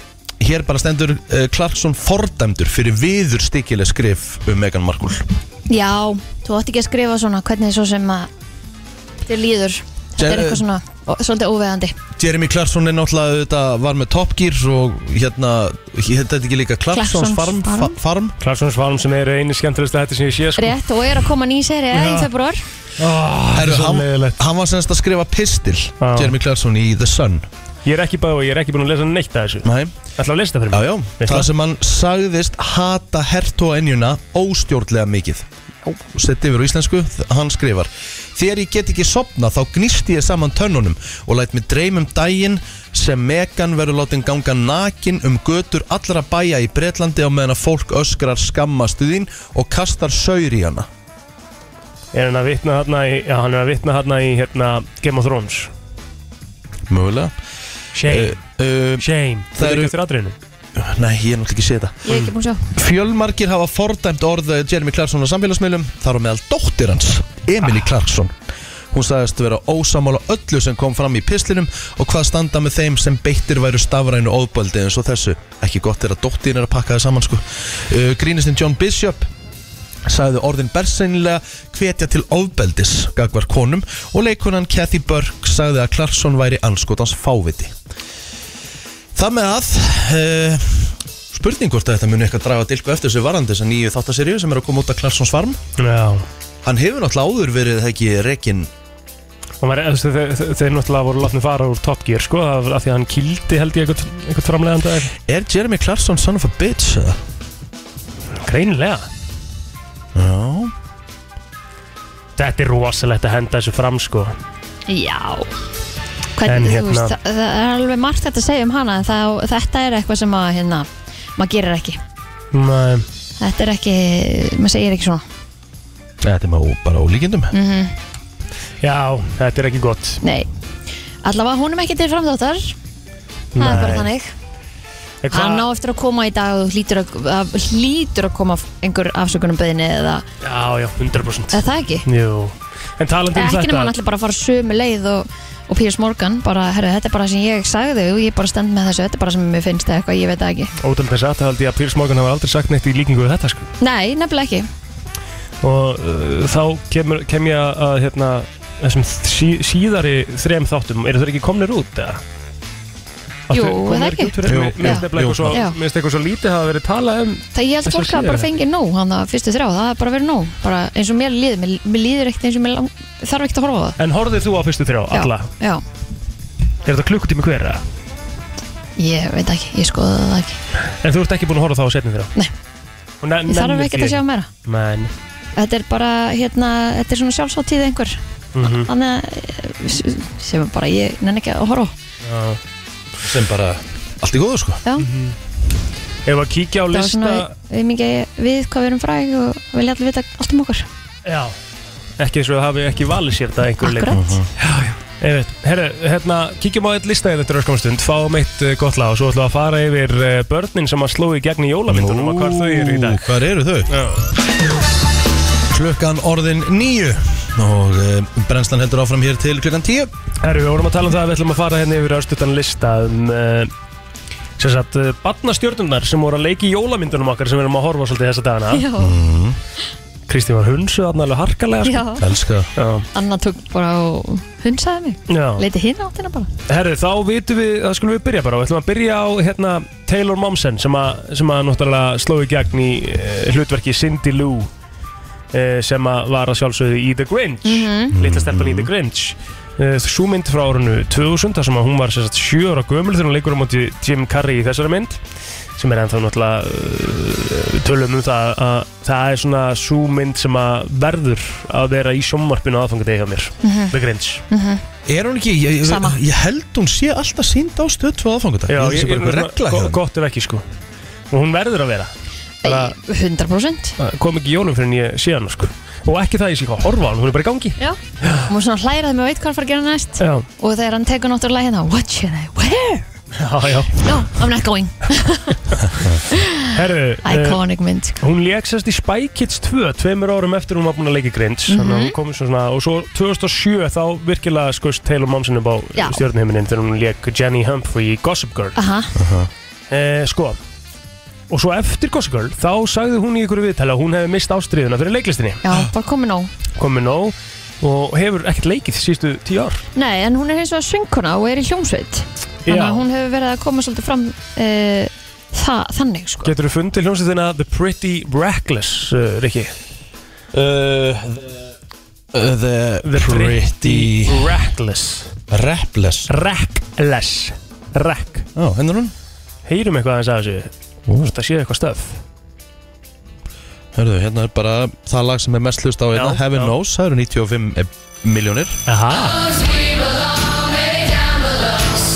Speaker 1: hér bara stendur uh, Clarkson fordæmdur fyrir viður stikileg skrif um Meghan Markle
Speaker 3: Já, þú átt ekki að skrifa svona hvernig svo sem að þér líður Þetta er
Speaker 1: Sér-
Speaker 3: eitthvað svona ó- svolítið óvegandi
Speaker 1: Jeremy Clarkson er náttúrulega þetta, var með Top Gear og hérna, hérna ekki líka Clarksons,
Speaker 3: Clarksons
Speaker 1: farm,
Speaker 3: Farm.
Speaker 1: farm. farm
Speaker 2: Klarsons Valm sem er einu skemmtilegsta þetta sem ég sé sko.
Speaker 3: Rétt og er að koma ný serið í
Speaker 2: Já.
Speaker 3: februar
Speaker 2: Ah,
Speaker 1: Herru,
Speaker 2: Herru,
Speaker 1: hann,
Speaker 2: hann...
Speaker 1: hann var semst að skrifa pistil
Speaker 2: Já.
Speaker 1: Jeremy Clarkson í The Sun
Speaker 2: Ég er ekki bæði og ég er ekki búin að lesa neitt að þessu.
Speaker 1: Nei,
Speaker 2: Ætla að lesa það fyrir
Speaker 1: já,
Speaker 2: mig.
Speaker 1: já.
Speaker 2: Veist
Speaker 1: Það
Speaker 2: það?
Speaker 1: sem hann sagðist hata hertóa enjuna óstjórnlega mikið og setti yfir á íslensku, þ- hann skrifar Þegar ég get ekki sopna þá gnisti ég saman tönnunum og læt mig dreym um daginn sem megan verður látin ganga nakin um götur allra bæja í Bretlandi á meðan að fólk öskrar skammastu þín og kastar saur í hana
Speaker 2: Er hann að vitna þarna í, já, hann er að vitna þarna í hérna, Game of Thrones.
Speaker 1: Mögulega
Speaker 2: Shame,
Speaker 1: uh, uh,
Speaker 2: shame.
Speaker 1: það
Speaker 2: Það er
Speaker 1: eru-
Speaker 2: ekki eftir atriðinu.
Speaker 1: Nei, ég er náttúrulega ekki séð þetta
Speaker 3: Ég er ekki búin að sjá
Speaker 1: Fjölmargir hafa fordæmt orða Jeremy Clarkson á samfélagsmiðlum þar á meðal dóttir hans, Emily Clarkson Hún sagðist vera ósamála öllu sem kom fram í pislinum og hvað standa með þeim sem beittir væru stafrænu ofböldi eins og þessu. Ekki gott er að dóttin er að pakka það saman sko. Uh, Grínistinn John Bishop sagði orðin bersennilega hvetja til ofbeldis gagvar konum og leikunan Kathy Burke sagði að Clarkson væri anskotans fáviti. Það með að uh, spurning hvort að þetta muni eitthvað draga dilku eftir sig varandi þessa nýju þáttaseríu sem er að koma út af Clarksons farm
Speaker 2: Já.
Speaker 1: hann hefur náttúrulega áður verið það ekki rekin
Speaker 2: Og maður, þú veist, þeir, þeir, þeir náttúrulega voru látni fara úr Top Gear, sko, af, af því að hann kildi held ég eitthvað, eitthvað framleganda eða eitthvað.
Speaker 1: er Jeremy Clarkson son of a bitch eða?
Speaker 2: Greinilega.
Speaker 1: Já
Speaker 2: Þetta er rosalegt að henda þessu fram, sko.
Speaker 3: Já
Speaker 2: En
Speaker 3: Hvernig,
Speaker 2: hérna-
Speaker 3: þú veist, það, það er alveg margt þetta að segja um hana en það, þetta er eitthvað sem að hérna, maður gerir ekki
Speaker 2: Nei.
Speaker 3: Þetta er ekki, maður segir ekki svona
Speaker 1: Þetta er maður bara ólíkindum mm.
Speaker 2: Já, þetta er ekki gott.
Speaker 3: Nei, allavega hún er ekki til framdóttar Það er bara
Speaker 2: Nei.
Speaker 3: þannig
Speaker 2: Eh, hvað-
Speaker 3: Hann á eftir að koma í dag og hlýtur að, að, hlýtur að koma einhver afsökunum beðinni eða
Speaker 2: Já, já, 100%.
Speaker 3: eða það ekki.
Speaker 2: Jú. En talandi um
Speaker 3: Ekki nema hann
Speaker 2: þetta,
Speaker 3: ætli bara að fara sömu leið og, og Piers Morgan, bara, herru, þetta er bara sem ég sagði og ég bara stend með þessu, þetta er bara sem mér finnst eða eitthvað, ég veit það ekki.
Speaker 2: ótrúlega þess að það held ég að Pírs Morgan hafa aldrei sagt neitt í líkingu við þetta, sko.
Speaker 3: Nei, nefnilega ekki.
Speaker 2: og uh, þá kemur, kem ég að- að hérna, þessum sí, síðari þrem þáttum, eru þeir ekki komnir út eða?
Speaker 3: Jú,
Speaker 2: Áttu- komu
Speaker 3: er það
Speaker 2: þeir
Speaker 3: ekki?
Speaker 2: út fyrir-
Speaker 1: Jú,
Speaker 2: Mér mér
Speaker 3: jú,
Speaker 2: finnst nefnilega eitthvað
Speaker 1: jú.
Speaker 2: svo-
Speaker 3: Já.
Speaker 2: mér finnst eitthvað svo lítið hafa verið talað um
Speaker 3: Það ég held
Speaker 2: Þessar
Speaker 3: fólk að bara
Speaker 2: síðari.
Speaker 3: fengi nóg, hann það fyrstu þrjá, það er bara verið nóg, bara eins og mér líður, mér, mér líður ekkert eins og mér lang, þarf ekkert að horfa á það.
Speaker 2: En horfðið þú á fyrstu þrjá,
Speaker 3: Já,
Speaker 2: alla?
Speaker 3: Já,
Speaker 2: Er þetta klukkutími hver eða?
Speaker 3: ég veit ekki, ég skoða það ekki.
Speaker 2: En þú ert ekki búin að horfa á þá á setni þrjá?
Speaker 3: Nei.
Speaker 2: Og ne-
Speaker 3: Ég þarf
Speaker 2: nennir
Speaker 3: ekkert
Speaker 2: því
Speaker 3: að sjá meira.
Speaker 2: Men,
Speaker 3: Þetta er bara, hérna, þetta er svona sjálfsáttíð einhver.
Speaker 2: mhm,
Speaker 3: þannig að eh, sem er bara ég nenni ekki að horfa á.
Speaker 2: já. Mhm.
Speaker 1: sem bara allt í góðu sko
Speaker 3: já,
Speaker 2: Ef að kíkja á
Speaker 3: það var svona
Speaker 2: lista
Speaker 3: við, mikið við hvað við erum fræg og vilja allir vita allt um okkur
Speaker 2: Já Ekki eins og það hafi ekki valið sér þetta einhver leik
Speaker 3: akkurat,
Speaker 2: Einmitt. Herru, hérna, kíkjum á eitt lista hérna eftir öskumstund, fáum eitt uh, gott lag og svo ætlum við að fara yfir uh, börnin sem að sló í gegn í jólamyndunum og hvar þau eru í dag
Speaker 1: Hvar eru þau? Klukkan orðin nýju og um, brennslan heldur áfram hér til klukkan 10
Speaker 2: Herru, við vorum að tala um það að við ætlum að fara hérna yfir östutan lista um uh, sem sagt, uh, barnastjörnurnar sem voru að leiki í jólamyndunum okkar sem við erum að horfa á svolítið þessa dagana
Speaker 3: Já,
Speaker 2: Kristín var hunsu þarna alveg harkalega sko.
Speaker 3: já
Speaker 1: Elska
Speaker 2: Já.
Speaker 3: Anna tók bara og hundsaði mig
Speaker 2: Já.
Speaker 3: Leiti hinn áttina bara
Speaker 2: Herru, þá vitum við, það skulum við byrja bara Við ætlum að byrja á hérna, Taylor Momsen sem, að, sem að náttúrulega sló í gegn í uh, hlutverki Cindy Lou uh, sem að var að sjálfsögðu í The Grinch mm Litla stelpan í The Grinch uh, Sú mynd frá árinu 2000 þar sem að hún var sem sagt, sjö ára gömul þegar hún leikur á móti Jim Carrey í þessari mynd sem er ennþá náttúrulega uh, tölum um það að það er svona sú mynd sem að verður að vera í sjómmarpinu aðfangadegi hjá mér The Grinch
Speaker 1: Er hún ekki, ég,
Speaker 3: Sama.
Speaker 1: ég, ég held hún sé alltaf sínd á stöð 2 aðfangudag
Speaker 2: Já,
Speaker 1: ég, ég, ég, ég, regla
Speaker 2: go-
Speaker 1: hjá henni.
Speaker 2: Gott ef ekki sko Og hún verður að vera Bara-
Speaker 3: 100%
Speaker 2: Það Kom ekki í jólum fyrir en ég sé hana sko Og ekki það ég sé hvað að horfa á hann, hún er bara í gangi
Speaker 3: Já Hún er svona hlærað með veit hvað hann fara að gera næst
Speaker 2: Já,
Speaker 3: Og þegar hann tekur náttúrulega hérna What should I wear?
Speaker 2: já, já
Speaker 3: No, I'm not going
Speaker 2: Herru, uh,
Speaker 3: Iconic mynd sko.
Speaker 2: hún léksast í Spy Kids 2 Tveimur árum eftir hún var búin að leika Grinch Þannig að hún kom svona Og svo 2007 þá virkilega skust Taylor Momsen upp á
Speaker 3: Já. Ah.
Speaker 2: stjórnheiminin Þegar hún lék Jenny Humphrey í Gossip Girl
Speaker 3: Aha,
Speaker 2: uh, Sko Og svo eftir Gossip Girl Þá sagði hún í ykkur viðtali að hún hefði mist ástriðuna fyrir leiklistinni
Speaker 3: já, bara komið nóg
Speaker 2: Komið nóg og hefur ekkert leikið sístu tíu ár
Speaker 3: Nei, en hún er eins og að söngkona og er í hljómsveit Þannig
Speaker 2: Já.
Speaker 3: að hún hefur verið að koma svolítið fram uh, það, Þannig sko
Speaker 2: Getur þú fundið hljómsveitina The Pretty Reckless, uh, Rikki?
Speaker 1: Uh, the, uh, the,
Speaker 2: The
Speaker 1: pretty
Speaker 2: Reckless
Speaker 1: Rapless
Speaker 2: Reckless Reck
Speaker 1: Já, hennar hún
Speaker 2: Heyrum eitthvað aðeins að þessu
Speaker 1: Ó.
Speaker 2: Þetta séu eitthvað stöf
Speaker 1: Hörðu, hérna er bara það lag sem er mest hlust á hérna
Speaker 2: Já,
Speaker 1: Heaven
Speaker 2: já.
Speaker 1: Knows, það eru 95 miljónir
Speaker 2: Aha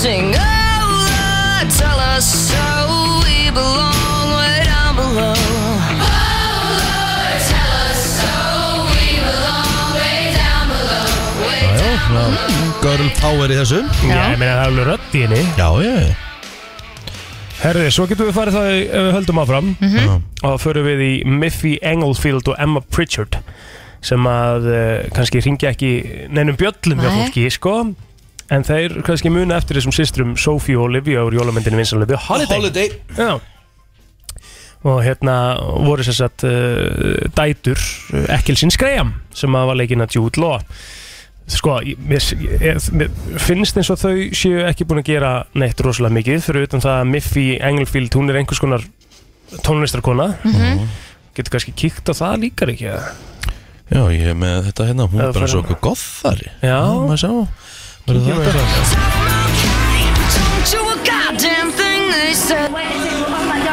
Speaker 4: Sing over, tell us so we belong way down below.
Speaker 1: Girl Power í þessu
Speaker 2: Já, ég meina það er alveg rödd í henni
Speaker 1: Já, ég
Speaker 2: Herði, svo getum við farið það í- ef við höldum áfram
Speaker 3: Mhm.
Speaker 1: -hmm.
Speaker 2: og þá förum við í Miffy Englefield og Emma Pritchard sem að uh, kannski ringja ekki neinum bjöllum hjá
Speaker 3: Nei.
Speaker 2: fólki, sko en þeir kannski muna eftir þessum systrum Sophie og Olivia úr jólamyndinu vinsanlega The Holiday,
Speaker 1: Holiday.
Speaker 2: Já. og hérna voru sér satt uh, dætur uh, Ekkilsins Graham sem að var leikinn að Jude Law sko, ég- mér, ég, mér finnst eins og þau séu ekki búin að gera neitt rosalega mikið, fyrir utan það að Miffy Englefield, hún er einhvers konar tónlistarkona getur kannski kíkt á það líka ekki eða?
Speaker 1: Já, ég er með þetta hérna, hún
Speaker 2: Ef
Speaker 1: er
Speaker 2: þú
Speaker 1: bara
Speaker 2: ferð-
Speaker 1: svo okkur gothari
Speaker 2: Já.
Speaker 1: Maður sjá Verður það
Speaker 2: Kíkjum við það.
Speaker 4: Don't you a goddamn thing they said.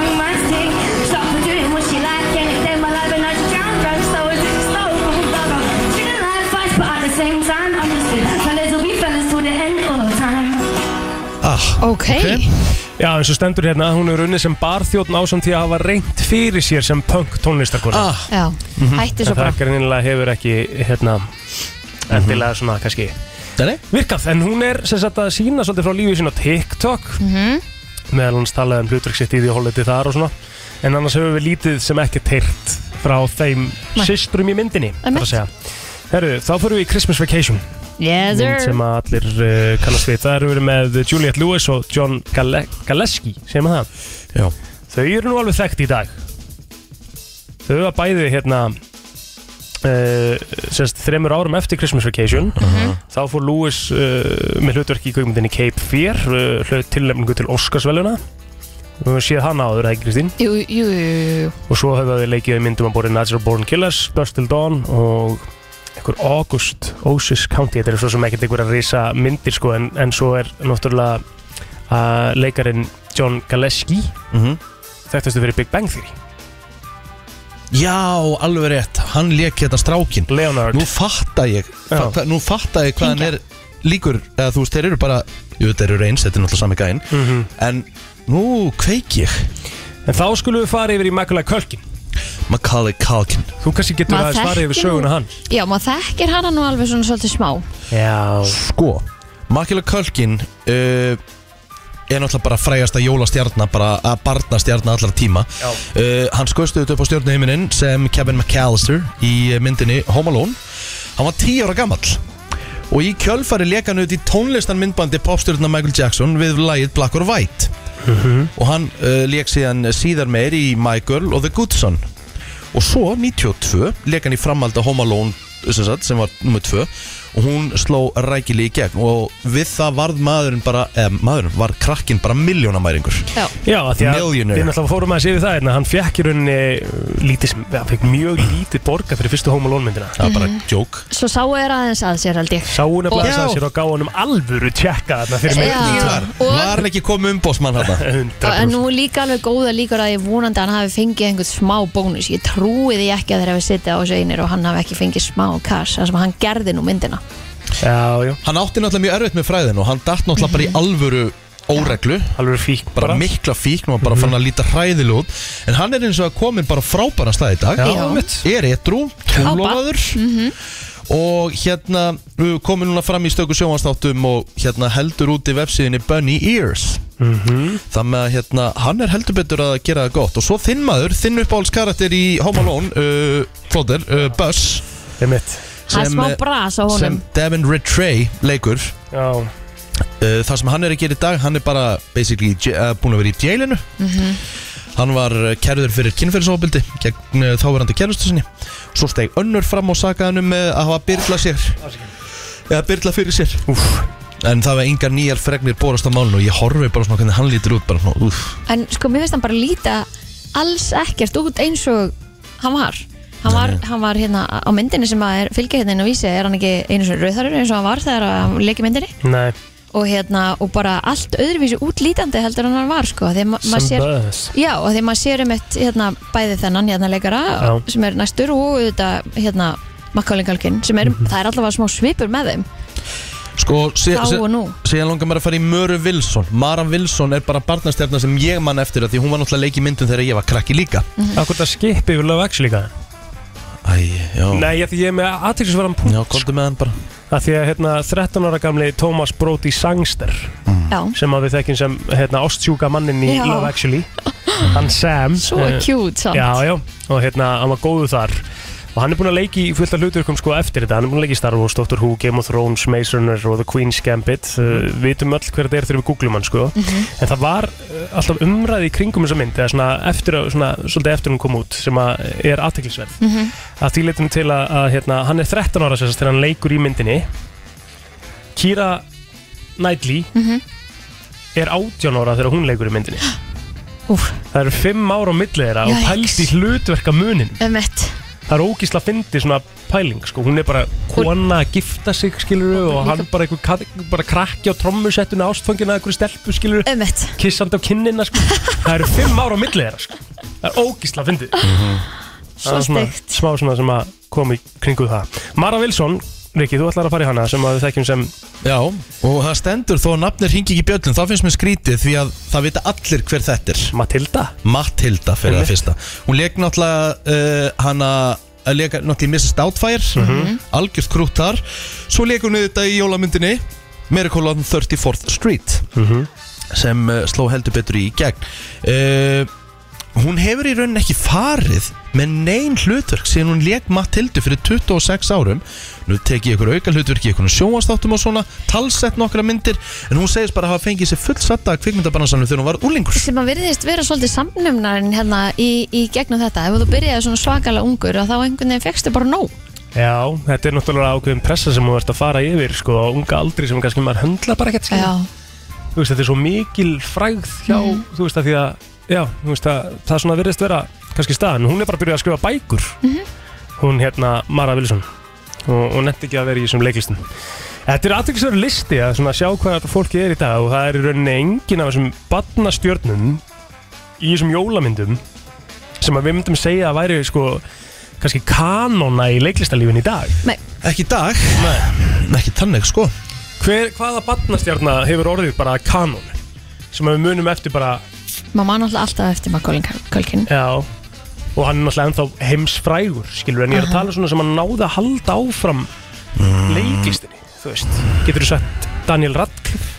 Speaker 1: Ah,
Speaker 3: Ok,
Speaker 2: Já, eins og stendur hérna, hún er unnið sem barþjóðn ásamt því að hafa reynt fyrir sér sem punk tónlistarkona
Speaker 1: ah,
Speaker 3: já, hætti
Speaker 2: en
Speaker 3: svo bara
Speaker 2: Mhm. það greinilega hefur ekki hérna, endilega svona kannski
Speaker 1: Mhm. Nei, nei
Speaker 2: virkað, en hún er sem sagt að sína svolítið frá lífið sín á TikTok
Speaker 3: Mhm.
Speaker 2: meðal hans talaði um hlutverk sitt í því hólið þar og svona, en annars hefur við lítið sem ekki teirt frá þeim
Speaker 3: Nei.
Speaker 2: systrum í myndinni,
Speaker 3: Einmitt.
Speaker 2: þarf að segja Herru, þá fyrir við í Christmas Vacation
Speaker 3: Yes,
Speaker 2: mynd
Speaker 3: sir
Speaker 2: sem að allir uh, kannast við það eru verið með Juliette Lewis og John Gale Galeski sem að það
Speaker 1: Já,
Speaker 2: þau eru nú alveg þekkt í dag þau var bæði hérna uh, semst þremur árum eftir Christmas Vacation þá fór Lewis uh, með hlutverk í kvikmyndinni Cape Fear uh, hlut tilnefningu til Óskarsveluna við höfum séð hana áður, ekki Kristín
Speaker 3: Jú, jú, jú, jú,
Speaker 2: og svo höfum við leikið í myndum að borði Natural Born Killers, Dust Till Dawn og einhver August Osis County, þetta er svo sem ekkert einhver að risa myndir sko, en, en svo er náttúrulega uh, leikarin John Galeski
Speaker 1: Mhm.
Speaker 2: þekktastu fyrir Big Bang Theory
Speaker 1: Já alveg rétt, hann lék hérna strákin
Speaker 2: Leonard,
Speaker 1: Nú fatta ég,
Speaker 2: Já.
Speaker 1: fatta, nú fatta ég hvað hann er líkur eða þú veist, þeir eru bara, jú, þeir eru eins, þetta er náttúrulega sami gæinn
Speaker 2: Mhm.
Speaker 1: En nú kveik ég
Speaker 2: en þá skulum við fara yfir í Macaulay Culkin
Speaker 1: Macaulay Culkin
Speaker 2: þú kannski getur
Speaker 3: Maður
Speaker 2: að fara yfir
Speaker 3: þekkir
Speaker 2: söguna
Speaker 3: nú-
Speaker 2: hann
Speaker 3: Já, maður þekkir hana nú alveg svona svolítið smá
Speaker 2: já,
Speaker 1: Sko, Macaulay Culkin uh, er náttúrulega bara frægasta jólastjarnar, bara að barnastjarnar allra tíma Eh,
Speaker 2: Já.
Speaker 1: uh, Hann skoðstuðið upp á stjórnuhiminin sem Kevin McAllister í myndinni Home Alone Hann var 10 ára gamall Og í kjölfari leka hann ut í tónlistanmyndbandi popstjörna Michael Jackson við lagið Black or White og hann uh, leik síðan síðar meir í My Girl og The Good Son og svo 92 leik hann í framhald að Home Alone sem, sagt, sem var nummer 2 og hún sló rækili í gegn og við það varð maðurinn bara eh, maðurinn var krakkin bara miljónamæringur
Speaker 3: Já,
Speaker 2: Já, af því að
Speaker 1: Millionaire.
Speaker 2: við náttúrulega fórum að séu það hérna, hann fekk í rauninni uh, lítið, sem- hann fekk mjög lítið borga fyrir fyrstu Home Alone myndina
Speaker 1: það var bara
Speaker 3: Mhm.
Speaker 1: jók
Speaker 3: svo sáu er aðeins að sér held ég
Speaker 2: Sá hún að
Speaker 3: Og-
Speaker 2: blasa
Speaker 1: Já.
Speaker 2: sér og gá honum alvöru tjekka þarna fyrir mig
Speaker 3: Já, og-
Speaker 1: var hann ekki komið umbósmann
Speaker 2: [LAUGHS]
Speaker 1: hann
Speaker 3: En
Speaker 2: 100%
Speaker 3: nú er líka alveg góða líkur að ég vonandi að hann hafi fengið einhvern smá bónus Ég trúi því ekki að þeir hafi sittið á þessu einir og hann hafi ekki fengið smá kass Það sem hann gerði nú myndina
Speaker 2: Já, já,
Speaker 1: hann átti náttúrulega mjög erfitt með fræðin og hann datt náttúrulega bara í alvöru óreglu
Speaker 2: alvöru fík
Speaker 1: bara mikla fíkn og bara
Speaker 3: Mhm.
Speaker 1: fann að líta hræðileg út en hann er eins og að komin bara á frábæran stað í dag
Speaker 3: Já. einmitt.
Speaker 1: er etru, tónlofaður og hérna við komum núna fram í stöku sjónvastáttum og hérna heldur út í vefsíðinni Bunny Ears
Speaker 2: Mhm,
Speaker 1: þannig að hérna hann er heldur betur að gera það gott og svo þinn maður, þinn uppáhalds karakter í Home Alone uh, Flóter, uh, Buzz
Speaker 2: Ég mitt
Speaker 3: Það er
Speaker 1: Sem,
Speaker 3: smá
Speaker 1: eh,
Speaker 3: bras á honum
Speaker 1: sem Devin Rattray leikur
Speaker 2: Já,
Speaker 1: uh, það sem hann er að gera í dag hann er bara basically í dje- uh, búin að vera í jailinu hann var uh, kærður fyrir kynferðisofbildi gegn uh, þáverandi kærustu sinni svo steg önnur fram og sakaði hann með að hafa byrla sér eða byrla fyrir sér
Speaker 2: úf,
Speaker 1: en það var engar nýjar fregnir borast á málun og ég horfi bara svona hvernig hann lítur út bara svona úf
Speaker 3: En sko, mér finnst hann bara líta alls ekkert út eins og hann var Hann var, hann var hérna á myndinni sem að er fylgja hérna inn á vísi er hann ekki einu svona rauðarur eins og hann var þegar að hann leiki myndinni
Speaker 2: nei,
Speaker 3: og hérna og bara allt öðruvísi útlítandi heldur en hann var sko þegar ma maður
Speaker 2: sem
Speaker 3: sér
Speaker 2: böðs
Speaker 3: Já, og því maður sér um eitt hérna, bæði þennan hérna leikara
Speaker 2: Já.
Speaker 3: sem er næstur og auðvitað hérna makkálingalkinn sem
Speaker 2: Mhm.
Speaker 3: er, það er allavega smá svipur með þeim
Speaker 1: sko sé,
Speaker 3: þá
Speaker 1: sé,
Speaker 3: og nú
Speaker 1: síðan langar mér að fara í Möru Wilson Mara Wilson er bara barnastjarnar sem ég man eftir af því hún var náttúrulega leik í myndum þegar ég var krakki líka
Speaker 2: Akkur það skipi yfir lög ekki líka
Speaker 1: Æ, já,
Speaker 2: Nei, af því ég er með aðtilsverðan punkt
Speaker 1: já, komdu með hann bara
Speaker 2: Af því að hérna, 13 ára gamli Thomas Brody Sangster
Speaker 3: Já,
Speaker 2: sem að við þekkjum sem hérna, ostsjúka mannin í
Speaker 3: Já.
Speaker 2: Love Actually hann Sam
Speaker 3: svo
Speaker 2: eh,
Speaker 3: cute samt
Speaker 2: Já, já, og hérna, hann var góðu þar og hann er búinn að leiki í fullt af hluturkum sko eftir þetta, hann er búinn að leiki í Star Wars, Doctor Who, Game of Thrones, Maze Runner og The Queen's Gambit uh, vitum öll hver þetta er þegar við googlum hann sko en það var uh, alltaf umræði í kringum þessa mynd, eða svona eftir að- svona, svolítið eftir hún kom út, sem að er aðteklisverð, að því leitum til að, að hérna, hann er 13 ára sérst þegar hann leikur í myndinni Kira Knightley er 18 ára þegar hún leikur í myndinni
Speaker 3: Úf,
Speaker 2: Það eru fimm ára á milli þeirra og
Speaker 3: Yikes.
Speaker 2: pælt í hlutverka munin
Speaker 3: emmett
Speaker 2: Það er ógísla fyndi svona pæling sko. Hún er bara kona að gifta sig skilur og hann bara einhver ka- bara krakki á trommusettuna ástfangina einhverju stelpu skilur
Speaker 3: [LAUGHS] Emmett,
Speaker 2: kissandi á kinnina sko. Það eru fimm ára á milli þeirra sko. Það er ógísla fyndi
Speaker 3: svo steikt
Speaker 2: Smá svona sem að kom í kringu það Mara Wilson, Riki, þú ætlar að fara í hana sem að við þekkjum sem
Speaker 1: Já, og það stendur þó að nafnir hingi ekki í bjöllum þá finnst mér skrítið því að það vita allir hver þetta er
Speaker 2: Matilda
Speaker 1: Matilda fyrir það fyrsta Hún leik náttúrulega uh, hana að leika náttúrulega í Mrs. Doubtfire algjörð krútt þar Svo leik hún auðvitað í jólamyndinni Miracle on 34th Street sem uh, sló heldur betur í gegn uh, Hún hefur í rauninni ekki farið með neyn hlutverk síðan hún leik Matildu fyrir 26 árum Nú tek ég ykkur auka hlutverk í ykkur sjónvastáttum og svona talsett nokkra myndir en hún segist bara að hafa fengið sér fullsatta að kvikmyndabarnasamlu þegar hún var úlingur
Speaker 3: sem að virðist vera svolítið samnumnarinn hérna í, í gegnum þetta ef þú byrjaði svona svakalega ungur að þá einhvern veginn fegstu bara nóg
Speaker 2: Já, þetta er náttúrulega ákveðin pressa sem þú ert að fara yfir sko, á unga aldri sem kannski maður höndla bara ekkert skilur.
Speaker 3: Já,
Speaker 2: þú veist, þetta er svo mikil frægð hjá, þú veist, að því að já, þú veist, að það er svona virðist vera kannski staðan, hún er bara að byrja að skrifa bækur hún hérna Mara Wilson og, og nefndi ekki að vera í þessum leiklistum Þetta er aðtryggisverður listi að svona sjá hvað fólki er í dag og það er í rauninni engin af þessum badnastjörnum í þessum jólamyndum sem að við myndum segja að væri sko kannski kanona í leiklistalífin í dag
Speaker 1: Ekki í dag Ekki þannig sko
Speaker 2: Hver, Hvaða badnastjörna hefur orðið bara kanon sem að við munum eftir bara
Speaker 3: maður mann alltaf alltaf eftir makkólingkölkinn
Speaker 2: Já Og hann er náttúrulega ennþá heimsfrægur Skilur, en ég er að tala svona sem hann náði að halda áfram
Speaker 1: Mm.
Speaker 2: Leiklistinni Þú veist, getur þú sagt Daniel Radcliffe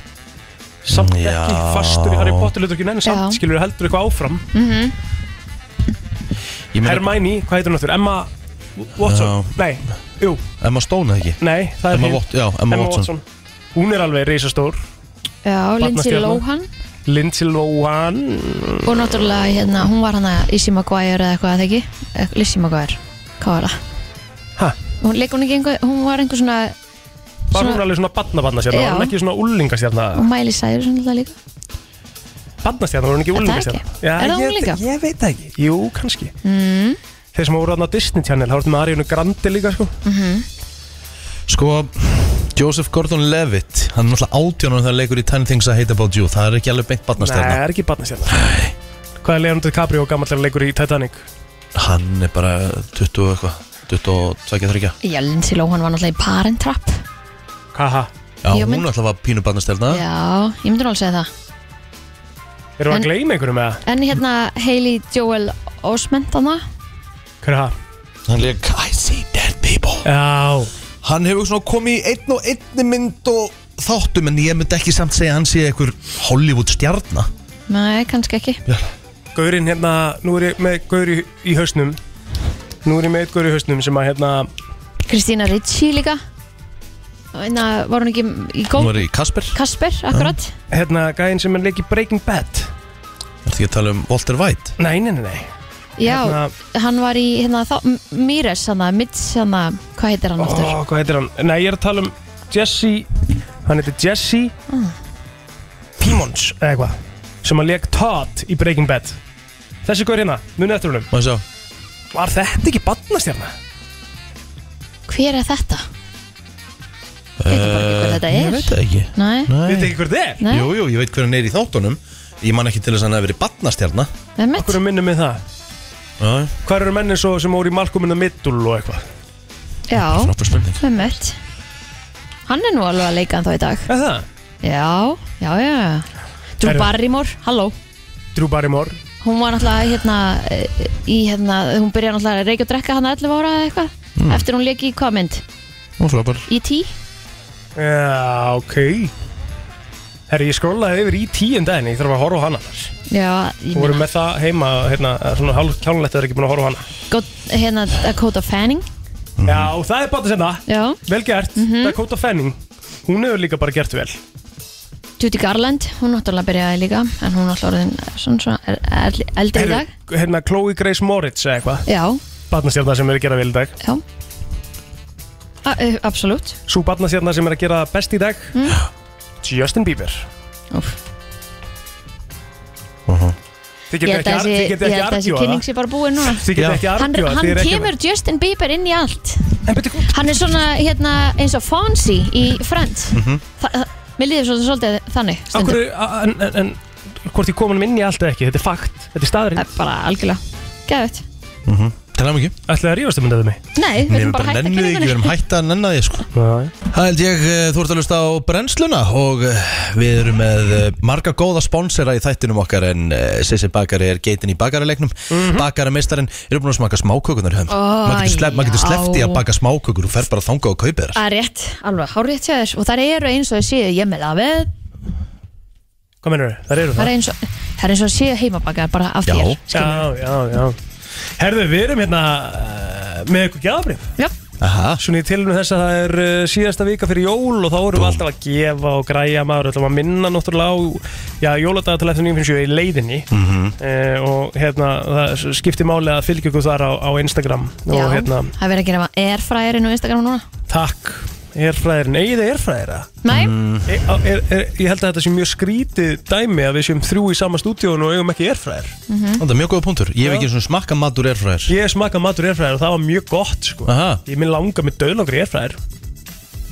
Speaker 2: Samt
Speaker 1: Já.
Speaker 2: ekki fastur í Harry Potter Luturkinn en samt,
Speaker 3: Já.
Speaker 2: skilur, heldur eitthvað áfram
Speaker 1: Ég meina-
Speaker 2: Hermæni, hvað heitir hún náttúrulega? Emma Watson
Speaker 1: Já.
Speaker 2: Nei, jú,
Speaker 1: Emma Stone eða ekki
Speaker 2: nei, það er
Speaker 1: Emma
Speaker 2: hin.
Speaker 1: Wat- já, Emma Watson.
Speaker 2: Hún er alveg reisastór
Speaker 3: Já,
Speaker 2: Eh,
Speaker 3: Lindsay
Speaker 2: Barnastjarna.
Speaker 3: Lohan
Speaker 2: Lindsay Lohan
Speaker 3: Og náttúrulega, hérna, hún var hana Issy Maguire eða eitthvað, eða ekki? Eh, Lizzie Maguire, hvað var það?
Speaker 2: Ha?
Speaker 3: Hún leik hún ekki einhver, hún var einhver svona
Speaker 2: Var
Speaker 3: Svona-
Speaker 2: hún alveg svona badna-badnastjarna?
Speaker 3: Já.
Speaker 2: Var hún ekki svona úlingastjarna?
Speaker 3: Og Miley Cyrus náttúrulega líka
Speaker 2: Badnastjarna, var hún ekki
Speaker 3: Er það
Speaker 2: úlingastjarna?
Speaker 3: ekki?
Speaker 2: Já,
Speaker 3: Er það
Speaker 2: ég-
Speaker 3: unglinga? Mm.
Speaker 2: Ég veit það ekki Jú, kannski Þeir sem voru aðna á Disney Channel, það voru með Ariðinu Grandi líka sko
Speaker 1: Sko, Joseph Gordon-Levitt Hann er náttúrulega átjónum þegar hann leikur í 10 Things I Hate About You Það er ekki alveg beint
Speaker 2: Nei, það
Speaker 1: barnastjarnar
Speaker 2: er ekki badnastjarna Hvað er Leonardo DiCaprio og gammallega leikur í Titanic?
Speaker 1: Hann er bara 20 og eitthvað 22-23
Speaker 3: Já, Lindsay Lohan var náttúrulega í Parent Trap
Speaker 2: Haha,
Speaker 1: Já,
Speaker 3: Ég
Speaker 1: hún
Speaker 3: mynd-
Speaker 1: er alltaf að pínu barnastjarnar
Speaker 3: Já, ég myndi nú alveg segja það
Speaker 2: erum við
Speaker 3: En-
Speaker 2: að gleyma einhverju með það?
Speaker 3: En hérna Hailey Joel Osment hana
Speaker 2: Hver er það?
Speaker 1: Hann leik I see dead people
Speaker 2: Já,
Speaker 1: Hann hefur svona komið í einn og einni mynd og þáttum En ég myndi ekki samt segja að hann sé einhver Hollywood stjarnar
Speaker 3: Nei, kannski ekki
Speaker 2: Gaurinn hérna, nú er ég með Gaur í, í hausnum Nú er ég með eitt Gaur í hausnum sem að hérna
Speaker 3: Kristína Ricci líka Einna, var hún ekki í
Speaker 1: Hún
Speaker 3: góð
Speaker 1: var í Kasper
Speaker 3: Kasper, akkurat
Speaker 2: Hérna, gæinn sem er leik í Breaking Bad
Speaker 1: Það er ekki að tala um Walter White
Speaker 2: Nei, nei, nei, nei
Speaker 3: Já,
Speaker 2: Hérna-
Speaker 3: hann var í hérna, þá, M- Mires, hann að Mitch, hann að, hvað heitir hann aftur?
Speaker 2: Ó, hvað heitir hann? Nei, ég er að tala um Jesse Hann heitir Jesse Pimons, eða eitthvað Sem að leik Todd í Breaking Bad Þessi Gaur hérna, munið eftir húnum
Speaker 1: Má ég sjá
Speaker 2: Var þetta ekki badnastjarna?
Speaker 3: Hver er þetta? Ég veit bara ekki hver þetta
Speaker 1: Eh, Ég veit
Speaker 3: er.
Speaker 1: það ekki
Speaker 3: Nei,
Speaker 2: Veit
Speaker 1: Nei
Speaker 2: ekki hver þið er?
Speaker 3: nei,
Speaker 1: Jú, jú, ég veit hver hann er í þáttunum Ég man ekki til þess að hann hefur verið barnastjarnar
Speaker 3: með mitt.
Speaker 2: Akkur er minnum við það?
Speaker 1: Já,
Speaker 2: Hvar eru mennin svo sem voru í Malcolm in the Middle og eitthvað?
Speaker 3: Já,
Speaker 1: frábær spurning
Speaker 3: með mitt. Hann er nú alveg að leika hann þá í dag.
Speaker 2: Er það?
Speaker 3: Já, já, já. Drew
Speaker 2: Herru.
Speaker 3: Barrymore, halló.
Speaker 2: Drew Barrymore
Speaker 3: Hún var náttúrulega hérna eh, í hérna, hún byrjaði náttúrulega að reykja og drekka hann 11 ára eða eitthvað. Eftir hún leik í hvað mynd?
Speaker 1: Hmm.
Speaker 3: E
Speaker 1: Hún frábær
Speaker 3: Í tí?
Speaker 2: Já, ok Herri, ég skrollaði yfir í tíundaginn Ég þarf að horfa á hana annars
Speaker 3: Já,
Speaker 2: Þú
Speaker 3: ég
Speaker 2: voru
Speaker 3: meina.
Speaker 2: með það heima hérna, Svona hálfkjánlegt að það er ekki búin að horfa á hana
Speaker 3: Góð, hérna Dakota Fanning.
Speaker 2: Já, það er bátt að segna
Speaker 3: Já,
Speaker 2: Vel gert, Dakota Fanning Hún hefur líka bara gert vel
Speaker 3: Judy Garland, hún náttúrulega byrjaði líka en hún náttúrulega orðin svona svona er- er- eldri í
Speaker 2: Heyrðu,
Speaker 3: dag
Speaker 2: Hérna, Chloe Grace Moritz eða eitthvað
Speaker 3: Já,
Speaker 2: Batnastjarnar sem er að gera vel í dag
Speaker 3: já A, uh, Absolutt
Speaker 2: Sú batnastjarnar sem er að gera best í dag
Speaker 3: Mm.
Speaker 2: [GASPS] Justin Bieber
Speaker 3: Úff.
Speaker 2: Þið
Speaker 3: Ég
Speaker 2: getið
Speaker 3: held
Speaker 2: ekki,
Speaker 3: að
Speaker 2: ar- þið getið
Speaker 3: þessi- ég
Speaker 2: ekki
Speaker 3: held að þessi
Speaker 2: argjúa
Speaker 3: kynning sé bara búin núna
Speaker 2: Þið getið
Speaker 1: Já.
Speaker 2: ekki
Speaker 3: Hann,
Speaker 2: argjúa
Speaker 3: hann kemur Justin Bieber inn í allt
Speaker 2: En betur,
Speaker 3: Hann er svona hérna, eins og Fonzie í Friends mm
Speaker 2: Mhm.
Speaker 3: Mér líður svona svolítið þannig
Speaker 2: Akkur,
Speaker 3: stundum
Speaker 2: en, en, en hvort ég kom hann inn í allt eða ekki, þetta er fakt, þetta er staðurinn
Speaker 3: Það er bara algjörlega Gæðvett
Speaker 1: Tala mikið
Speaker 2: Ætlaði að rífast um þetta mig?
Speaker 3: Nei, við erum bara hægt að
Speaker 1: nennu því ekki,
Speaker 3: kynna
Speaker 1: við
Speaker 3: þenni
Speaker 1: erum hægt að nenna því sko.
Speaker 2: Nei
Speaker 1: Það held ég, eh, þú ert að lusta á brennsluna og eh, við erum með eh, marga góða sponsera í þættinum okkar en eh, Sissi Bakari er geitin í bakarileiknum mm -hmm. Bakarameistarinn, eru búin að smaka smákökunar höfum
Speaker 3: Ó,
Speaker 1: Maður getur, slepp, mað getur
Speaker 3: já.
Speaker 1: sleppt í að baka smákökur og fer bara að þanga og kaupa þér
Speaker 3: Það er rétt, alveg hárétt hjá þér og það eru eins og þau séu ég með að við
Speaker 2: Hvað mennur þau? Það eru
Speaker 3: það
Speaker 2: það
Speaker 3: er eins og það er eins og séu heimabakar bara af
Speaker 1: Já.
Speaker 3: þér
Speaker 2: Ah. Já, já, já Herðu, við erum hérna uh, með eitthvað gjafabrif
Speaker 3: Já,
Speaker 1: Aha,
Speaker 2: Svona í tilinu þess að það er uh, síðasta vika fyrir jól og þá erum við alltaf að gefa og græja maður ætlum að minna náttúrulega á já, jóladaga til eftir 957 í leiðinni uh, og hérna, það skiptir máli að fylgja ykkur þar á, á Instagram
Speaker 3: já,
Speaker 2: og hérna,
Speaker 3: það verður að gera erfræðirinn og Instagram núna
Speaker 2: takk Erfræðirinn, eigið þið erfræðira?
Speaker 3: Nei,
Speaker 2: Er, er, er, ég held að þetta sé mjög skrítið dæmi að við séum þrjú í sama stúdíónu og eigum ekki erfræðir
Speaker 1: þetta er mjög góða punktur Ég hef ekki svona smakka matur erfræðir
Speaker 2: Ég smaka matur erfræðir og það var mjög gott sko.
Speaker 1: Aha,
Speaker 2: Ég minn langa með döðlangur erfræðir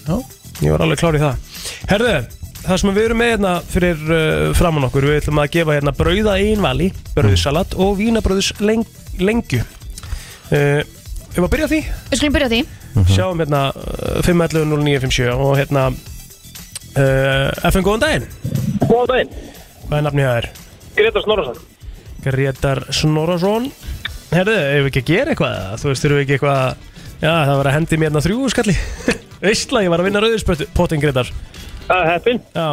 Speaker 1: Já.
Speaker 2: Ég var alveg klár í það Herðu, það sem við erum með hérna fyrir uh, framann okkur Við ætlum að gefa hérna brauða einvali, brauðsalat og vínabrauðs leng, lengju uh, Ef að byrja á því,
Speaker 3: við skulum byrja á því
Speaker 2: sjáum hérna uh, 511 0957 og hérna uh, FN góðan daginn
Speaker 8: Góðan daginn,
Speaker 2: Hvað er nafnið það er?
Speaker 8: Greta Snorarsson
Speaker 2: Gretar Snorarsson Herðu, ef við ekki að gera eitthvað Þú veist, þurfum við ekki eitthvað Já, það var að hendi mér hérna þrjú skalli [LAUGHS] Veistla, ég var að vinna rauðspöttu Pottin Gretar
Speaker 8: Það er heppin
Speaker 2: Já,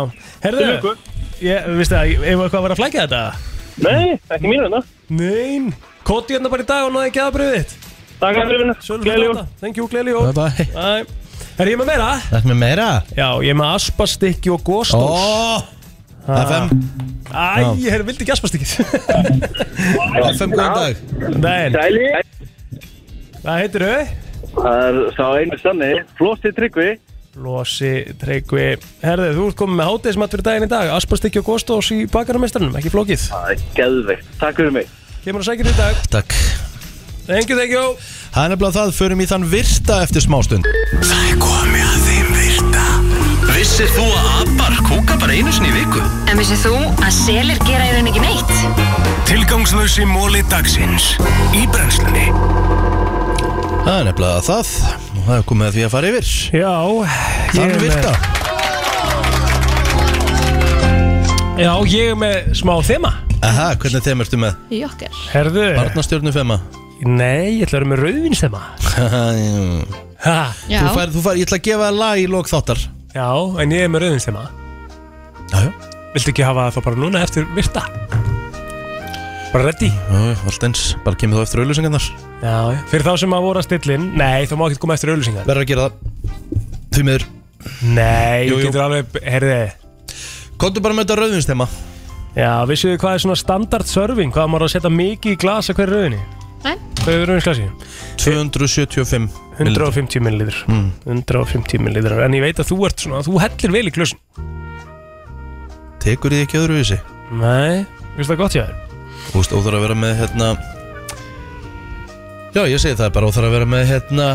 Speaker 2: herðu
Speaker 8: Til lukku.
Speaker 2: Ég, veistu það, ef eitthvað var að flækja þetta
Speaker 8: Nei, ekki mínu hérna
Speaker 2: Nein Koti hérna bara í dag og náði ekki aðbröðið þitt
Speaker 8: Takk fyrir vinna.
Speaker 2: Sölum
Speaker 8: Gleðileg
Speaker 2: fyrir
Speaker 8: jól.
Speaker 2: þetta. Thank you, gleðileg jól.
Speaker 1: bye
Speaker 2: Bye. Er ég með meira?
Speaker 1: Þetta með meira
Speaker 2: Já, ég er með aspastykki og góstós.
Speaker 1: Ó FM
Speaker 2: Æ, ég er- vildi ekki [LAUGHS] aspastykkið.
Speaker 1: FM góðan dag
Speaker 2: Dæin,
Speaker 8: Sæli.
Speaker 2: hvað heitir þau?
Speaker 8: Það er sá einu sanni. Flósti tryggvi.
Speaker 2: Losi, Tryggvi. Herðið, þú ert komið með hátegismat fyrir daginn í dag. Aspastykki og góstós í bakararmestrarnum, ekki flókið.
Speaker 8: Það er geðveikt. Takk fyrir mig.
Speaker 2: Kemur að sækja þér í dag.
Speaker 1: Takk
Speaker 2: Thank you, thank you.
Speaker 1: Það er nefnilega það, förum í þann virta eftir smástund
Speaker 5: Það er komið að þeim virta Vissir þú að abar kúka bara einu sinni í viku?
Speaker 4: En vissið þú að selir gera í rauninni ekki neitt?
Speaker 5: Tilgangslösi móli dagsins Í brennslunni
Speaker 1: Það er nefnilega það og það er komið að því að fara yfir
Speaker 2: Já, ég
Speaker 1: Þann
Speaker 2: er með,
Speaker 1: virta
Speaker 2: já, ég er með smá þema.
Speaker 1: Aha, hvernig þeim ertu með?
Speaker 3: Jokker
Speaker 2: Herðu,
Speaker 1: Barnastjörnu fema [LAUGHS]
Speaker 2: nei, ég ætla að vera með rauðvinstema.
Speaker 1: Þú
Speaker 2: Ha,
Speaker 3: Já,
Speaker 1: fær, þú fær, ég ætla að gefa þér lag í lók þáttar
Speaker 2: já, en ég er með rauðvinstema.
Speaker 1: Jájá,
Speaker 2: Viltu ekki hafa það bara núna eftir virta? Bara ready?
Speaker 1: já, allt eins, bara kemur þú eftir auðlýsingarnar
Speaker 2: Já, fyrir þá sem að voru að stillin Nei, þú má ekki koma eftir auðlýsingar
Speaker 1: Verður að gera það Því miður Jú,
Speaker 2: Nei, jú,
Speaker 1: jú.
Speaker 2: getur alveg, heyrði
Speaker 1: Kontu bara með þetta rauðvinstema
Speaker 2: Já, vissuðu hvað er svona standard serving Hvað maður á að setja mikið í glasa hver rauðinni?
Speaker 3: Nei.
Speaker 2: Hvað er rauðinsglasi?
Speaker 1: 275 millilitra.
Speaker 2: 150 millilitr 150 millilitr En ég veit að þú ert svona, þú hellir vel í glösun
Speaker 1: Tekur þið ekki öðruvísi
Speaker 2: Nei, veist það gott hjá þér?
Speaker 1: Þú veist, óþar að vera með hérna Já, ég segi það bara óþar að vera með hérna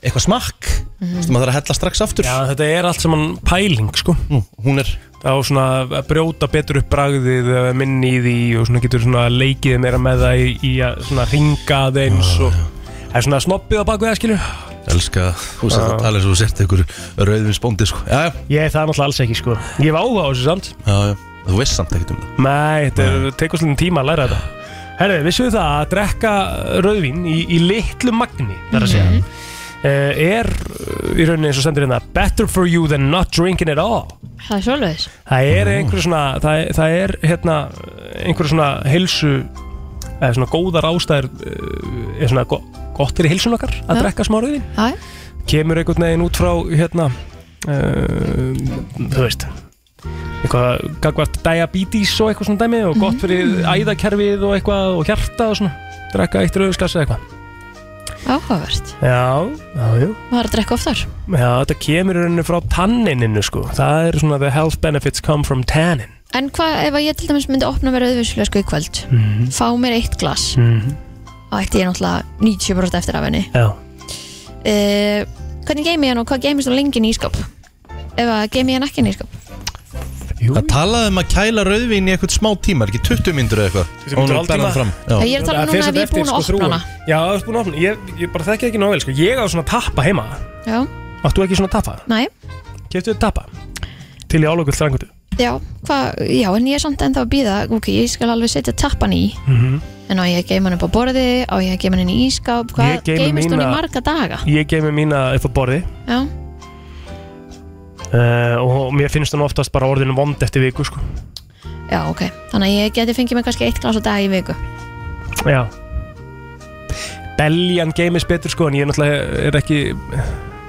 Speaker 1: Eitthvað smakk Þú veist, maður þarf að hella strax aftur
Speaker 2: Já, þetta er allt saman pæling, sko
Speaker 1: Nú, Hún er
Speaker 2: á svona að brjóta betur upp bragðið eh, minni í því og svona getur svona leikið meira með það í, í að svona ringa aðeins og það er svona snoppið á baku það skilur
Speaker 1: Elska, þú veist, það tala eins og þú sért ykkur rauðvinsbóndi, sko Já, já,
Speaker 2: Ég það er náttúrulega alls ekki sko Ég var áhuga á þessu samt
Speaker 1: já, já, þú veist samt ekkert um það
Speaker 2: Nei, þetta er- tekur svolítið tíma að læra þetta Herðu, vissu það að drekka rauðvín í, í litlu magni þar að segja mm er eh, í rauninni eins og stendur hérna better for you than not drinking at all
Speaker 3: það er svolítið
Speaker 2: Það er einhver svona það, er- það er hérna einhver svona heilsu eða svona góðar ástæður eh, er svona go, gott fyrir heilsun okkar að
Speaker 3: Já.
Speaker 2: drekka smá rauðin
Speaker 3: Já, já.
Speaker 2: kemur einhvern veginn út frá hérna uh, þú veist eitthvað gagvart diabetes og eitthvað svona dæmi og gott fyrir æðakerfið og eitthvað og hjarta og svona drekka eitt rauðskassi eða eitthvað
Speaker 3: áhugavert
Speaker 2: Já, já, já
Speaker 3: Maður er að drekka oftar
Speaker 2: Já, þetta kemur í rauninni frá tannininu sko Það er svona the health benefits come from tannin
Speaker 3: En hvað ef að ég til dæmis myndi opna mér auðvinsflösku í kvöld
Speaker 2: Mhm.
Speaker 3: Fá mér eitt glas
Speaker 2: mm
Speaker 3: Og ætti ég náttúrulega 90% eftir af henni
Speaker 2: Já
Speaker 3: uh, Hvernig geimi ég hann og hvað geimist hún lengi í ískap? Ef að geimi ég hann ekki í ískap
Speaker 2: Jú,
Speaker 1: Það talaði um að kæla rauðvin í eitthvað smá tíma ekki 20 myndur eða eitthvað
Speaker 2: 20
Speaker 1: Og
Speaker 2: mínútur,
Speaker 1: nú berða
Speaker 2: hálftíma.
Speaker 1: hann fram
Speaker 3: Já,
Speaker 1: Já,
Speaker 3: Ég er að tala um
Speaker 2: Það fer
Speaker 3: núna ef
Speaker 2: samt
Speaker 3: ég er
Speaker 2: eftir,
Speaker 3: búin að
Speaker 2: sko,
Speaker 3: opna hana
Speaker 2: þrúgun. Já, þú ert búin að opna Ég, ég bara þekki ekki nóvel sko. Ég á svona tappa heima
Speaker 3: Já,
Speaker 2: Áttu ekki svona tappa?
Speaker 3: næ
Speaker 2: Keftu þið tappa? Til í álökull þrangutu
Speaker 3: Já, hva, já, en ég er samt ennþá að býða Ok, ég skal alveg setja tappan í
Speaker 2: Mhm.
Speaker 3: En á ég að geima hann upp á borði Á ég að geima hann inn í ískáp Hvað
Speaker 2: Ég geymi
Speaker 3: geimist hún í
Speaker 2: mína-
Speaker 3: marga daga?
Speaker 2: Ég geymi mína upp á borði
Speaker 3: Já,
Speaker 2: uh, Og mér finnst hún oftast bara orðinu vond eftir viku sko.
Speaker 3: já, ok Þannig að ég geti fengið mig kannski eitt glas á dag í viku
Speaker 2: Já Beljan geymis betur sko En ég náttúrulega er ekki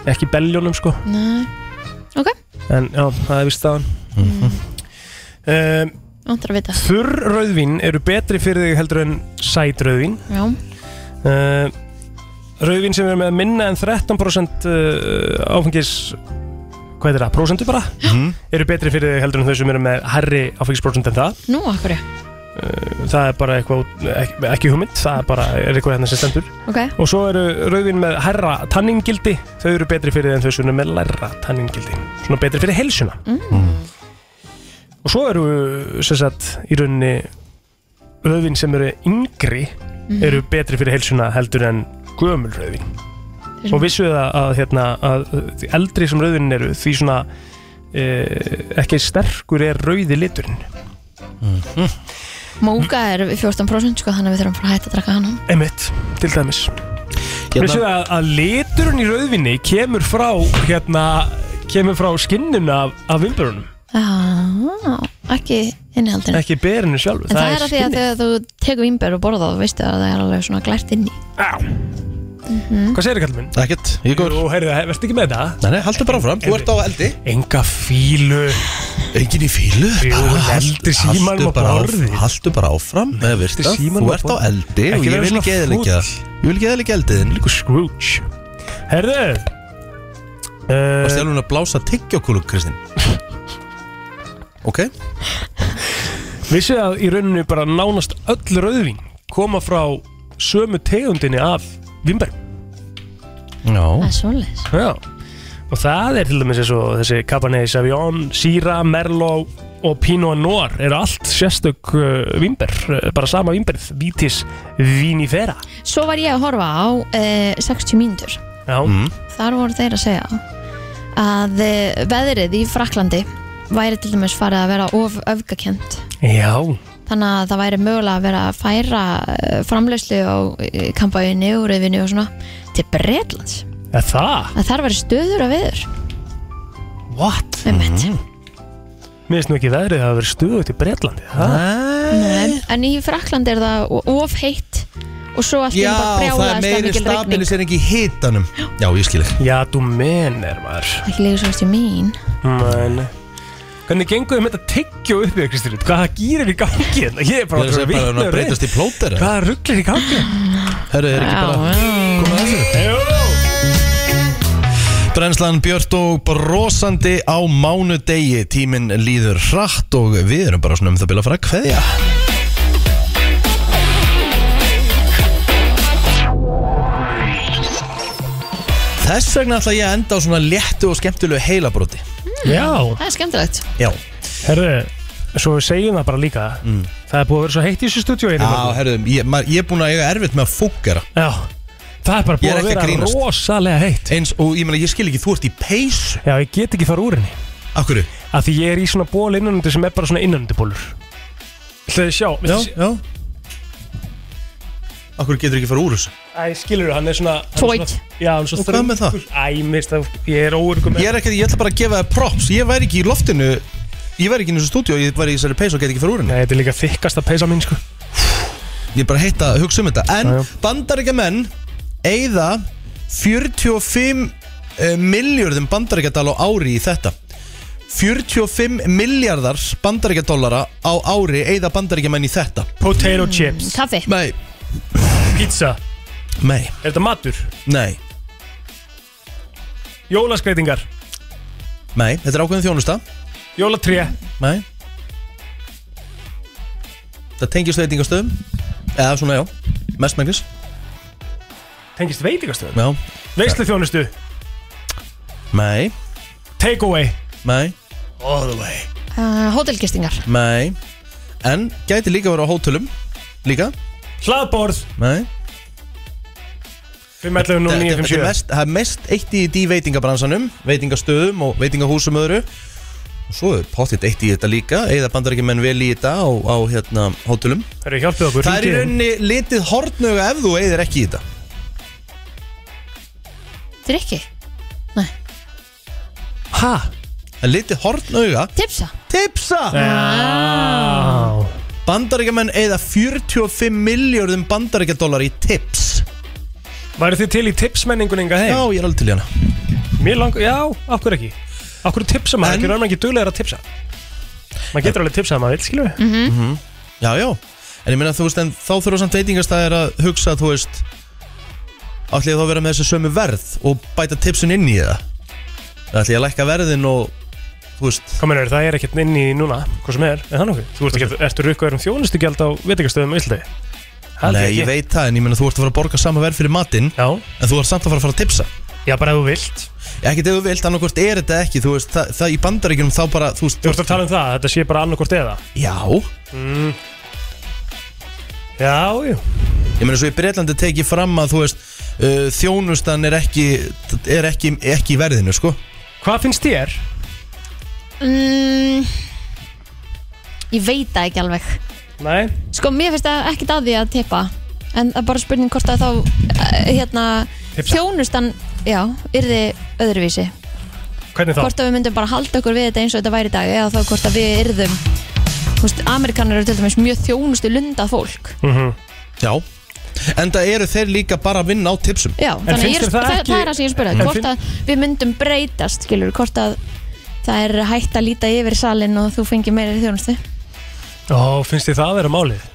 Speaker 2: Ekki í beljónum sko
Speaker 3: Nei, ok,
Speaker 2: En já, það er vist staðan
Speaker 3: Mhm.
Speaker 2: um,
Speaker 3: vantur að vita
Speaker 2: Þurr rauðvín eru betri fyrir þig heldur en sæt rauðvín
Speaker 3: Já,
Speaker 2: uh, Rauðvin sem er með minna en 13% uh, áfengis hvað er það, prósentu bara eru betri fyrir þig heldur en þau sem eru með herri áfengisprósent en það
Speaker 3: nú akkur
Speaker 2: það er bara eitthvað, út- ekki, ekki hugmynd það er bara er eitthvað hérna sem stendur
Speaker 3: Ok,
Speaker 2: og svo eru rauðvin með herra tanningildi þau eru betri fyrir þig en þau sem eru með lærra tanningildi svona betri fyrir helsuna og svo eru sem sagt í rauninni rauðvin sem eru yngri eru betri fyrir helsuna heldur en gömul rauðvin
Speaker 3: Þeir-
Speaker 2: og vissu það að, hérna, að því eldri sem rauðin eru því svona e, ekki sterkur er rauði liturinn
Speaker 3: Móka er 14% sko Þannig að við þurfum bara að hætta að drekka hann
Speaker 2: emitt, til dæmis
Speaker 1: Hérna-
Speaker 2: vissu það að, að liturinn í rauðvinni kemur frá hérna, kemur frá skinnun af, af vimbörunum
Speaker 3: Já, ekki innihaldinu
Speaker 2: Ekki berinu sjálfu
Speaker 3: En það, er að því að þegar þú tekur vínber og borða þá veistu að það er alveg svona glært inn í
Speaker 2: Hvað segir þið kallum minn?
Speaker 1: Ekkert, ég er góður
Speaker 2: Jú, heyrðu, he- vertu ekki með það?
Speaker 1: Nei, nei, haldur bara fram, þú ert á eldi
Speaker 2: Enga fílu
Speaker 1: Engin í fílu
Speaker 2: Jú,
Speaker 1: bara
Speaker 2: hún
Speaker 1: hal-
Speaker 2: heldur símanum
Speaker 1: haltu
Speaker 2: á
Speaker 1: bara á-
Speaker 2: borðið.
Speaker 1: Haltu bara áfram með virta
Speaker 2: símanum
Speaker 1: Þú
Speaker 2: á
Speaker 1: ert á
Speaker 2: borðið.
Speaker 1: eldi og
Speaker 2: Ekki
Speaker 1: ég
Speaker 2: vera
Speaker 1: vil
Speaker 2: svona
Speaker 1: ekki eðilegja Ég vil ekki eðilegja eldiðin
Speaker 2: Líku Scrooge Herðu
Speaker 1: Og
Speaker 2: uh,
Speaker 1: stjálfum að blása tyggjókúlu,
Speaker 2: [LAUGHS]
Speaker 1: Kristín Ok
Speaker 2: Vissu Eh, að í rauninu bara nánast öll rauðvín koma frá sömu tegundinni af vimber
Speaker 3: Það
Speaker 1: Já
Speaker 3: er svoleiðis
Speaker 2: Já Og það er til dæmis eins og þessi Cabernet Sauvignon, Syrah, Merlot og Pinot Noir eru allt sérstök uh, vimber, uh, bara sama vimberð, Vitis Vinifera
Speaker 3: Svo var ég að horfa á eh, 60 mínútur
Speaker 2: Já,
Speaker 1: Mm.
Speaker 3: Þar voru þeir að segja að eh, veðrið í Fraklandi væri til dæmis farið að vera of öfgakent
Speaker 2: já,
Speaker 3: þannig að það væri mögulega að vera að færa eh, framleiðslu á kampaðinni og reyfinu og svona til Bretlands
Speaker 2: er það?
Speaker 3: að þar væri stöður að veður
Speaker 2: What?
Speaker 3: mm
Speaker 1: Mhm.
Speaker 3: -hmm.
Speaker 2: Mér finnst nú ekki veðrið að það verið stuðut í Bretlandi það?
Speaker 3: en í Fraklandi er það o- of heitt og svo allt í einu
Speaker 1: Já, það
Speaker 3: bara
Speaker 1: er
Speaker 3: brjálaðist að
Speaker 1: meiri
Speaker 3: mikil regning
Speaker 1: stabilisering í hitanum Já, ég skil ekki
Speaker 2: Já, þú menir maður
Speaker 3: ekki líka svo stið mín
Speaker 2: Men. Hvernig gengur þið með þetta tyggjó upp í það, Kristýr? Hvað það gýrir í gangi hérna? Ég er bara
Speaker 1: Ég er að segja bara að hún að breytast í plóter eða?
Speaker 2: Hvað rugglir í gangi?
Speaker 1: Herru, er ekki bara komið að þessu? Brennslan Björt og brosandi á mánudegi Tíminn líður hratt og við erum bara svona um það bila að fara að kveðja Þess vegna ætla ég að enda á svona léttu og skemmtilegu heilabróti
Speaker 2: Já,
Speaker 3: það er skemmtilegt
Speaker 1: Já,
Speaker 2: herru, svo við segjum það bara líka Það er búið að vera svo heitt í þessu stúdíu
Speaker 1: Mm. Já
Speaker 2: einu
Speaker 1: herru, ég, maður- ég er búin að eiga erfitt með að fókera
Speaker 2: Já, það er bara
Speaker 1: Ég er
Speaker 2: búið að
Speaker 1: ekki að
Speaker 2: vera
Speaker 1: grínast.
Speaker 2: rosalega heitt
Speaker 1: Eins og ég meina, ég skil ekki, þú ert í peysu
Speaker 2: Já, ég get ekki fara úr henni
Speaker 1: Akkur,
Speaker 2: Af því ég er í svona ból innanundir sem er bara svona innanundibólur Þú
Speaker 1: já,
Speaker 2: sjá, viltu sjá?
Speaker 1: já Akkur getur ekki fara úr þessu
Speaker 2: Æ, skilur hann er svona hann er
Speaker 3: Tvoit.
Speaker 2: svona- Já, hann er svo
Speaker 1: Og hvað með það?
Speaker 2: þröngur. Æ, mist, ég er óurugum
Speaker 1: Ég er ekki, ég ætla bara að gefa það props Ég væri ekki í loftinu Ég væri ekki í þessu stúdíu Ég væri í þessari peys og get ekki fyrir úr henni
Speaker 2: Nei, þetta er líka þykkasta peysa mín, sko
Speaker 1: Ég er bara heitt að hugsa um þetta En
Speaker 2: Já, já.
Speaker 1: bandaríkja menn Eða 45 uh, miljörðum bandaríkja á ári í þetta 45 miljardar bandaríkja á ári Eða bandaríkja menn í þetta
Speaker 2: Potato chips,
Speaker 3: kaffi
Speaker 1: Nei,
Speaker 2: pizza
Speaker 1: nei,
Speaker 2: Er þetta matur?
Speaker 1: nei,
Speaker 2: Jólaskreitingar?
Speaker 1: nei Þetta er ákveðin þjónusta
Speaker 2: Jólatré?
Speaker 1: Nei Það tengist veitingastöðum Eða svona, já, mestmengis
Speaker 2: Tengist veitingastöðum?
Speaker 1: Já,
Speaker 2: Veislu þjónustu?
Speaker 1: nei
Speaker 2: Takeaway?
Speaker 1: Nei,
Speaker 2: All the way
Speaker 3: uh, hótelgistingar
Speaker 1: nei En gæti líka verið á hótelum Líka,
Speaker 2: Hlaðborð?
Speaker 1: nei
Speaker 2: 511
Speaker 1: Það það
Speaker 2: 0957
Speaker 1: er mest, það er mest eitt í því veitingabransanum Veitingastöðum og veitingahúsum öðru Og svo er pottitt eitt í þetta líka Eða bandar ekki menn vel í þetta á, á hérna, hótelum
Speaker 2: Herru, hjálpið okkur
Speaker 1: Það er í
Speaker 2: hringið inn.
Speaker 1: rauninni litið hortnöga ef þú eigðir ekki í þetta
Speaker 3: drikki
Speaker 2: Ha?
Speaker 1: Það er litið hortnöga
Speaker 3: tipsa
Speaker 1: Tipsa!
Speaker 2: Já
Speaker 1: Bandaríkjamenn eða 45 miljörðum bandaríkjadólar í tips
Speaker 2: Væru þið til í tipsmenningun enga
Speaker 1: Já,
Speaker 2: heim?
Speaker 1: ég er alveg til í hana
Speaker 2: Mér langar, já, af hverju ekki? Af hverju tipsa maður
Speaker 1: En-
Speaker 2: ekki? Röðum ekki duglegar að tipsa? Maður getur alveg tipsað að maður vil, skilur við?
Speaker 1: Já, já En ég meina, þú veist, en þá þurfa samt veitingastæðir að hugsa, þú veist Ætli ég þá að vera með þessi sömu verð og bæta tipsun inn í það Eða Ætli ég að lækka verðin og, þú veist
Speaker 2: Hvað meður, það er ekkert inn í núna, hvað sem er, er það nokkuð? Þú ert ekki, ertu rukkaður um þjónustugjald á veitingastöðum á Íslandi? Held
Speaker 1: Nei, ég
Speaker 2: ekki.
Speaker 1: veit það, en ég meina, þú ert að fara að borga sama verð fyrir matinn
Speaker 2: Já,
Speaker 1: En þú ert samt að fara að fara að tipsa
Speaker 2: já, bara ef þú vilt.
Speaker 1: Ekkert ef þú vilt, annarkvort er þetta ekki, þú veist, það, það í bandaríkjunum þá bara, þú veist
Speaker 2: Þú ert að tala um það, að þetta sé bara annarkort eða? Mm.
Speaker 1: Já,
Speaker 2: Já, jú.
Speaker 1: Ég meina svo í Breitlandi tekið fram að þú veist uh, þjónustan er ekki er ekki, ekki í verðinu sko
Speaker 2: Hvað finnst þér?
Speaker 3: mm, ég veit það ekki alveg
Speaker 2: Nei.
Speaker 3: Sko, mér finnst það ekkert að því að tippa En það er bara spurning hvort að þá eh, Hérna,
Speaker 2: Tipsa.
Speaker 3: þjónustan Já, yrði öðruvísi
Speaker 2: Hvað Hvernig þá?
Speaker 3: hvort að við myndum bara halda okkur við þetta eins og þetta væri í dag eða þá hvort að við yrðum Þú veist, Amerikanar eru til dæmis mjög þjónustu lundað fólk
Speaker 1: Já En það eru þeir líka bara að vinna á tipsum
Speaker 3: Já, þannig að
Speaker 2: finnst
Speaker 3: ég er,
Speaker 2: þér það
Speaker 3: það, það,
Speaker 2: ekki-
Speaker 3: er það sem ég spurði
Speaker 2: En
Speaker 3: hvort
Speaker 2: finn-
Speaker 3: að við myndum breytast skilur, hvort að það er hægt að líta yfir salin og þú fengir meira þjónustu
Speaker 2: Ó, finnst þið það að vera málið?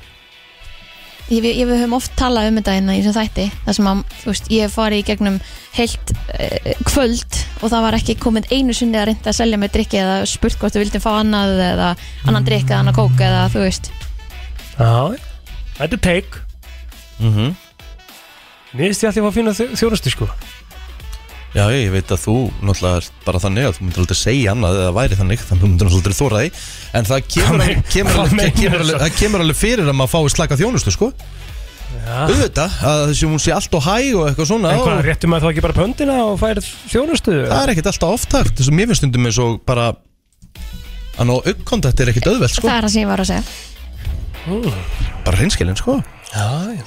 Speaker 3: ég, ég, við höfum oft talað um þetta hérna í þessum þætti þar sem að, þú veist, ég fari í gegnum heilt uh, kvöld og það var ekki komið einu sinni að reynda að selja mig drikki eða spurt hvort þú vildum fá annað eða
Speaker 1: Mm.
Speaker 3: annan drikk eða annan kók eða þú veist
Speaker 2: Já, þetta er take
Speaker 1: Mhm.
Speaker 2: Nýðist ég allt ég var að finna þjónustu sko
Speaker 1: Já, ég veit að þú náttúrulega er bara þannig að þú myndir aldrei segja annað eða það væri þannig þannig að þú myndir náttúrulega aldrei þóra því en það kemur,
Speaker 2: Hvað mein-
Speaker 1: kemur,
Speaker 2: hvað
Speaker 1: alveg,
Speaker 2: meinar
Speaker 1: kemur, alveg,
Speaker 2: þessu?
Speaker 1: það kemur alveg fyrir að maður fái slaka þjónustu sko auðvitað að þessi hún sé allt og hæg og eitthvað svona
Speaker 2: En hvað,
Speaker 1: og
Speaker 2: réttum maður þá ekki bara pöndina og færið þjónustu?
Speaker 1: það er ekkert alltaf oftakt þess að mér finnst stundum eins og bara að ná uppkontakt er ekkert auðvelt sko
Speaker 3: það er það sem ég var að segja
Speaker 1: bara hreinskilin sko
Speaker 2: Já, já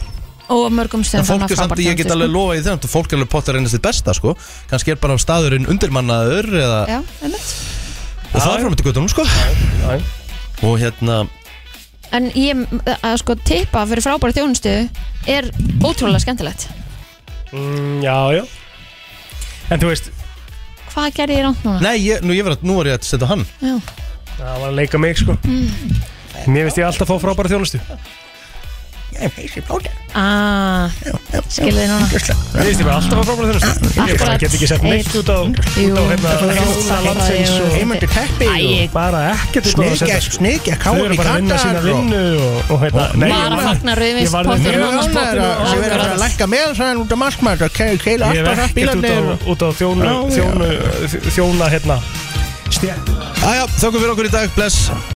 Speaker 3: og á mörgum
Speaker 1: en
Speaker 3: stöðum þarf
Speaker 1: fólk
Speaker 3: maður
Speaker 1: er samt,
Speaker 3: frábært
Speaker 1: ég get
Speaker 3: þjónustu,
Speaker 1: alveg lofa í þeim fólk er alveg pottar reynast þitt besta sko kannski er bara staðurinn undirmannaður eða,
Speaker 3: sko. já, einmitt.
Speaker 1: og það er framöndi guttunum sko
Speaker 2: já.
Speaker 1: og hérna
Speaker 3: en ég að sko tippa fyrir frábæra þjónustu er ótrúlega skemmtilegt
Speaker 2: Mm, já, já En þú veist,
Speaker 3: hvað gerði ég ránt núna?
Speaker 1: Nei, ég, nú, ég var að, nú var ég að setja hann
Speaker 3: Já.
Speaker 2: það var að leika mig sko Mér finnst ég alltaf fá frábæra þjónustu
Speaker 3: Ah, skilði þið núna
Speaker 2: Mér finnst ég bara alltaf fá frábæra þjónustu Ég bara
Speaker 3: Akkurat.
Speaker 2: get ekki sett neitt út á
Speaker 3: Jú,
Speaker 2: út á hérna
Speaker 3: það er allt
Speaker 2: rása
Speaker 3: það,
Speaker 2: landsins
Speaker 3: jú.
Speaker 2: og
Speaker 3: Heimundi
Speaker 2: teppi
Speaker 3: og-
Speaker 2: bara ekkert út á að setja sko.
Speaker 5: snikja,
Speaker 2: Þau eru bara að vinna sína vinnu og, og hérna Nei,
Speaker 3: bara
Speaker 2: ég-
Speaker 3: fagnar
Speaker 2: ég varð- hérna
Speaker 3: rauðvinspottinum
Speaker 2: Mjög
Speaker 5: Ég verði að lækka meðalsæðan út af maskmætt og keila
Speaker 2: Ég hef
Speaker 5: alltaf það
Speaker 2: ekkert út á,
Speaker 5: bílarnir og-
Speaker 2: út á þjónu,
Speaker 5: Já, já.
Speaker 2: þjónu, þjóna hérna Stjætt
Speaker 1: Æja, þökkum fyrir okkur í dag, bless